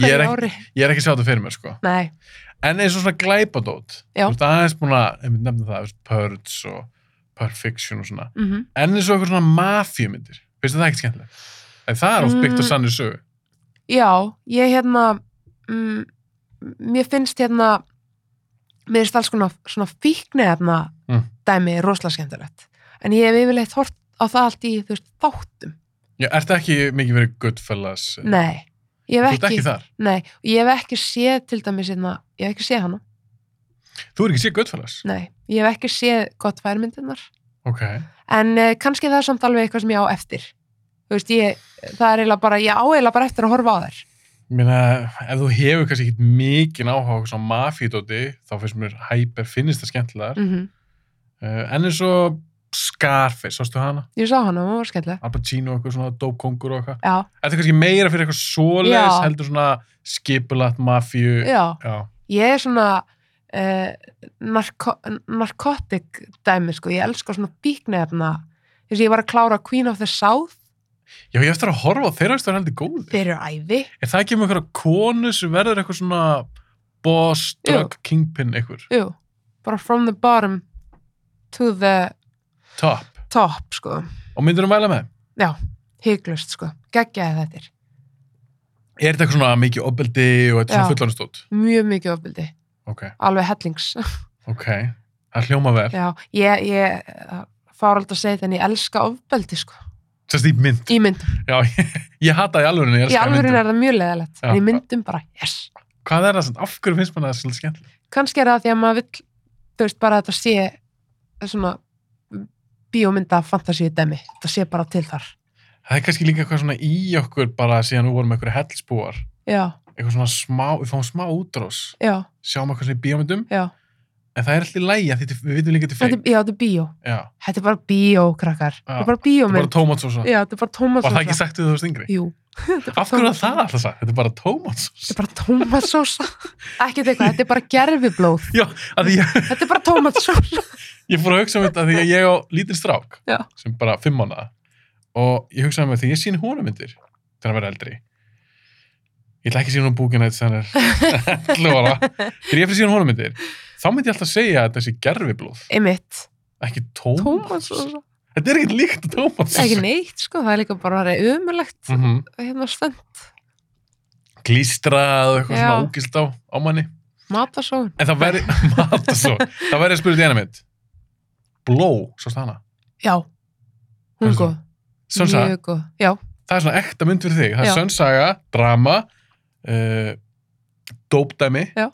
Ég er
hverju
ekki-
ári.
Ég er ekki að sjá þetta fyrir mér, sko.
Nei,
En eins og svona glæpadót.
Já.
Þú veist, aðeins búin að, ég myndi nefna það, þú veist, Purge og Perfection og svona.
mm
En eins og eitthvað svona mafjumyndir. Finnst þér það ekki skemmtilegt? En það er oft byggt á
Mm.
sannir sögu.
já, ég hérna, mm, mér finnst hérna, mér finnst alls konar svona fíknefna
Mm.
dæmi rosalega skemmtilegt. En ég hef yfirleitt hort á það allt í, þú veist, þáttum.
Já, ertu ekki mikið verið Goodfellas?
Nei, ég
Þú
hef
ert
ekki,
ekki þar.
nei, og ég hef ekki séð til dæmis hérna, ég hef ekki séð hana.
Þú er ekki séð Goodfellas?
Nei, ég hef ekki séð gott færmyndunar.
Ok.
en uh, kannski það er samt alveg eitthvað sem ég á eftir þú veist, ég, það er eiginlega bara ég á eiginlega bara eftir að horfa á þær
Ég meina, ef þú hefur kannski ekkit mikið áhuga á eitthvað svona mafídóti, þá finnst mér hæper finnist það skemmtilegar. Mm.
mm
en eins og Scarface, sástu hana?
ég sá hana, hún var skemmtileg
Al Pacino og eitthvað svona dópkongur og eitthvað.
já,
Er það kannski meira fyrir eitthvað svoleiðis,
Já.
heldur svona skipulagt mafíu?
já,
Já.
ég er svona uh, narko narkotik dæmi, sko, ég elska svona bíknefna, þú veist, ég var að klára Queen of the South
Já, ég á eftir að horfa á þeirra veist það er heldur góði. Þeir...
fyrir æði
Er það ekki um einhverja konu sem verður eitthvað svona boss,
Jú.
drug, kingpin, eitthvað?
jú, bara from the bottom to the
Top.
top, sko
Og myndir þú mæla með? þeim?
hygglust, sko, geggjaði þetta
Er þetta eitthvað svona mikið opeldi og eitthvað svona
Já.
fullanustótt?
mjög mikið ofbildi,
Ok,
alveg hellings
ok. Það hljóma vel.
Já, ég, ég fár aldrei að segja þetta en ég elska ofbeldi sko,
Sérst í mynd.
í myndum.
Já, ég, ég hata það í alvörinu, ég
Í
elska
alvöru
myndum.
er það mjög leðalegt, en
Já.
í myndum bara, yes.
Hvað er það samt? Af hverju finnst maður það svolítið skemmtileg?
Kannski er það því að maður vill, þú veist, bara að þetta sé svona bíómynda fantasíu demi, þetta sé bara til þar.
Það er kannski líka eitthvað svona í okkur bara síðan við vorum eitthvað hellsbúar.
Já,
Eitthvað svona smá, við fáum smá útrás.
já,
Sjáum eitthvað svona í bíómyndum,
já.
en það er alltaf í lægi að þetta, við vitum líka til
Þetta,
feik.
er- já, þetta er bíó.
Já,
Þetta er bara bíó, krakkar. Þetta
Já,
er bara
þetta er bara
bíómynd.
tómatsósa.
Já, þetta er bara Tómas.
Var það ekki sagt við þú veist yngri?
Jú.
Af hverju var það alltaf sagt? Þetta er bara tómatsósa.
Þetta er bara tómatsósa. Ekkert eitthvað, þetta er bara gerfiblóð.
Já, af því ég,
Þetta er bara tómatsósa.
ég fór að hugsa um þetta af því að ég á lítinn strák
Já.
sem bara fimm mánuða og ég hugsaði með því ég sín honum myndir þegar hann verður eldri ég ætla ekki að sína honum búkina þetta þannig er 11 ára þegar ég fyrir sína honum myndir þá myndi ég alltaf segja að þessi gerfiblóð
Einmitt.
ekki tómas
Tómatsósa.
þetta er ekkert líkt að tómas
ekki neitt sko, það er líka bara umulegt
mm -hmm.
hérna stönd,
glístrað og eitthvað
Já.
svona ógilt á, á manni
matasón
en það væri Mata svo. það væri að spyrja því eina mynd bló, svo stana
já,
Hvað
hún er
er
góð,
Sönsa,
mjög góð já,
það er svona ekta mynd fyrir þig það
Já.
er sönnsaga, drama uh, dópdæmi
Já.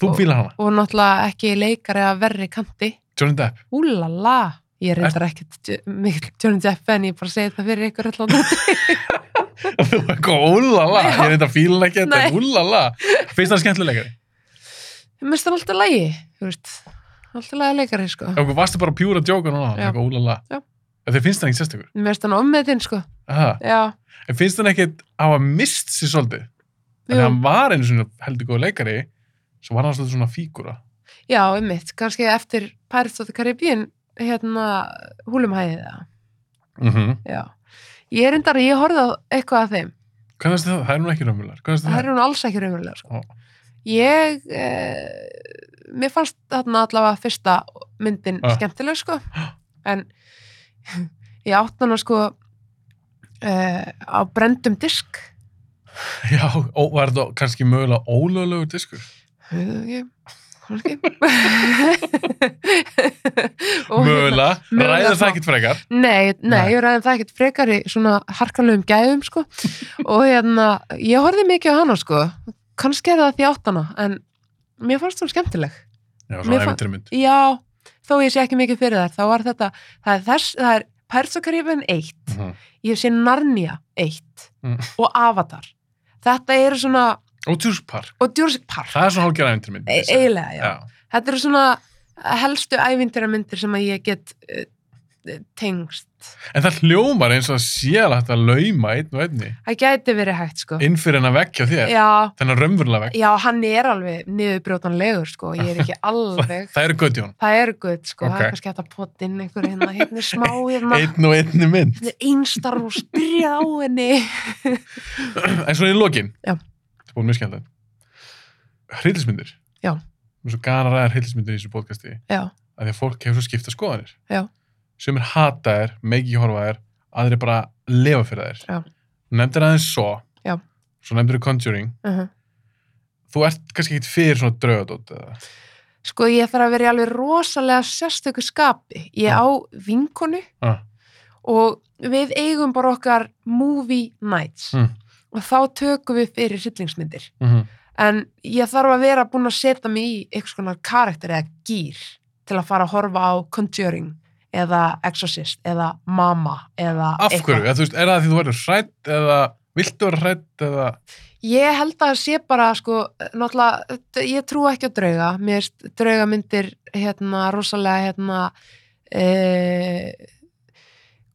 þú
Og-
fílar hana,
og náttúrulega ekki leikari að verri kanti,
Johnny Depp
úlala ég reyndar ekkert mikil Johnny Depp en ég bara segi það fyrir ykkur allan
þú er eitthvað úlala,
Já.
ég er þetta fílan ekki
Nei.
þetta úlala, finnst það skemmtilegari
minnst hann alltaf lægi, þú veist alltaf lægi leikari sko,
ef okkur varstu bara að pjúra djóka núna
Já.
eitthvað úlala,
Já.
ef þið finnst það ekki sérstakur
minnst hann ommeðin sko
Aha.
já,
en finnst það ekki að hafa mist sér svolítið, þannig
Jú.
að hann var einu svona heldur góð leikari svo var hann svolítið svona fígúra
já, einmitt kannski eftir Pirates of the Caribbean hérna, húlumhæðið það,
mm -hmm.
já ég reyndar, ég horfði á eitthvað af þeim
hvað finnst þér það, það er nú ekki raumular hvað finnst þér
það er
það,
hún alls ekki raunverulega sko.
Já.
ég eh, mér fannst þarna allavega fyrsta myndin
Já.
skemmtileg sko. en ég átt hana sko eh, á brendum disk
já, ó, var þetta kannski mögulega ólöglegur diskur
Ég veit það ekki Og hérna-
mögulega,
mögulega
ræða
smá.
það ekkert frekar
Nei, nei,
Nei.
ég ræði það ekkert frekar í svona harkalegum gæðum sko og hérna, ég horfði mikið á hana sko kannski er það því átt hana en mér fannst hún skemmtileg
já,
Mér
svona
fa-
æfintirmynd
Já, þó ég sé ekki mikið fyrir þær þá var þetta, það er þess það er Persokarifin 1,
Mhm.
ég sé Narnia 1
Mm.
og Avatar þetta eru svona,
og Tjúrspark,
og Jurassic Park
það er svona hálfgerð æfintirmynd
e eiginlega, já.
já.
þetta eru svona helstu ævindiramindir sem að ég get uh, tengst
en það hljómar eins og það sé alveg hægt að lauma einn og einni
það gæti verið hægt sko
inn fyrir hennar vekk hjá þér,
já,
þennan raunverulega vekk
já, hann er alveg niðurbrjótanlegur sko, ég er ekki alveg
það eru göti hún,
það er gutt sko, það
Ok.
er kannski hægt að pota inn einhverju hérna, hérna er smá hérna
einn og einni mynd
einstarf og spyrja á henni
en svona í lokin
Já.
og mjög skemmtilegt hryllismyndir
Já.
Mér er svo gana ræðar hryllismyndir í þessu podcasti
já,
að því að fólk hefur svo skipta skoðanir
Já.
sem er hataðir, meiki horfaðir aðri bara lefa fyrir þær
Já.
nefndir aðeins svo
Já.
svo nefndir Conjuring
uh
þú ert kannski ekkit fyrir svona draugadót eða
Sko, ég þarf að vera í alveg rosalega sérstöku skapi. Ég
Já.
á vinkonu
ah,
og við eigum bara okkar movie nights
Mm.
og þá tökum við fyrir hryllingsmyndir.
mm
En ég þarf að vera búin að setja mig í einhvers konar karakter eða gýr til að fara að horfa á Conjuring eða Exorcist eða Mama eða
af hverju, eða, þú veist, er það því þú verður hrætt eða viltu verður hrætt eða
Ég held að sé bara, sko, náttúrulega, d- ég trú ekki á drauga. Mér finnst draugamyndir, hérna, rosalega, hérna, e,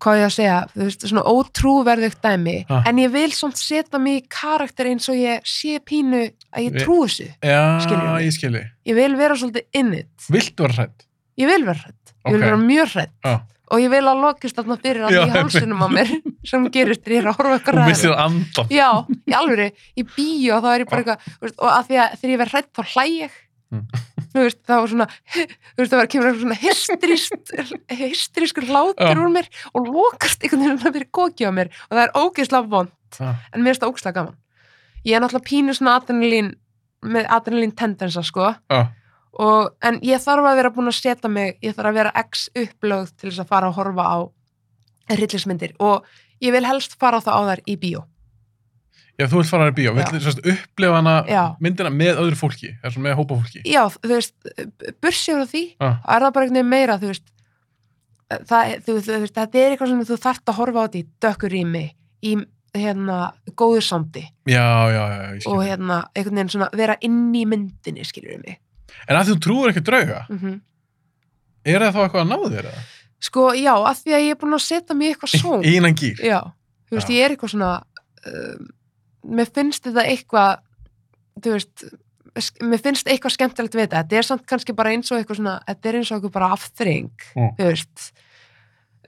hvað á ég að segja, þú veist, svona ótrúverðugt dæmi.
Ha.
En ég vil samt setja mig í karakter eins og ég sé pínu að ég
Vi-
trú þessu.
Já,
Skilurðu mig?
ég skilji.
Ég vil vera svolítið in it.
Viltu vera hrætt?
Ég vil vera hrætt. Ég vil
Ok.
vera mjög hrætt.
Já.
Og ég vil að lokist þarna fyrir að
Já,
í hálsinum á mér sem gerist þegar ég er að horfa
Þú
okkar
missir andan.
Já, í alvöru, í bíó þá er ég bara
Já.
eitthvað, þú veist, og að því að þegar ég verð hrætt þá hlæ ég
Mm.
þú veist, þá svona þú veist, það var kemur eitthvað svona hystrist hystriskur hlátur
Já.
úr mér og lokast einhvern veginn svona fyrir koki á mér og það er ógeðslega vond,
Já.
en mér finnst það ógeðslega gaman ég er náttúrulega pínu svona adrenalín með adrenalín tendensa, sko
Já.
og, en ég þarf að vera búin að setja mig ég þarf að vera x upplögð til þess að fara að horfa á hryllismyndir og ég vil helst fara þá á þær í bíó
Já, þú vilt fara í bíó. Viltu sérst upplefa hana,
Já.
myndina með öðru fólki, eða svona með hópa fólki.
já, þú veist, bursið frá því
Já.
og er það bara einhvern veginn meira, þú veist það, þú, þú veist, þetta er eitthvað sem þú þarft að horfa á þetta í dökkur rými í, hérna, góðu samdi
Já, já, já, já, ég
og
skilji.
hérna, einhvern veginn svona vera inn í myndinni, skilur við mig
En að þú trúir ekki drauga,
mm
er það þá eitthvað að ná þér eða?
sko, já, af því að ég er búin að setja mig í eitthvað svo
Í innan gýr.
já, þú veist,
Já.
ég er eitthvað svona um, mér finnst þetta eitthvað þú veist sk- mér finnst eitthvað skemmtilegt við þetta þetta er samt kannski bara eins og eitthvað svona þetta er eins og eitthvað bara afþreying
Mm.
þú veist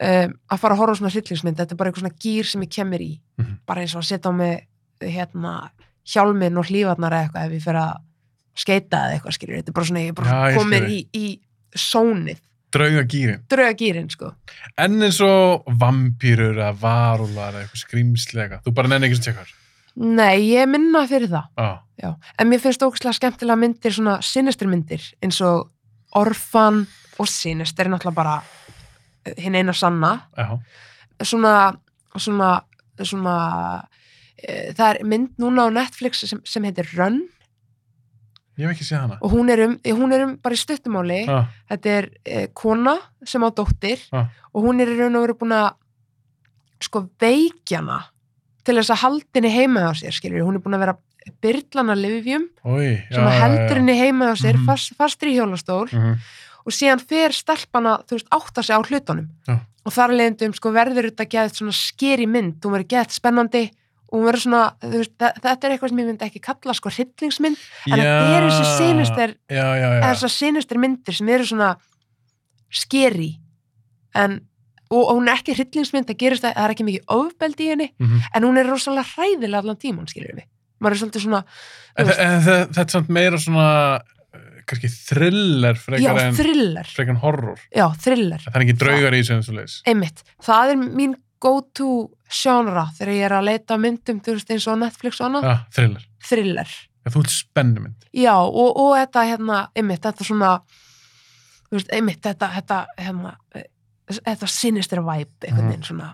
um, að fara að horfa á svona hryllingsmynd þetta er bara eitthvað svona gýr sem ég kemur í
Mhm.
bara eins og að setja á mig hérna hjálminn og hlífarnar eða eitthvað ef ég fer að skeita eða eitthvað skilur þetta er bara svona ég er bara
Já, ég
komin
skil.
í, í sónið,
Drauga gýrin.
drauga gýrin sko
En eins og vampýrur eða varúlar eða eitthvað skrýmslega. Þú bara nenni ekki sem tjekkar.
nei, ég er minna fyrir það
Já.
Já, en mér finnst ógæslega skemmtilega myndir, svona sinister myndir, eins og Orfan og Sinister er náttúrulega bara eh, hinn eina sanna.
Já.
Svona, svona, svona, e, það er mynd núna á Netflix sem, sem heitir Run
Ég hef ekki séð hana.
og hún er um, eh, hún er um bara í stuttumáli.
Já.
Þetta er e, kona sem á dóttir
Ah.
og hún er í raun og veru búin að sko veikjana til þess að haldinni heima á sér, skilur Hún er búin að vera byrlana livjum
Ói.
sem að heldur henni heima á sér
Mhm.
fast, fastur í hjólastól
Mhm.
og síðan fer stelpana, þú veist, átta sig á hlutunum
Já.
og þar leðendum sko verður þetta geðið svona skeri mynd, hún verður geðið spennandi og hún verður svona, þú veist, þe- þetta er eitthvað sem ég myndi ekki kalla sko hryllingsmynd en það eru þessi
Já,
sinuster,
já, já. já.
þessar sinuster myndir sem eru svona skeri en, og, og hún er ekki hryllingsmynd, það gerist að það er ekki mikið ofbeldi í henni,
Mhm.
en hún er rosalega hræðilega allan tíman, skilur við maður er svolítið svona,
En
Þú
þa- en þa- þetta er samt meira svona eh, kannski thriller frekar
já,
en
thriller
frekar en horror.
já, thriller
En Það er ekki draugar í þessu eins og leis.
einmitt, það er mín go-to sjónra þegar ég er að leita að myndum þú veist eins og Netflix og annað,
Ah, thriller.
thriller
En þú ert spennumynd.
já, og, og þetta hérna, einmitt, þetta svona þú veist, einmitt, þetta þetta, hérna, eh, þetta sinister vibe einhvern
Mhm.
veginn svona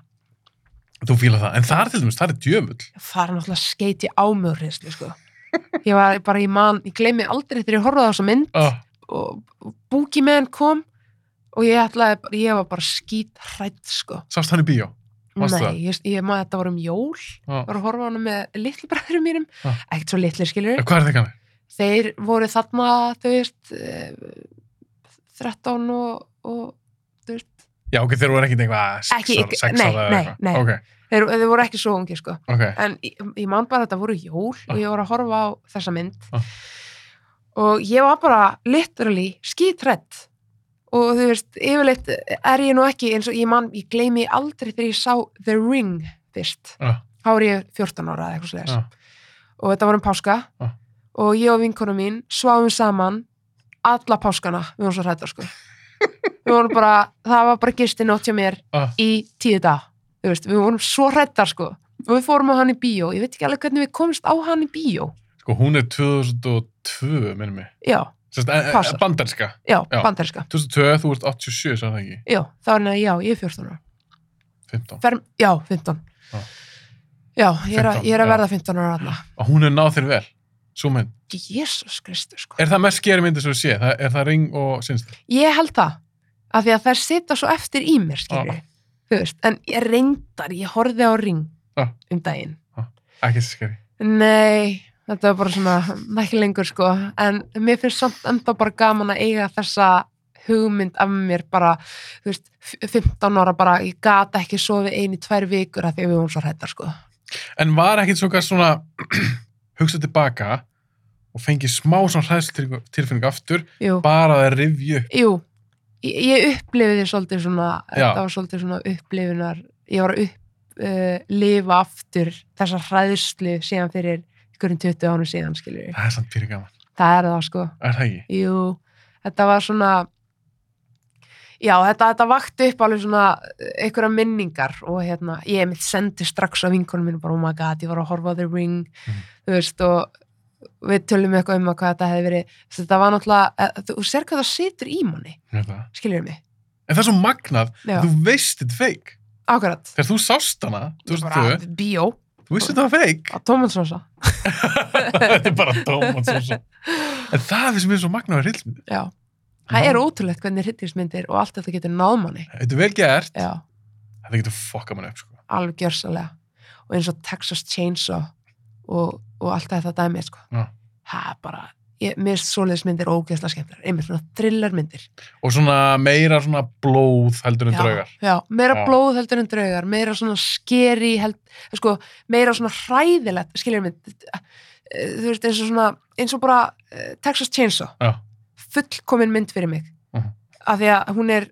Þú fíla það. En það er til dæmis, það er djöfull.
það er náttúrulega skeiti ámjörðislu sko. ég var bara í mann ég gleymi aldrei þegar ég horfði á þessa mynd
Ah,
og, og búki með hann kom og ég ætlaði, bara- ég var bara skít hrætt sko,
sást hann í bíó. Varstu það?
nei, ég, ég maður þetta var um jól
Ah.
var að horfa á hana með litlu bræðurum mínum
Ah.
ekkert svo litlu
En
skilur
Hvað er þetta kannar?
þeir voru þarna þau veist eh, 13 og, og þú veist
Já, ok, þeir voru ekkert eitthvað sex
Ekki-
ára, sex
nei,
ára eða
nei,
eitthvað.
nei.
Ok,
þeir, þeir voru ekki svo ungi sko
ok.
en ég, ég man bara að þetta voru jól
Ah.
og ég voru að horfa á þessa mynd
Ah.
og ég var bara literally skítrætt og þú veist, yfirleitt er ég nú ekki eins og ég man, ég gleymi aldrei þegar ég sá The Ring fyrst,
Ah,
þá er ég 14 ára eða eitthvað slegast
ah,
og þetta var um páska
Ah.
og ég og vinkonu mín sváum saman alla páskana, við vorum svo hrættar sko við vorum bara, það var bara gistin hjá mér
Ah.
í tíu dag þú veist, við vorum svo hrættar sko og við fórum á hann í bíó, ég veit ekki alveg hvernig við komst á hann í bíó,
Sko, hún er 2002, minnum mig.
já,
Sérst, e- e-
Passar.
bandarska.
já,
Já.
banderska
2002, þú ert 87, sagði það ekki?
já, þá er hann að, já, ég er 14 ára
15.
Fer, já, 15
Já.
já, ég er, að-
15,
ég er að
Ah. já.
verða 15 ára aðna
Og hún er náð þér vel. Svo mynd.
Jésús Kristur sko
Er það mest skeri myndið sem þú sé? Það, er það ring og sinnstil?
ég held það, af því að þær sita svo eftir í mér, skilur
Já.
þú veist, en ég reyndar, ég horfði á ring
Já.
um daginn,
Ekki skeri.
nei þetta var bara svona, ekki lengur sko en mér finnst samt enda bara gaman að eiga þessa hugmynd af mér bara, þú veist, f- 15 ára bara, ég gata ekki sofið einu tvær vikur af því að við vorum svo hrættar sko
En var ekkit svona, svona hugsað tilbaka og fengið smá svona hræðstilfinning aftur
jú,
bara að rifja upp.
jú ég, ég upplifiði svolítið svona
Já.
þetta var svolítið svona upplifinar ég var að upp, uh, lifa aftur þessa hræðslu síðan fyrir ykkurinn 20 ánum síðan skilur
Það er samt fyrir gaman.
það er það sko,
Er það ekki?
jú þetta var svona já, þetta, þetta vakti upp alveg svona eh, einhverja minningar og hérna ég mitt sendi strax á vinkonum mínu bara oh my god, ég var að horfa á The Ring
Mhm.
þú veist og við tölum eitthvað um að hvað þetta hefði verið þetta var náttúrulega, eh, þú sér hvað það situr í manni
Ég veit það.
skilur mig
En það er svo magnað
Já.
að þú veist þetta feik.
Akkurat.
Þegar þú sást hana, þú
Ég
veist
bara,
þau,
Bíó
þú veist þetta var feik.
á Tómansósa.
þetta er bara dóman svo svo. En það er sem er svo magnað að hryllu.
Já. Það er ótrúlegt hvernig hryllingsmyndir og allt þetta getur náð manni.
Þetta er vel gert.
Já,
Þetta getur fokka mann upp, sko.
alveg gjörsalega. Og eins og Texas Chainsaw og, og allt þetta dæmi, sko.
Já.
Það er bara, ég, mér er svoleiðismyndir ógeðslega skemmtilegar. Einmitt svona thrillermyndir.
Og svona meira svona blóð heldur en
Já,
draugar.
Já, meira
Já.
blóð heldur en draugar, meira svona skeri, held, sko, meira svona hræðilegt, skiljum við, eh, þú veist, eins og svona, eins og bara eh, Texas Chainsaw.
Já.
fullkomin mynd fyrir mig
Mhm.
af því að hún er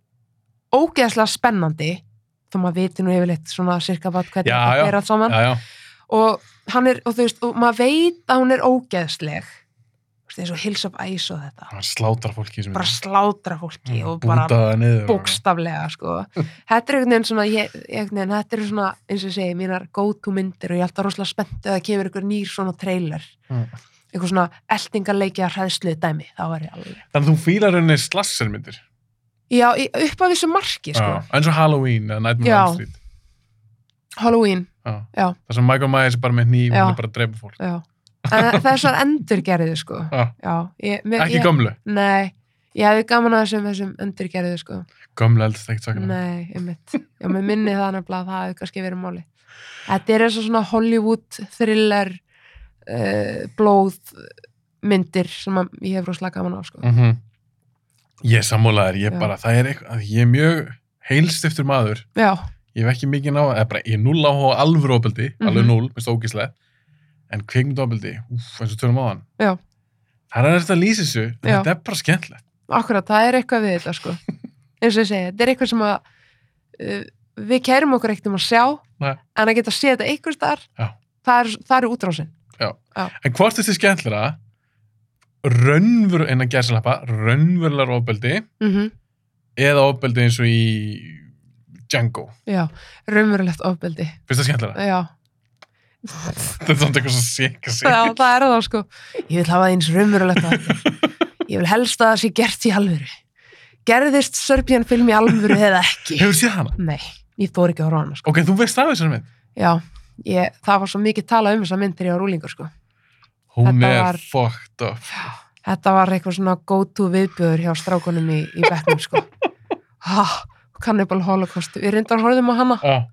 ógeðslega spennandi þó maður viti nú yfirleitt svona cirka bara hvernig
Já,
þetta
já.
fer allt saman
Já, já.
og hann er, og þú veist, og maður veit að hún er ógeðsleg Þú veist, eins og Hills of Ice og þetta
Það slátar fólki sem
bara slátra
Mm,
fólki og bara
búta það niður. og-
bókstaflega sko. þetta er einhvern veginn svona ég, einhvern veginn, þetta er svona, eins og ég segi, mínar go to myndir og ég er alltaf rosalega spennt að það kemur einhver nýr svona trailer
Mm.
einhver svona eltingarleikja hræðslu dæmi, þá er ég alveg
Þannig að þú fílar henni slassermyndir.
Já, í- upp af þessu marki, sko.
Já. Eins og Halloween eða Nightmare
Já.
on Elm Street.
Halloween,
Já.
Já.
Það sem Michael Myers er bara með hníf og
Já.
hann er bara að dreipa fólk.
já. En þessar endurgerðu, sko.
Já.
Já, ég, mér,
Ekki
ég,
gömlu.
Nei, ég hefði gaman að þessum, þessum endurgerðu, sko.
Gömlu eldst ekkert sakna.
Nei, einmitt. Já, mér minni það nefnilega að það hefði kannski verið máli. Þetta er eins og svona Hollywood thriller uh, blóð myndir sem að ég hef rosalega gaman á, sko.
Mm Ég sammála þér. Ég
Já.
bara, það er eitthvað, ég er mjög heilst eftir maður.
Já,
Ég hef ekki mikið ná, eða bara, ég er null áhuga á alvöru ofbeldi,
Mhm.
alveg null, minnst ógíslega. En kvikmyndaofbeldi, úf, eins og tölum á hann.
Já.
Það er þetta að lýsa þessu, en
Já.
þetta er bara skemmtilegt.
akkurat, það er eitthvað við þetta, sko. Eins og ég segi, þetta er eitthvað sem að uh, við kærum okkur ekkert um að sjá,
Nei.
en að geta að sé þetta einhvers staðar,
Já.
það er, það er útrásin.
En hvort er þetta skemmtilega? Rönnvör, en að gæsalappa, rönnvörlar ofbeldi
Mm
eða ofbeldi eins og í Django.
Já, raunverulegt ofbeldi.
Finnst það skemmtilega?
Já,
Þetta er samt eitthvað svo sikka sig.
já það er það sko. Ég vil hafa það eins raunverulegt ofbeldi. Ég vil helst að það sé gert í alvöru. Gerðist Serbian film í alvöru eða ekki?
Hefur séð hana?
Nei, ég þóri ekki að horfa á hana sko.
Ok, þú veist af þessar mynd.
Já, ég, það var svo mikið talað um þessa mynd þegar ég var úlingur sko.
Hún
Þetta
er
var-
fucked up.
Þetta var eitthvað svona go-to viðbjöður hjá strákunum í, í bekknum sko. Ha, Cannibal Holocaust. Við reyndar horfðum á hana.
Já,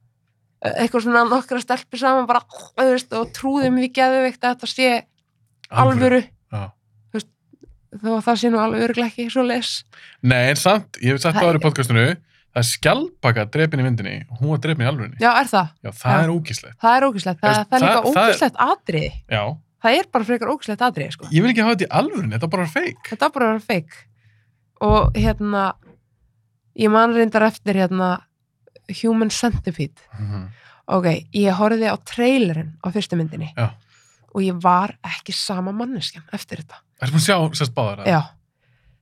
Eitthvað svona nokkra stelpur saman bara, þú veist, og trúðum við geðveikt að þetta sé alvöru.
Já.
þó að það sé nú alveg örglega ekki svo les
Nei, en samt, ég hef sagt
Það-
áður í podcastinu, það er skjálpaka drepin í myndinni, hún var drepin í alvörinni.
já, er það,
Já, það
Já.
er ógíslegt.
það er ógislegt það,
Veist,
það er líka
það- það er-
ógislegt atriði
Já,
það er bara frekar ógislegt atriði sko.
ég vil ekki hafa þetta í alvörinni, þetta er bara feik.
þetta er bara að vera feik og hérna ég man reyndar eftir hérna Human Centipede
Mhm.
ok, ég horfði á trailerinn á fyrstu myndinni
Já.
og ég var ekki sama manneskjan eftir þetta.
Ertu búin að sjá sérst báðar? eða?
Já.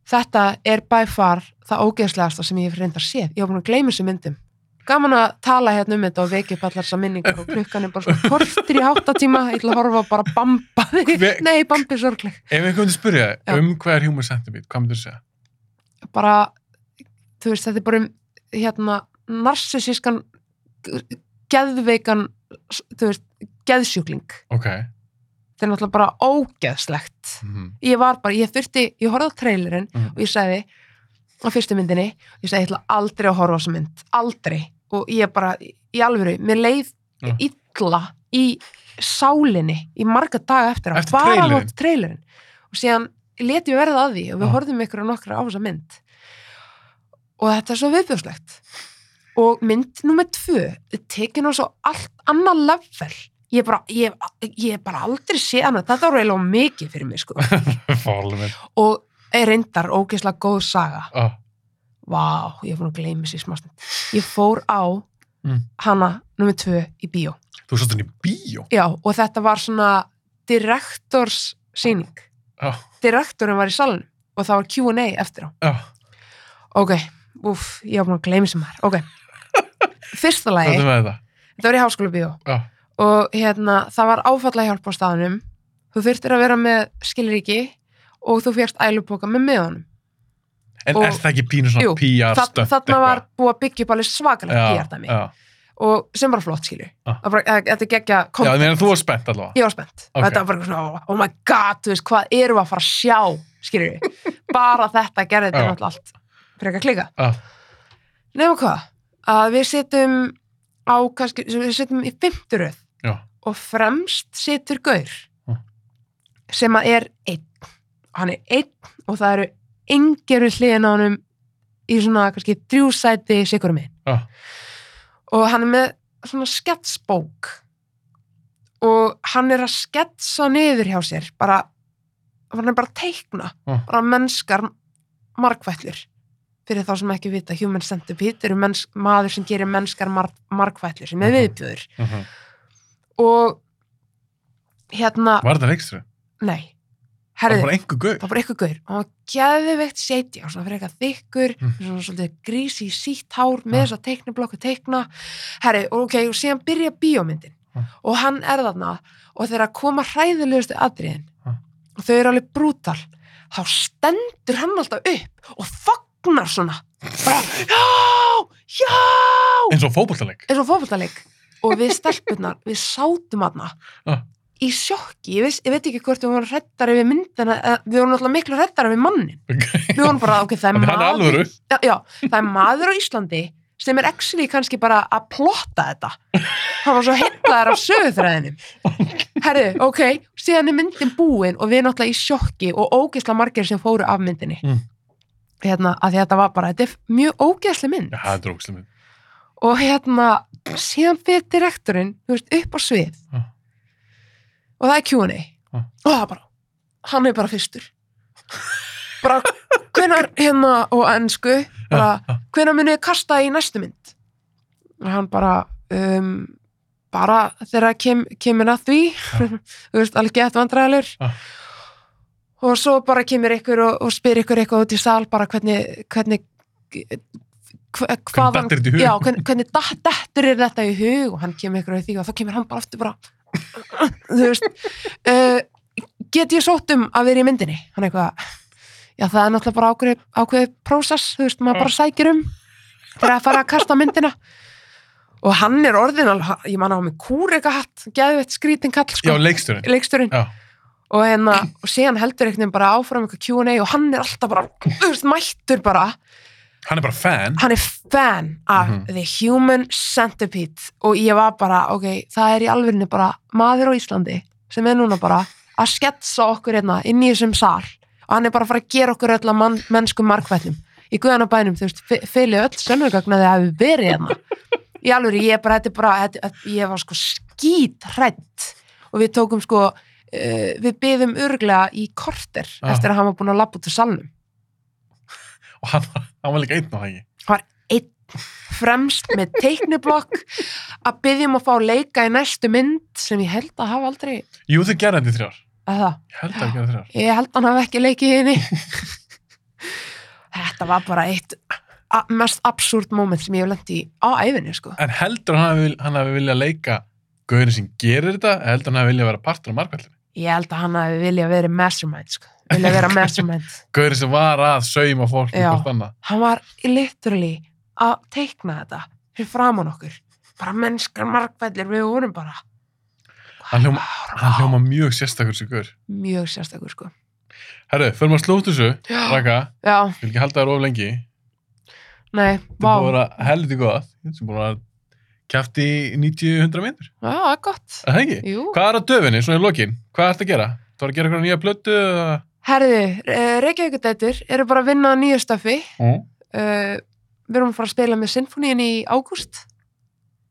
Þetta er by far það ógeðslegasta sem ég hef reyndar séð. Ég hef búin að gleyma þessu myndum. Gaman að tala hérna um þetta og vekja upp allar þessar minningar og klukkan er bara svona kortir í háttatíma. Ég ætla að horfa á bara bamba þig.
Hve-
Nei, bambi er sorgleg.
Ef einhvern veginn spyrja
Já.
þig um hvað er human centipede, hvað myndir þú segja?
Bara, þú veist, þetta er bara um hérna, narsisískan geðveikan, þú veist, geðsjúkling.
Ok.
Þetta er náttúrulega bara ógeðslegt.
Mm.
ég var bara, ég þurfti, ég horfði á trailerinn
Mhm.
og ég sagði á fyrstu myndinni, ég sagði ég ætla aldrei að horfa á þessa mynd, aldrei og ég bara, í alvöru, mér leið
Já.
illa í sálinni í marga daga eftir á
Eftir
bara að
trailerinn?
horfa á trailerinn og síðan letum við verða að því og við
Já.
horfðum ykkur og nokkra á þessa mynd og þetta er svo viðbjóðslegt og mynd nummer tvö tekin á svo allt annað level ég bara, ég, ég bara aldrei sé annað, þetta var eiginlega of mikið fyrir mig sko
Fálum minn.
og er reyndar ógeðslega góð saga
Oh.
Vá, ég er búin að gleyma sér smástund Ég fór á
Mm.
hana nummer tvö í bíó
Þú sátt henni í bíó.
Já, og þetta var svona direktors sýning
Já,
Direktorinn var í salunum og það var Q&A eftir á
já.
Ok, úff, ég er búin að gleyma sér maður Ok, fyrsta lagi
Þetta með þetta.
Þetta var í háskóla bíó
Já.
og hérna, það var áfalla hjálp á staðanum þú þurftir að vera með skilríki og þú férst ælupoka með meðanum
En
Og-
er það ekki pínu svona
Jú,
PR
Þa,
stönd?
þarna var búið að byggja upp alveg svakalega PR-dæmi
Já,
og sem bara flott skilju
Ah.
Það var bara- það- þetta geggja
já. já
kom,
ég meina þú var spennt allavega.
ég var spennt
Ok.
og þetta var bara svona, oh my god, þú veist hvað erum við að fara að sjá skilju, bara þetta gerði þetta
Já.
náttúrulega allt frekar klika
Já.
nema hvað, að við sittum á kannski, við sittum í fimmturöð
Já.
og fremst situr gaur
Ah.
sem að er einn hann er einn og það eru engir við hliðin á honum í svona kannski þrjú sæti sikur minn
Já.
og hann er með svona sketsbók og hann er að sketsa niður hjá sér bara, hann er bara að teikna
Ah.
bara mennskar markvætlur fyrir þá sem ekki vita human centipede eru menns, maður sem gerir mennskar mar markvætlur sem er
Mhm.
viðbjöður
Mhm.
og hérna,
Var þetta leikstur?
nei
Það var
herriði,
bara einhver
það
guð.
var bara eitthvað gaur og hann var geðveikt setja og svona fyrir eitthvað þykkur
Mm.
svona svolítið grísi sítt hár með
Ah.
þess að teikna blokku teikna herri, og ok, og síðan byrja bíómyndin
Ah.
og hann er þarna og þegar að koma hræðilegustu atriðin
Ah.
og þau eru alveg brútal þá stendur hann alltaf upp og fagnar svona bara, já, já
Eins og fótbollaleik.
eins og fótbollaleik og við stelpunar, við sátum hana
Ah.
í sjokki, ég, veist, ég veit ekki hvort við vorum hrættar yfir myndina, eða við vorum alltaf miklu hrættar yfir mannin, við vorum bara ok, það er
Þannig hann er
maður,
alvöru.
já, já, það er maður á Íslandi sem er actually kannski bara að plotta þetta hann var svo hellaður af sögurþræðinum herðu, ok, síðan er myndin búin og við erum alltaf í sjokki og ógeðslega margir sem fóru af myndinni
Mm.
hérna, að því að þetta var bara, þetta er mjög ógeðslega mynd
Já, það er drókslega mynd.
og hérna síðan fyrir direktorinn þú veist, upp á svið
Ah.
og það er Q&A
Ah.
og það er bara, hann er bara fyrstur bara hvenar hérna og ennsku bara,
Já,
hvenar munið þið kasta í næstu mynd og hann bara um, bara þegar kem, kemur að því þú veist, alveg gett vandræðalur
Já.
og svo bara kemur ykkur og, og spyr ykkur eitthvað út í sal bara hvernig, hvernig hva, hvaðan
datt þér þetta í hug?
já, hvernig, hvernig datt, dettur er þetta í hug og hann kemur ykkur að því og þá kemur hann bara aftur bara þú veist uh, get ég sótt um að vera í myndinni hann eitthvað já það er náttúrulega bara ákveðið ákveði prósess þú veist maður bara sækir um þegar að fara að kasta myndina og hann er orðin alveg, ég manna á mig kúrekahatt geðveitt skrítin kall
já
sko,
leiksturinn.
leiksturinn
Já.
og, hérna, og síðan heldur einhvern veginn bara áfram eitthvað Q&A og hann er alltaf bara þú veist, mættur bara,
Hann er bara fan.
hann er fan af
Mhm.
The Human Centipede og ég var bara, ok, það er í alvegni bara maður á Íslandi sem er núna bara að sketsa okkur hérna inn í þessum sal og hann er bara að fara að gera okkur öll að mann, mennskum markvætnum í guðana bænum, þú veist, fylgja öll sönnurgagnaði að við verið hérna í alveg, ég er bara, þetta er bara þetta, ég var sko skít og við tókum sko uh, við byðum örglega í korter
Ah.
eftir að hann var búin að labba út úr salnum
Og hann, hann var líka einn á það ekki.
einn fremst með teikniblokk að byggjum að fá leika í næstu mynd sem ég held að hafa aldrei
Jú, þau gerði þetta í þrjár.
að það,
Ég held að það gerði þrjár.
ég held að hann hafi ekki leikið henni þetta var bara eitt a- mest absúrt moment sem ég hef lendi í á æfinni sko
En heldur hann hafi, hann hafi viljað leika gauðinu sem gerir þetta, eða heldur hann hafi viljað vera partur af margvældinu.
ég held að hann hafi viljað verið mastermind sko. viljað vera mastermind
Gauðinu sem var að sauma fólk með
Já.
hvort annað.
hann var literally að teikna þetta fyrir framann okkur bara mennskar margfællir við vorum bara
Hann hljóma- Hann hljóma mjög sérstakur sem gaur.
mjög sérstakur sko
Herru, förum að slóta þessu,
já,
Raka,
já
vil ekki halda þér of lengi.
nei,
Þetta er búið að
vá, já,
vera helviti gott. Þetta er búið að kæft í 90-100 myndir.
það er gott
Er Það ekki?
jú,
Hvað er á döfinni, svona í lokin? Hvað ertu að gera? Þú var að gera eitthvað nýja plötu? eða-
herðu Reykjavíkudætur eru bara að vinna að nýju stöfi uh, við erum að fara að spila með sinfoníin í ágúst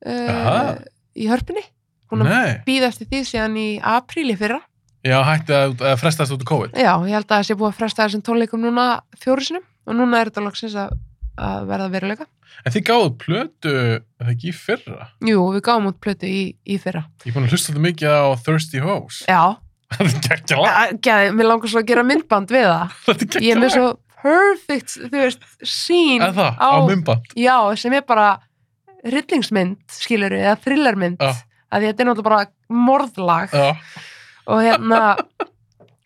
uh,
Aha.
í hörpunni hún er að
Nei.
býða eftir því síðan í apríli fyrra
Já, hætti að, að frestast út af COVID.
Já, ég held að það sé búið að fresta þessum tónleikum núna fjóru sinum og núna er þetta loksins að, að verða að veruleika.
En þið gáðu plötu, er það ekki í fyrra?
Jú, við gáum út plötu í, í fyrra.
Ég er búin að hlusta þetta mikið á Thirsty Hose.
Já,
Þetta er geggja lag.
Æ, geði, mér langar svo að gera myndband við það.
Þetta er
Ég
geggja
er með
lag.
svo perfect, þú veist, sín.
Er það? Á, á mymband.
Já, sem er bara rillingsmynd, skilur við, eða thrillermynd.
Já.
Að því þetta er náttúrulega bara morðlag
Já,
og hérna,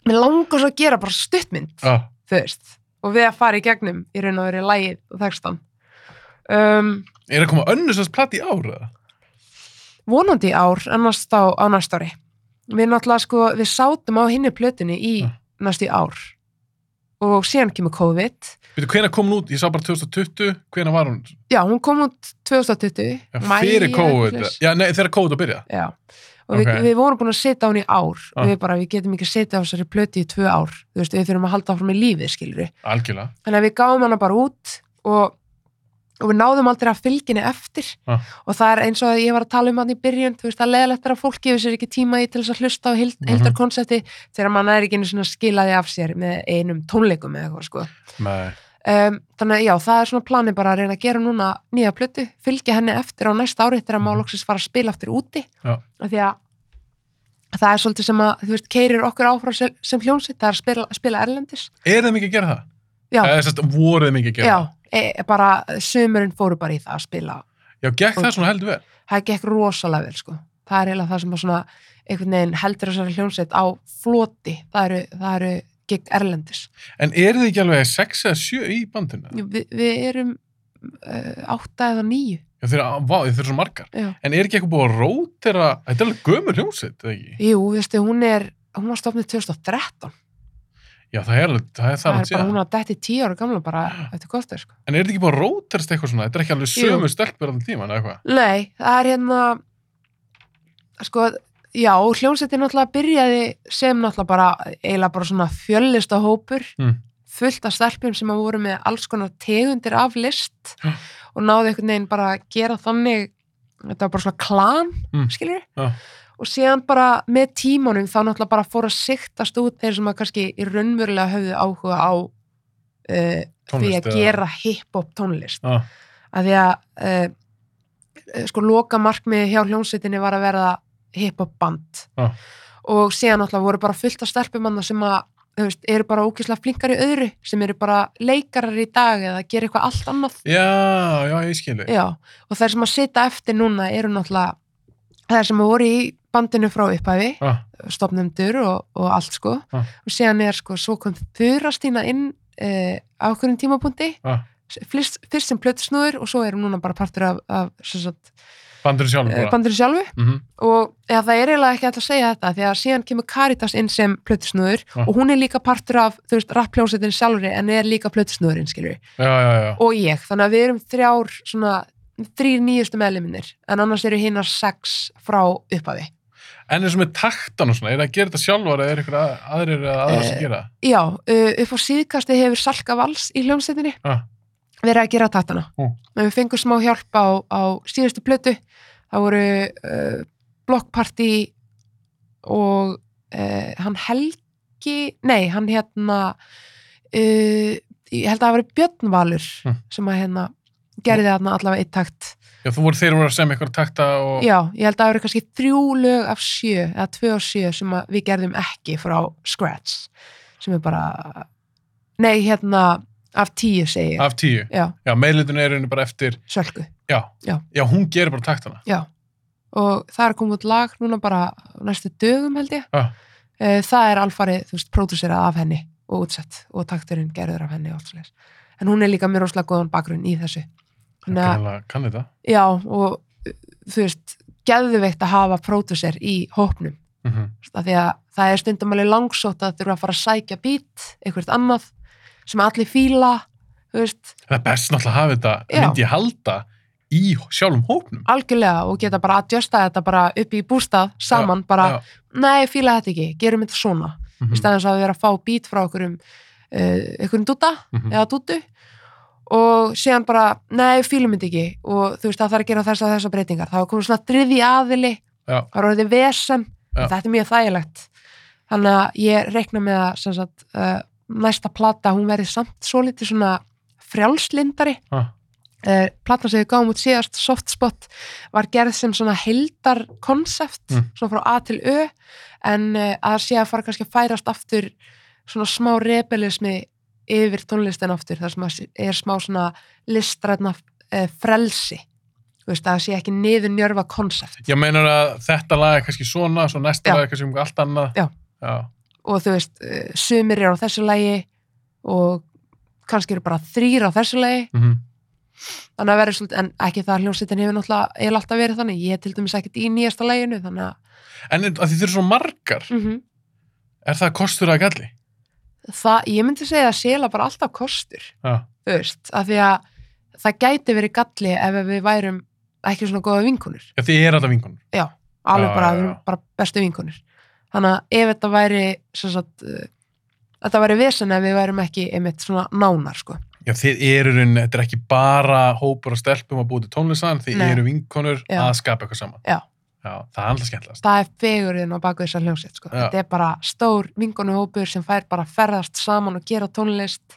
mér langar svo að gera bara stuttmynd.
já.
þú veist, og við að fara í gegnum í raun og verið lægið og textan um,
Er að koma önnusast platt í ára?
vonandi í ár annars á, á næst ári við náttúrulega sko, við sátum á hinni plötunni í
Ah.
næstu ár og síðan kemur COVID
Veitu, hvenær kom hún út? Ég sá bara 2020. Hvenær var hún?
já, hún kom út 2020
Já,
maí
Fyrir
eða
COVID.
eitthvað svoleiðis.
Já, nei, þegar COVID að byrja.
já, og við,
Ok.
við vorum búin að setja á hún í ár
Ah.
og við bara, við getum ekki að setja á þessari plötu í tvö ár, þú veist, við þurfum að halda áfram í lífið, skilur við
Algjörlega.
þannig að við gáum hana bara út og, og við náðum aldrei að fylginni eftir
Ah.
og það er eins og að ég var að tala um hann í byrjun þú veist að leðalegt er að fólk gefur sér ekki tíma í til þess að hlusta á heild,
Mhm.
heildarkonsepti þegar mann er ekki einu svona skilaði af sér með einum tónleikum eða eitthvað sko
Nei.
um, þannig að já, það er svona planið bara að reyna að gera núna nýja plötu, fylgja henni eftir á næsta ári þegar
Mhm.
maður loksins fara að spila aftur úti
Já.
af því að það er svolítið sem að, þú veist, keirir okkur áfram sem, sem hljónsitt, það er að spila, spila erlendis
Er þið mikið að gera það?
Já.
Eða sérst, voruð þið mikið að gera það?
Já, e, bara sömurinn fóru bara í það að spila
Já, gekk það svona heldur vel?
það gekk rosalega vel sko það er eiginlega það sem að svona einhvern veginn heldur þessari hljónsveit á floti það eru, það eru gig erlendis
En eru þið ekki alveg 6 eða 7 í bandinu?
Vi, við erum uh, átta eða níu
Já, þeir, vá, þeir eru svo margar.
Já.
En er ekki eitthvað búið að rótera, þetta er alveg gömur hljómsveit, eða ekki?
jú, veistu, hún er hún var stofnið 2013
Já, það er alveg, það er það að
það er bara hún
segja.
að detti tíu ára gamla bara eftir kostur sko
En er þetta ekki búið að róterast eitthvað svona? Þetta er ekki alveg
Jú.
sömu stelpur allan tíman, eða eitthvað?
Nei, það er hérna sko, já, hljómsveitin náttúrulega byrjaði sem náttúrulega bara eiginlega bara svona fjöllista hópur
Mm.
fullt af stelpjum sem að voru með alls konar tegundir af list
Já.
og náði einhvern veginn bara að gera þannig þetta var bara svona klan,
Mm.
skilur
Já.
og síðan bara með tímanum þá náttúrulega bara fór að siktast út þeir sem að kannski í raunverulega höfðu áhuga á uh, því að gera hip-hop tónlist
Já.
að því að uh, sko loka markmið hjá hljónsveitinni var að verða hip-hop band
Já.
og síðan alltaf voru bara fullt af stelpumanna sem að þú veist, eru bara ókislega flinkar í öðru sem eru bara leikarar í dag eða gera eitthvað allt annað
Já, já, ég skilu.
Já, og þær sem að sita eftir núna eru náttúrulega þær sem voru í bandinu frá upphæfi
Já.
stopnendur og, og allt sko
Já.
og síðan er sko svo kom Þurastína inn uh, á okkurum tímapunkti
Já.
fyrst, fyrst sem plötusnúður og svo erum núna bara partur af, af sem sagt,
Bandurinn sjálfum
eh,
bara.
bandurinn sjálfu
Mm
og ja, það er eiginlega ekki alltaf að segja þetta því að síðan kemur Caritas inn sem plötusnúður
Já.
og hún er líka partur af þú veist, rappljónsetin sjálfri en er líka plötusnúðurinn skilur
Já, já, já.
og ég, þannig að við erum þrjár svona, þrýr nýjustu meðluminir en annars eru hinnar sex frá upphafi.
En eins og með taktan og svona, er það að gera þetta sjálfur eða er eitthvað að- aðrir eða aðra sem
Eh,
gera? það?
Já, uh, upp á síðkasti hefur Salka Vals í hljómsveitinni
Ah.
verið að gera tattana.
Mm.
En við fengum smá hjálp á, á síðustu plötu. Það voru uh, Block Party og uh, hann Helgi, nei, hann hérna, uh, ég held að það var Björn Valur
Mm.
sem að hérna gerði þarna allavega eitt takt
Já, þú voru þeir voru að semja ykkur takta og...
já, ég held að það eru kannski þrjú lög af sjö eða tvö af sjö sem að við gerðum ekki frá scratch sem er bara nei, hérna, af tíu segi ég
af tíu.
já,
Já, meðlutinu er henni bara eftir,
sölku
já.
Já.
hún gerir bara taktana.
já, og það er komið út lag núna bara á næstu dögum held ég
Já.
Eh, það er alfarið, þú veist, pródúserað af henni og útsett og takturinn gerður af henni og allt svolítið, en hún er líka mér óslega góðan bakgrunn í þessu Þannig að-
Kannilega, kann þetta.
já, og uh, þú veist, geðveikt að hafa pródúser í hópnum
Mm
af því að það er stundum alveg langsótt að þurfa að fara að sækja bít, einhvert annað sem allir fíla þú veist,
Það er best náttúrulega að hafa þetta,
Já.
myndi ég halda, í sjálfum hópnum.
algjörlega og geta bara adjusta þetta bara upp í bústað saman, bara,
Já.
nei, fíla þetta ekki gerum þetta svona,
Mm
í staðins að við erum að fá bít frá einhverjum uh, einhverjum dúta
Mhm.
eða dútu og síðan bara, nei, fílum þetta ekki og þú veist, það þarf að gera þess að þessa breytingar þá er komið svona þriði aðili
Já.
það er orðið vesen,
Já.
þetta er mjög þægilegt þannig að ég reikna með að sem sagt, uh, næsta plata hún verði samt svolítið svona frjálslindari
Ah.
uh, platan sem við gáum út síðast, Softspot var gerð sem svona heldar konsept,
Mm.
svona frá A til Ö en uh, að sé að fara kannski að færast aftur svona smá rebelismi yfir tónlistin aftur þar sem að er smá svona listrætna uh, frelsi þú veist, að það sé ekki niður njörfa konsept
Ég meinar að þetta lag er kannski svona, svo næsta
Já.
lag er kannski um allt annað.
Já.
Já.
og þú veist, uh, sumir eru á þessu lagi og kannski eru bara þrýr á þessu lagi
Mm
þannig að vera svolítið, en ekki það að hljómsveitin hefur náttúrulega, ég alltaf verið þannig, ég er til dæmis ekkert í nýjasta læginu, þannig að
En að því þeir eru svo margar, er það kostur að galli?
það, ég myndi segja að sela bara alltaf kostur,
Já.
þú veist, af því að það gæti verið galli ef við værum ekki svona góða vinkunur,
Já, því er alltaf vingunum.
alveg
Já,
bara,
já,
við
já.
erum bara bestu vinkunur, þannig að ef þetta væri, sem sagt, eh, þetta væri vesen ef við værum ekki einmitt svona nánar, sko,
Já, þið eru raun, þetta er ekki bara hópur og stelpum að búið til tónlistan, þið
Nei.
eru vinkonur
Já.
að skapa eitthvað saman.
Já.
Já, það er alltaf skemmtilegast.
það er fegurinn á baku þessar hljómsveit sko.
Já.
þetta er bara stór vinkonuhópur sem fær bara að ferðast saman og gera tónlist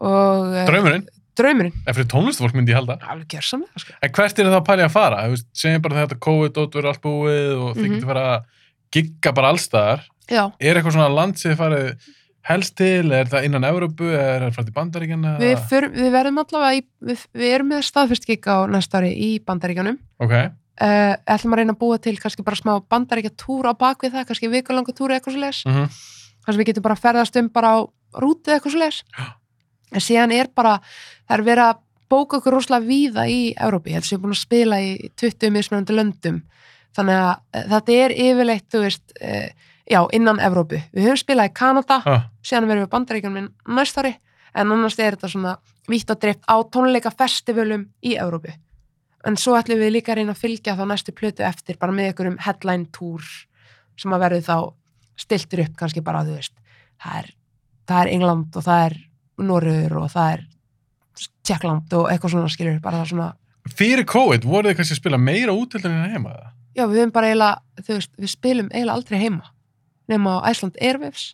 og eh,
Draumurinn,
draumurinn
ef fyrir tónlistfólk myndi ég halda.
alveg gjörsamlega sko.
En hvert er það að pæli að fara? Þú veist, segjum bara þetta COVID-dótt verður allt búið og þið
Mhm.
getur fara að gigga bara allstaðar.
já,
Er eitthvað svona land sem þið farið helst til? Er það innan Evrópu? Er það frá til Bandaríkjana?
við, fyr, við verðum allavega í, við, við erum með staðfyrstgik á næsta ári í bandaríkjanum
Ok,
uh, ætlum að reyna að búa til kannski bara smá bandaríkja túr á bak við það, kannski vikulanga túr eða eitthvað svo leis,
mm
þar sem við getum bara ferðast um bara á rútu eða eitthvað svo leis en síðan er bara, það er verið að bóka okkur rosalega víða í Európi, ég held sem ég er búin að spila í 20 mismunandi löndum, þannig að eh, þetta er yfirleitt, þú veist uh, já, innan Európu, við höfum spilað í Kanada,
ah,
síðan verðum við bandaríkjum næst ári, en annars er þetta svona vítt og dreift á tónleikafestivalum í Európu. En svo ætlum við líka að reyna að fylgja þá næstu plötu eftir bara með einhverjum headline tour sem að verður þá stiltur upp kannski bara, þú veist, það er, það er England og það er Norður og það er Tjekkland og eitthvað svona skilur, bara það svona
Fyrir COVID voruð þið kannski að spila meira útildin en heima það?
já, við höfum bara eiginlega, þú veist, við spilum eiginlega aldrei heima, nema á Iceland Airwaves,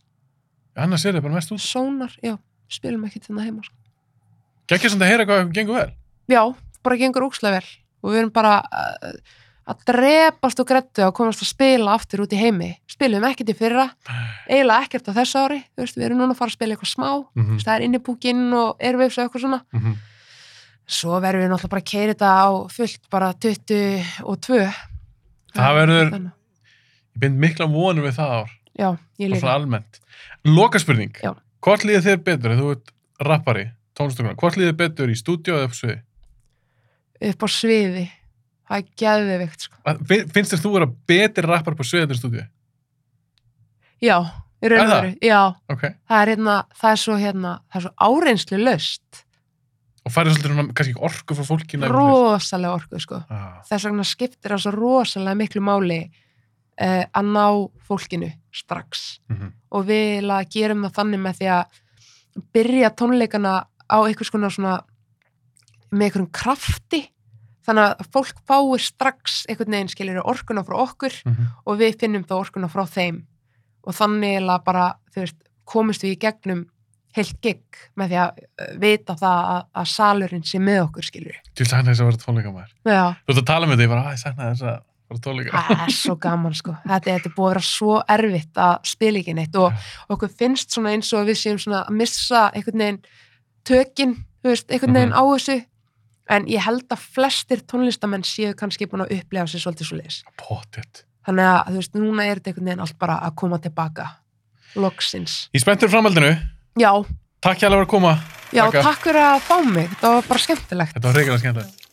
Annars er þið bara mest út.
Sonar, já, spilum ekki til það heima, sko.
Gekkið samt að heyra hvað ykkur gengur vel.
já, bara gengur ókslega vel og við erum bara uh, að drepast og grettu að komast að spila aftur út í heimi, spilum ekkert í fyrra eiginlega ekkert á þessu ári þú veist, við erum núna að fara að spila eitthvað smá mm.
Mm
það er innibúkinn og airwaves og eitthvað svona
-hmm.
svo verðum við náttúrulega bara að keira þetta á fullt bara 22
Það verður-
Þannig.
Ég bind mikla vonum við það ár,
já, ég
og svona
líka
almennt. Loka spurning.
Já.
Hvort líður þér betur, ef þú ert rappari, tónlistakonar, hvort líður þér betur í stúdíu eða upp á sviði?
upp á sviði það er geðveikt sko.
Að- fin- Finnst þér þú vera betri rappar på sviði en stúdíu?
já, í
Er
raun og
það?
veru, já
Ok.
það er, hérna, það er svo hérna, það er svo áreynslu löst
Og færið svolítið svona, kannski orku frá fólkinu?
rosalega orku sko
Ah.
þess vegna skiptir það svo rosalega miklu máli uh, að ná fólkinu strax
Mm -hmm.
og við eiginlega gerum það þannig með því að byrja tónleikana á einhvers konar svona með einhverjum krafti þannig að fólk fái strax einhvern veginn skilur orkuna frá okkur
Mm -hmm.
og við finnum þá orkuna frá þeim og þannig eiginlega bara þú veist, komist við í gegnum heilt gig með því að uh, vita það að, að salurinn sé með okkur skilur
Til sakna þess að vera tónleika maður.
já,
Þú ert að tala með því, ég bara, að ég sakna þess að vera tónleika.
það er svo gaman sko þetta, þetta er búið að vera svo erfitt að spila ekki neitt og okkur finnst svona eins og við séum svona að missa einhvern veginn tökin, þú veist, einhvern veginn á þessu en ég held að flestir tónlistamenn séu kannski búin að upplega sér svolítið svo leis
Pottet.
þannig að þú veist, núna er þetta einhvern veginn allt bara að koma tilbaka loksins
Ég er spenntur fyrir framhaldinu.
já,
Takk hjá að vera að koma.
já,
Takk.
takk fyrir að fá mig, þetta var bara skemmtilegt
Þetta var reyngilega skemmtilegt.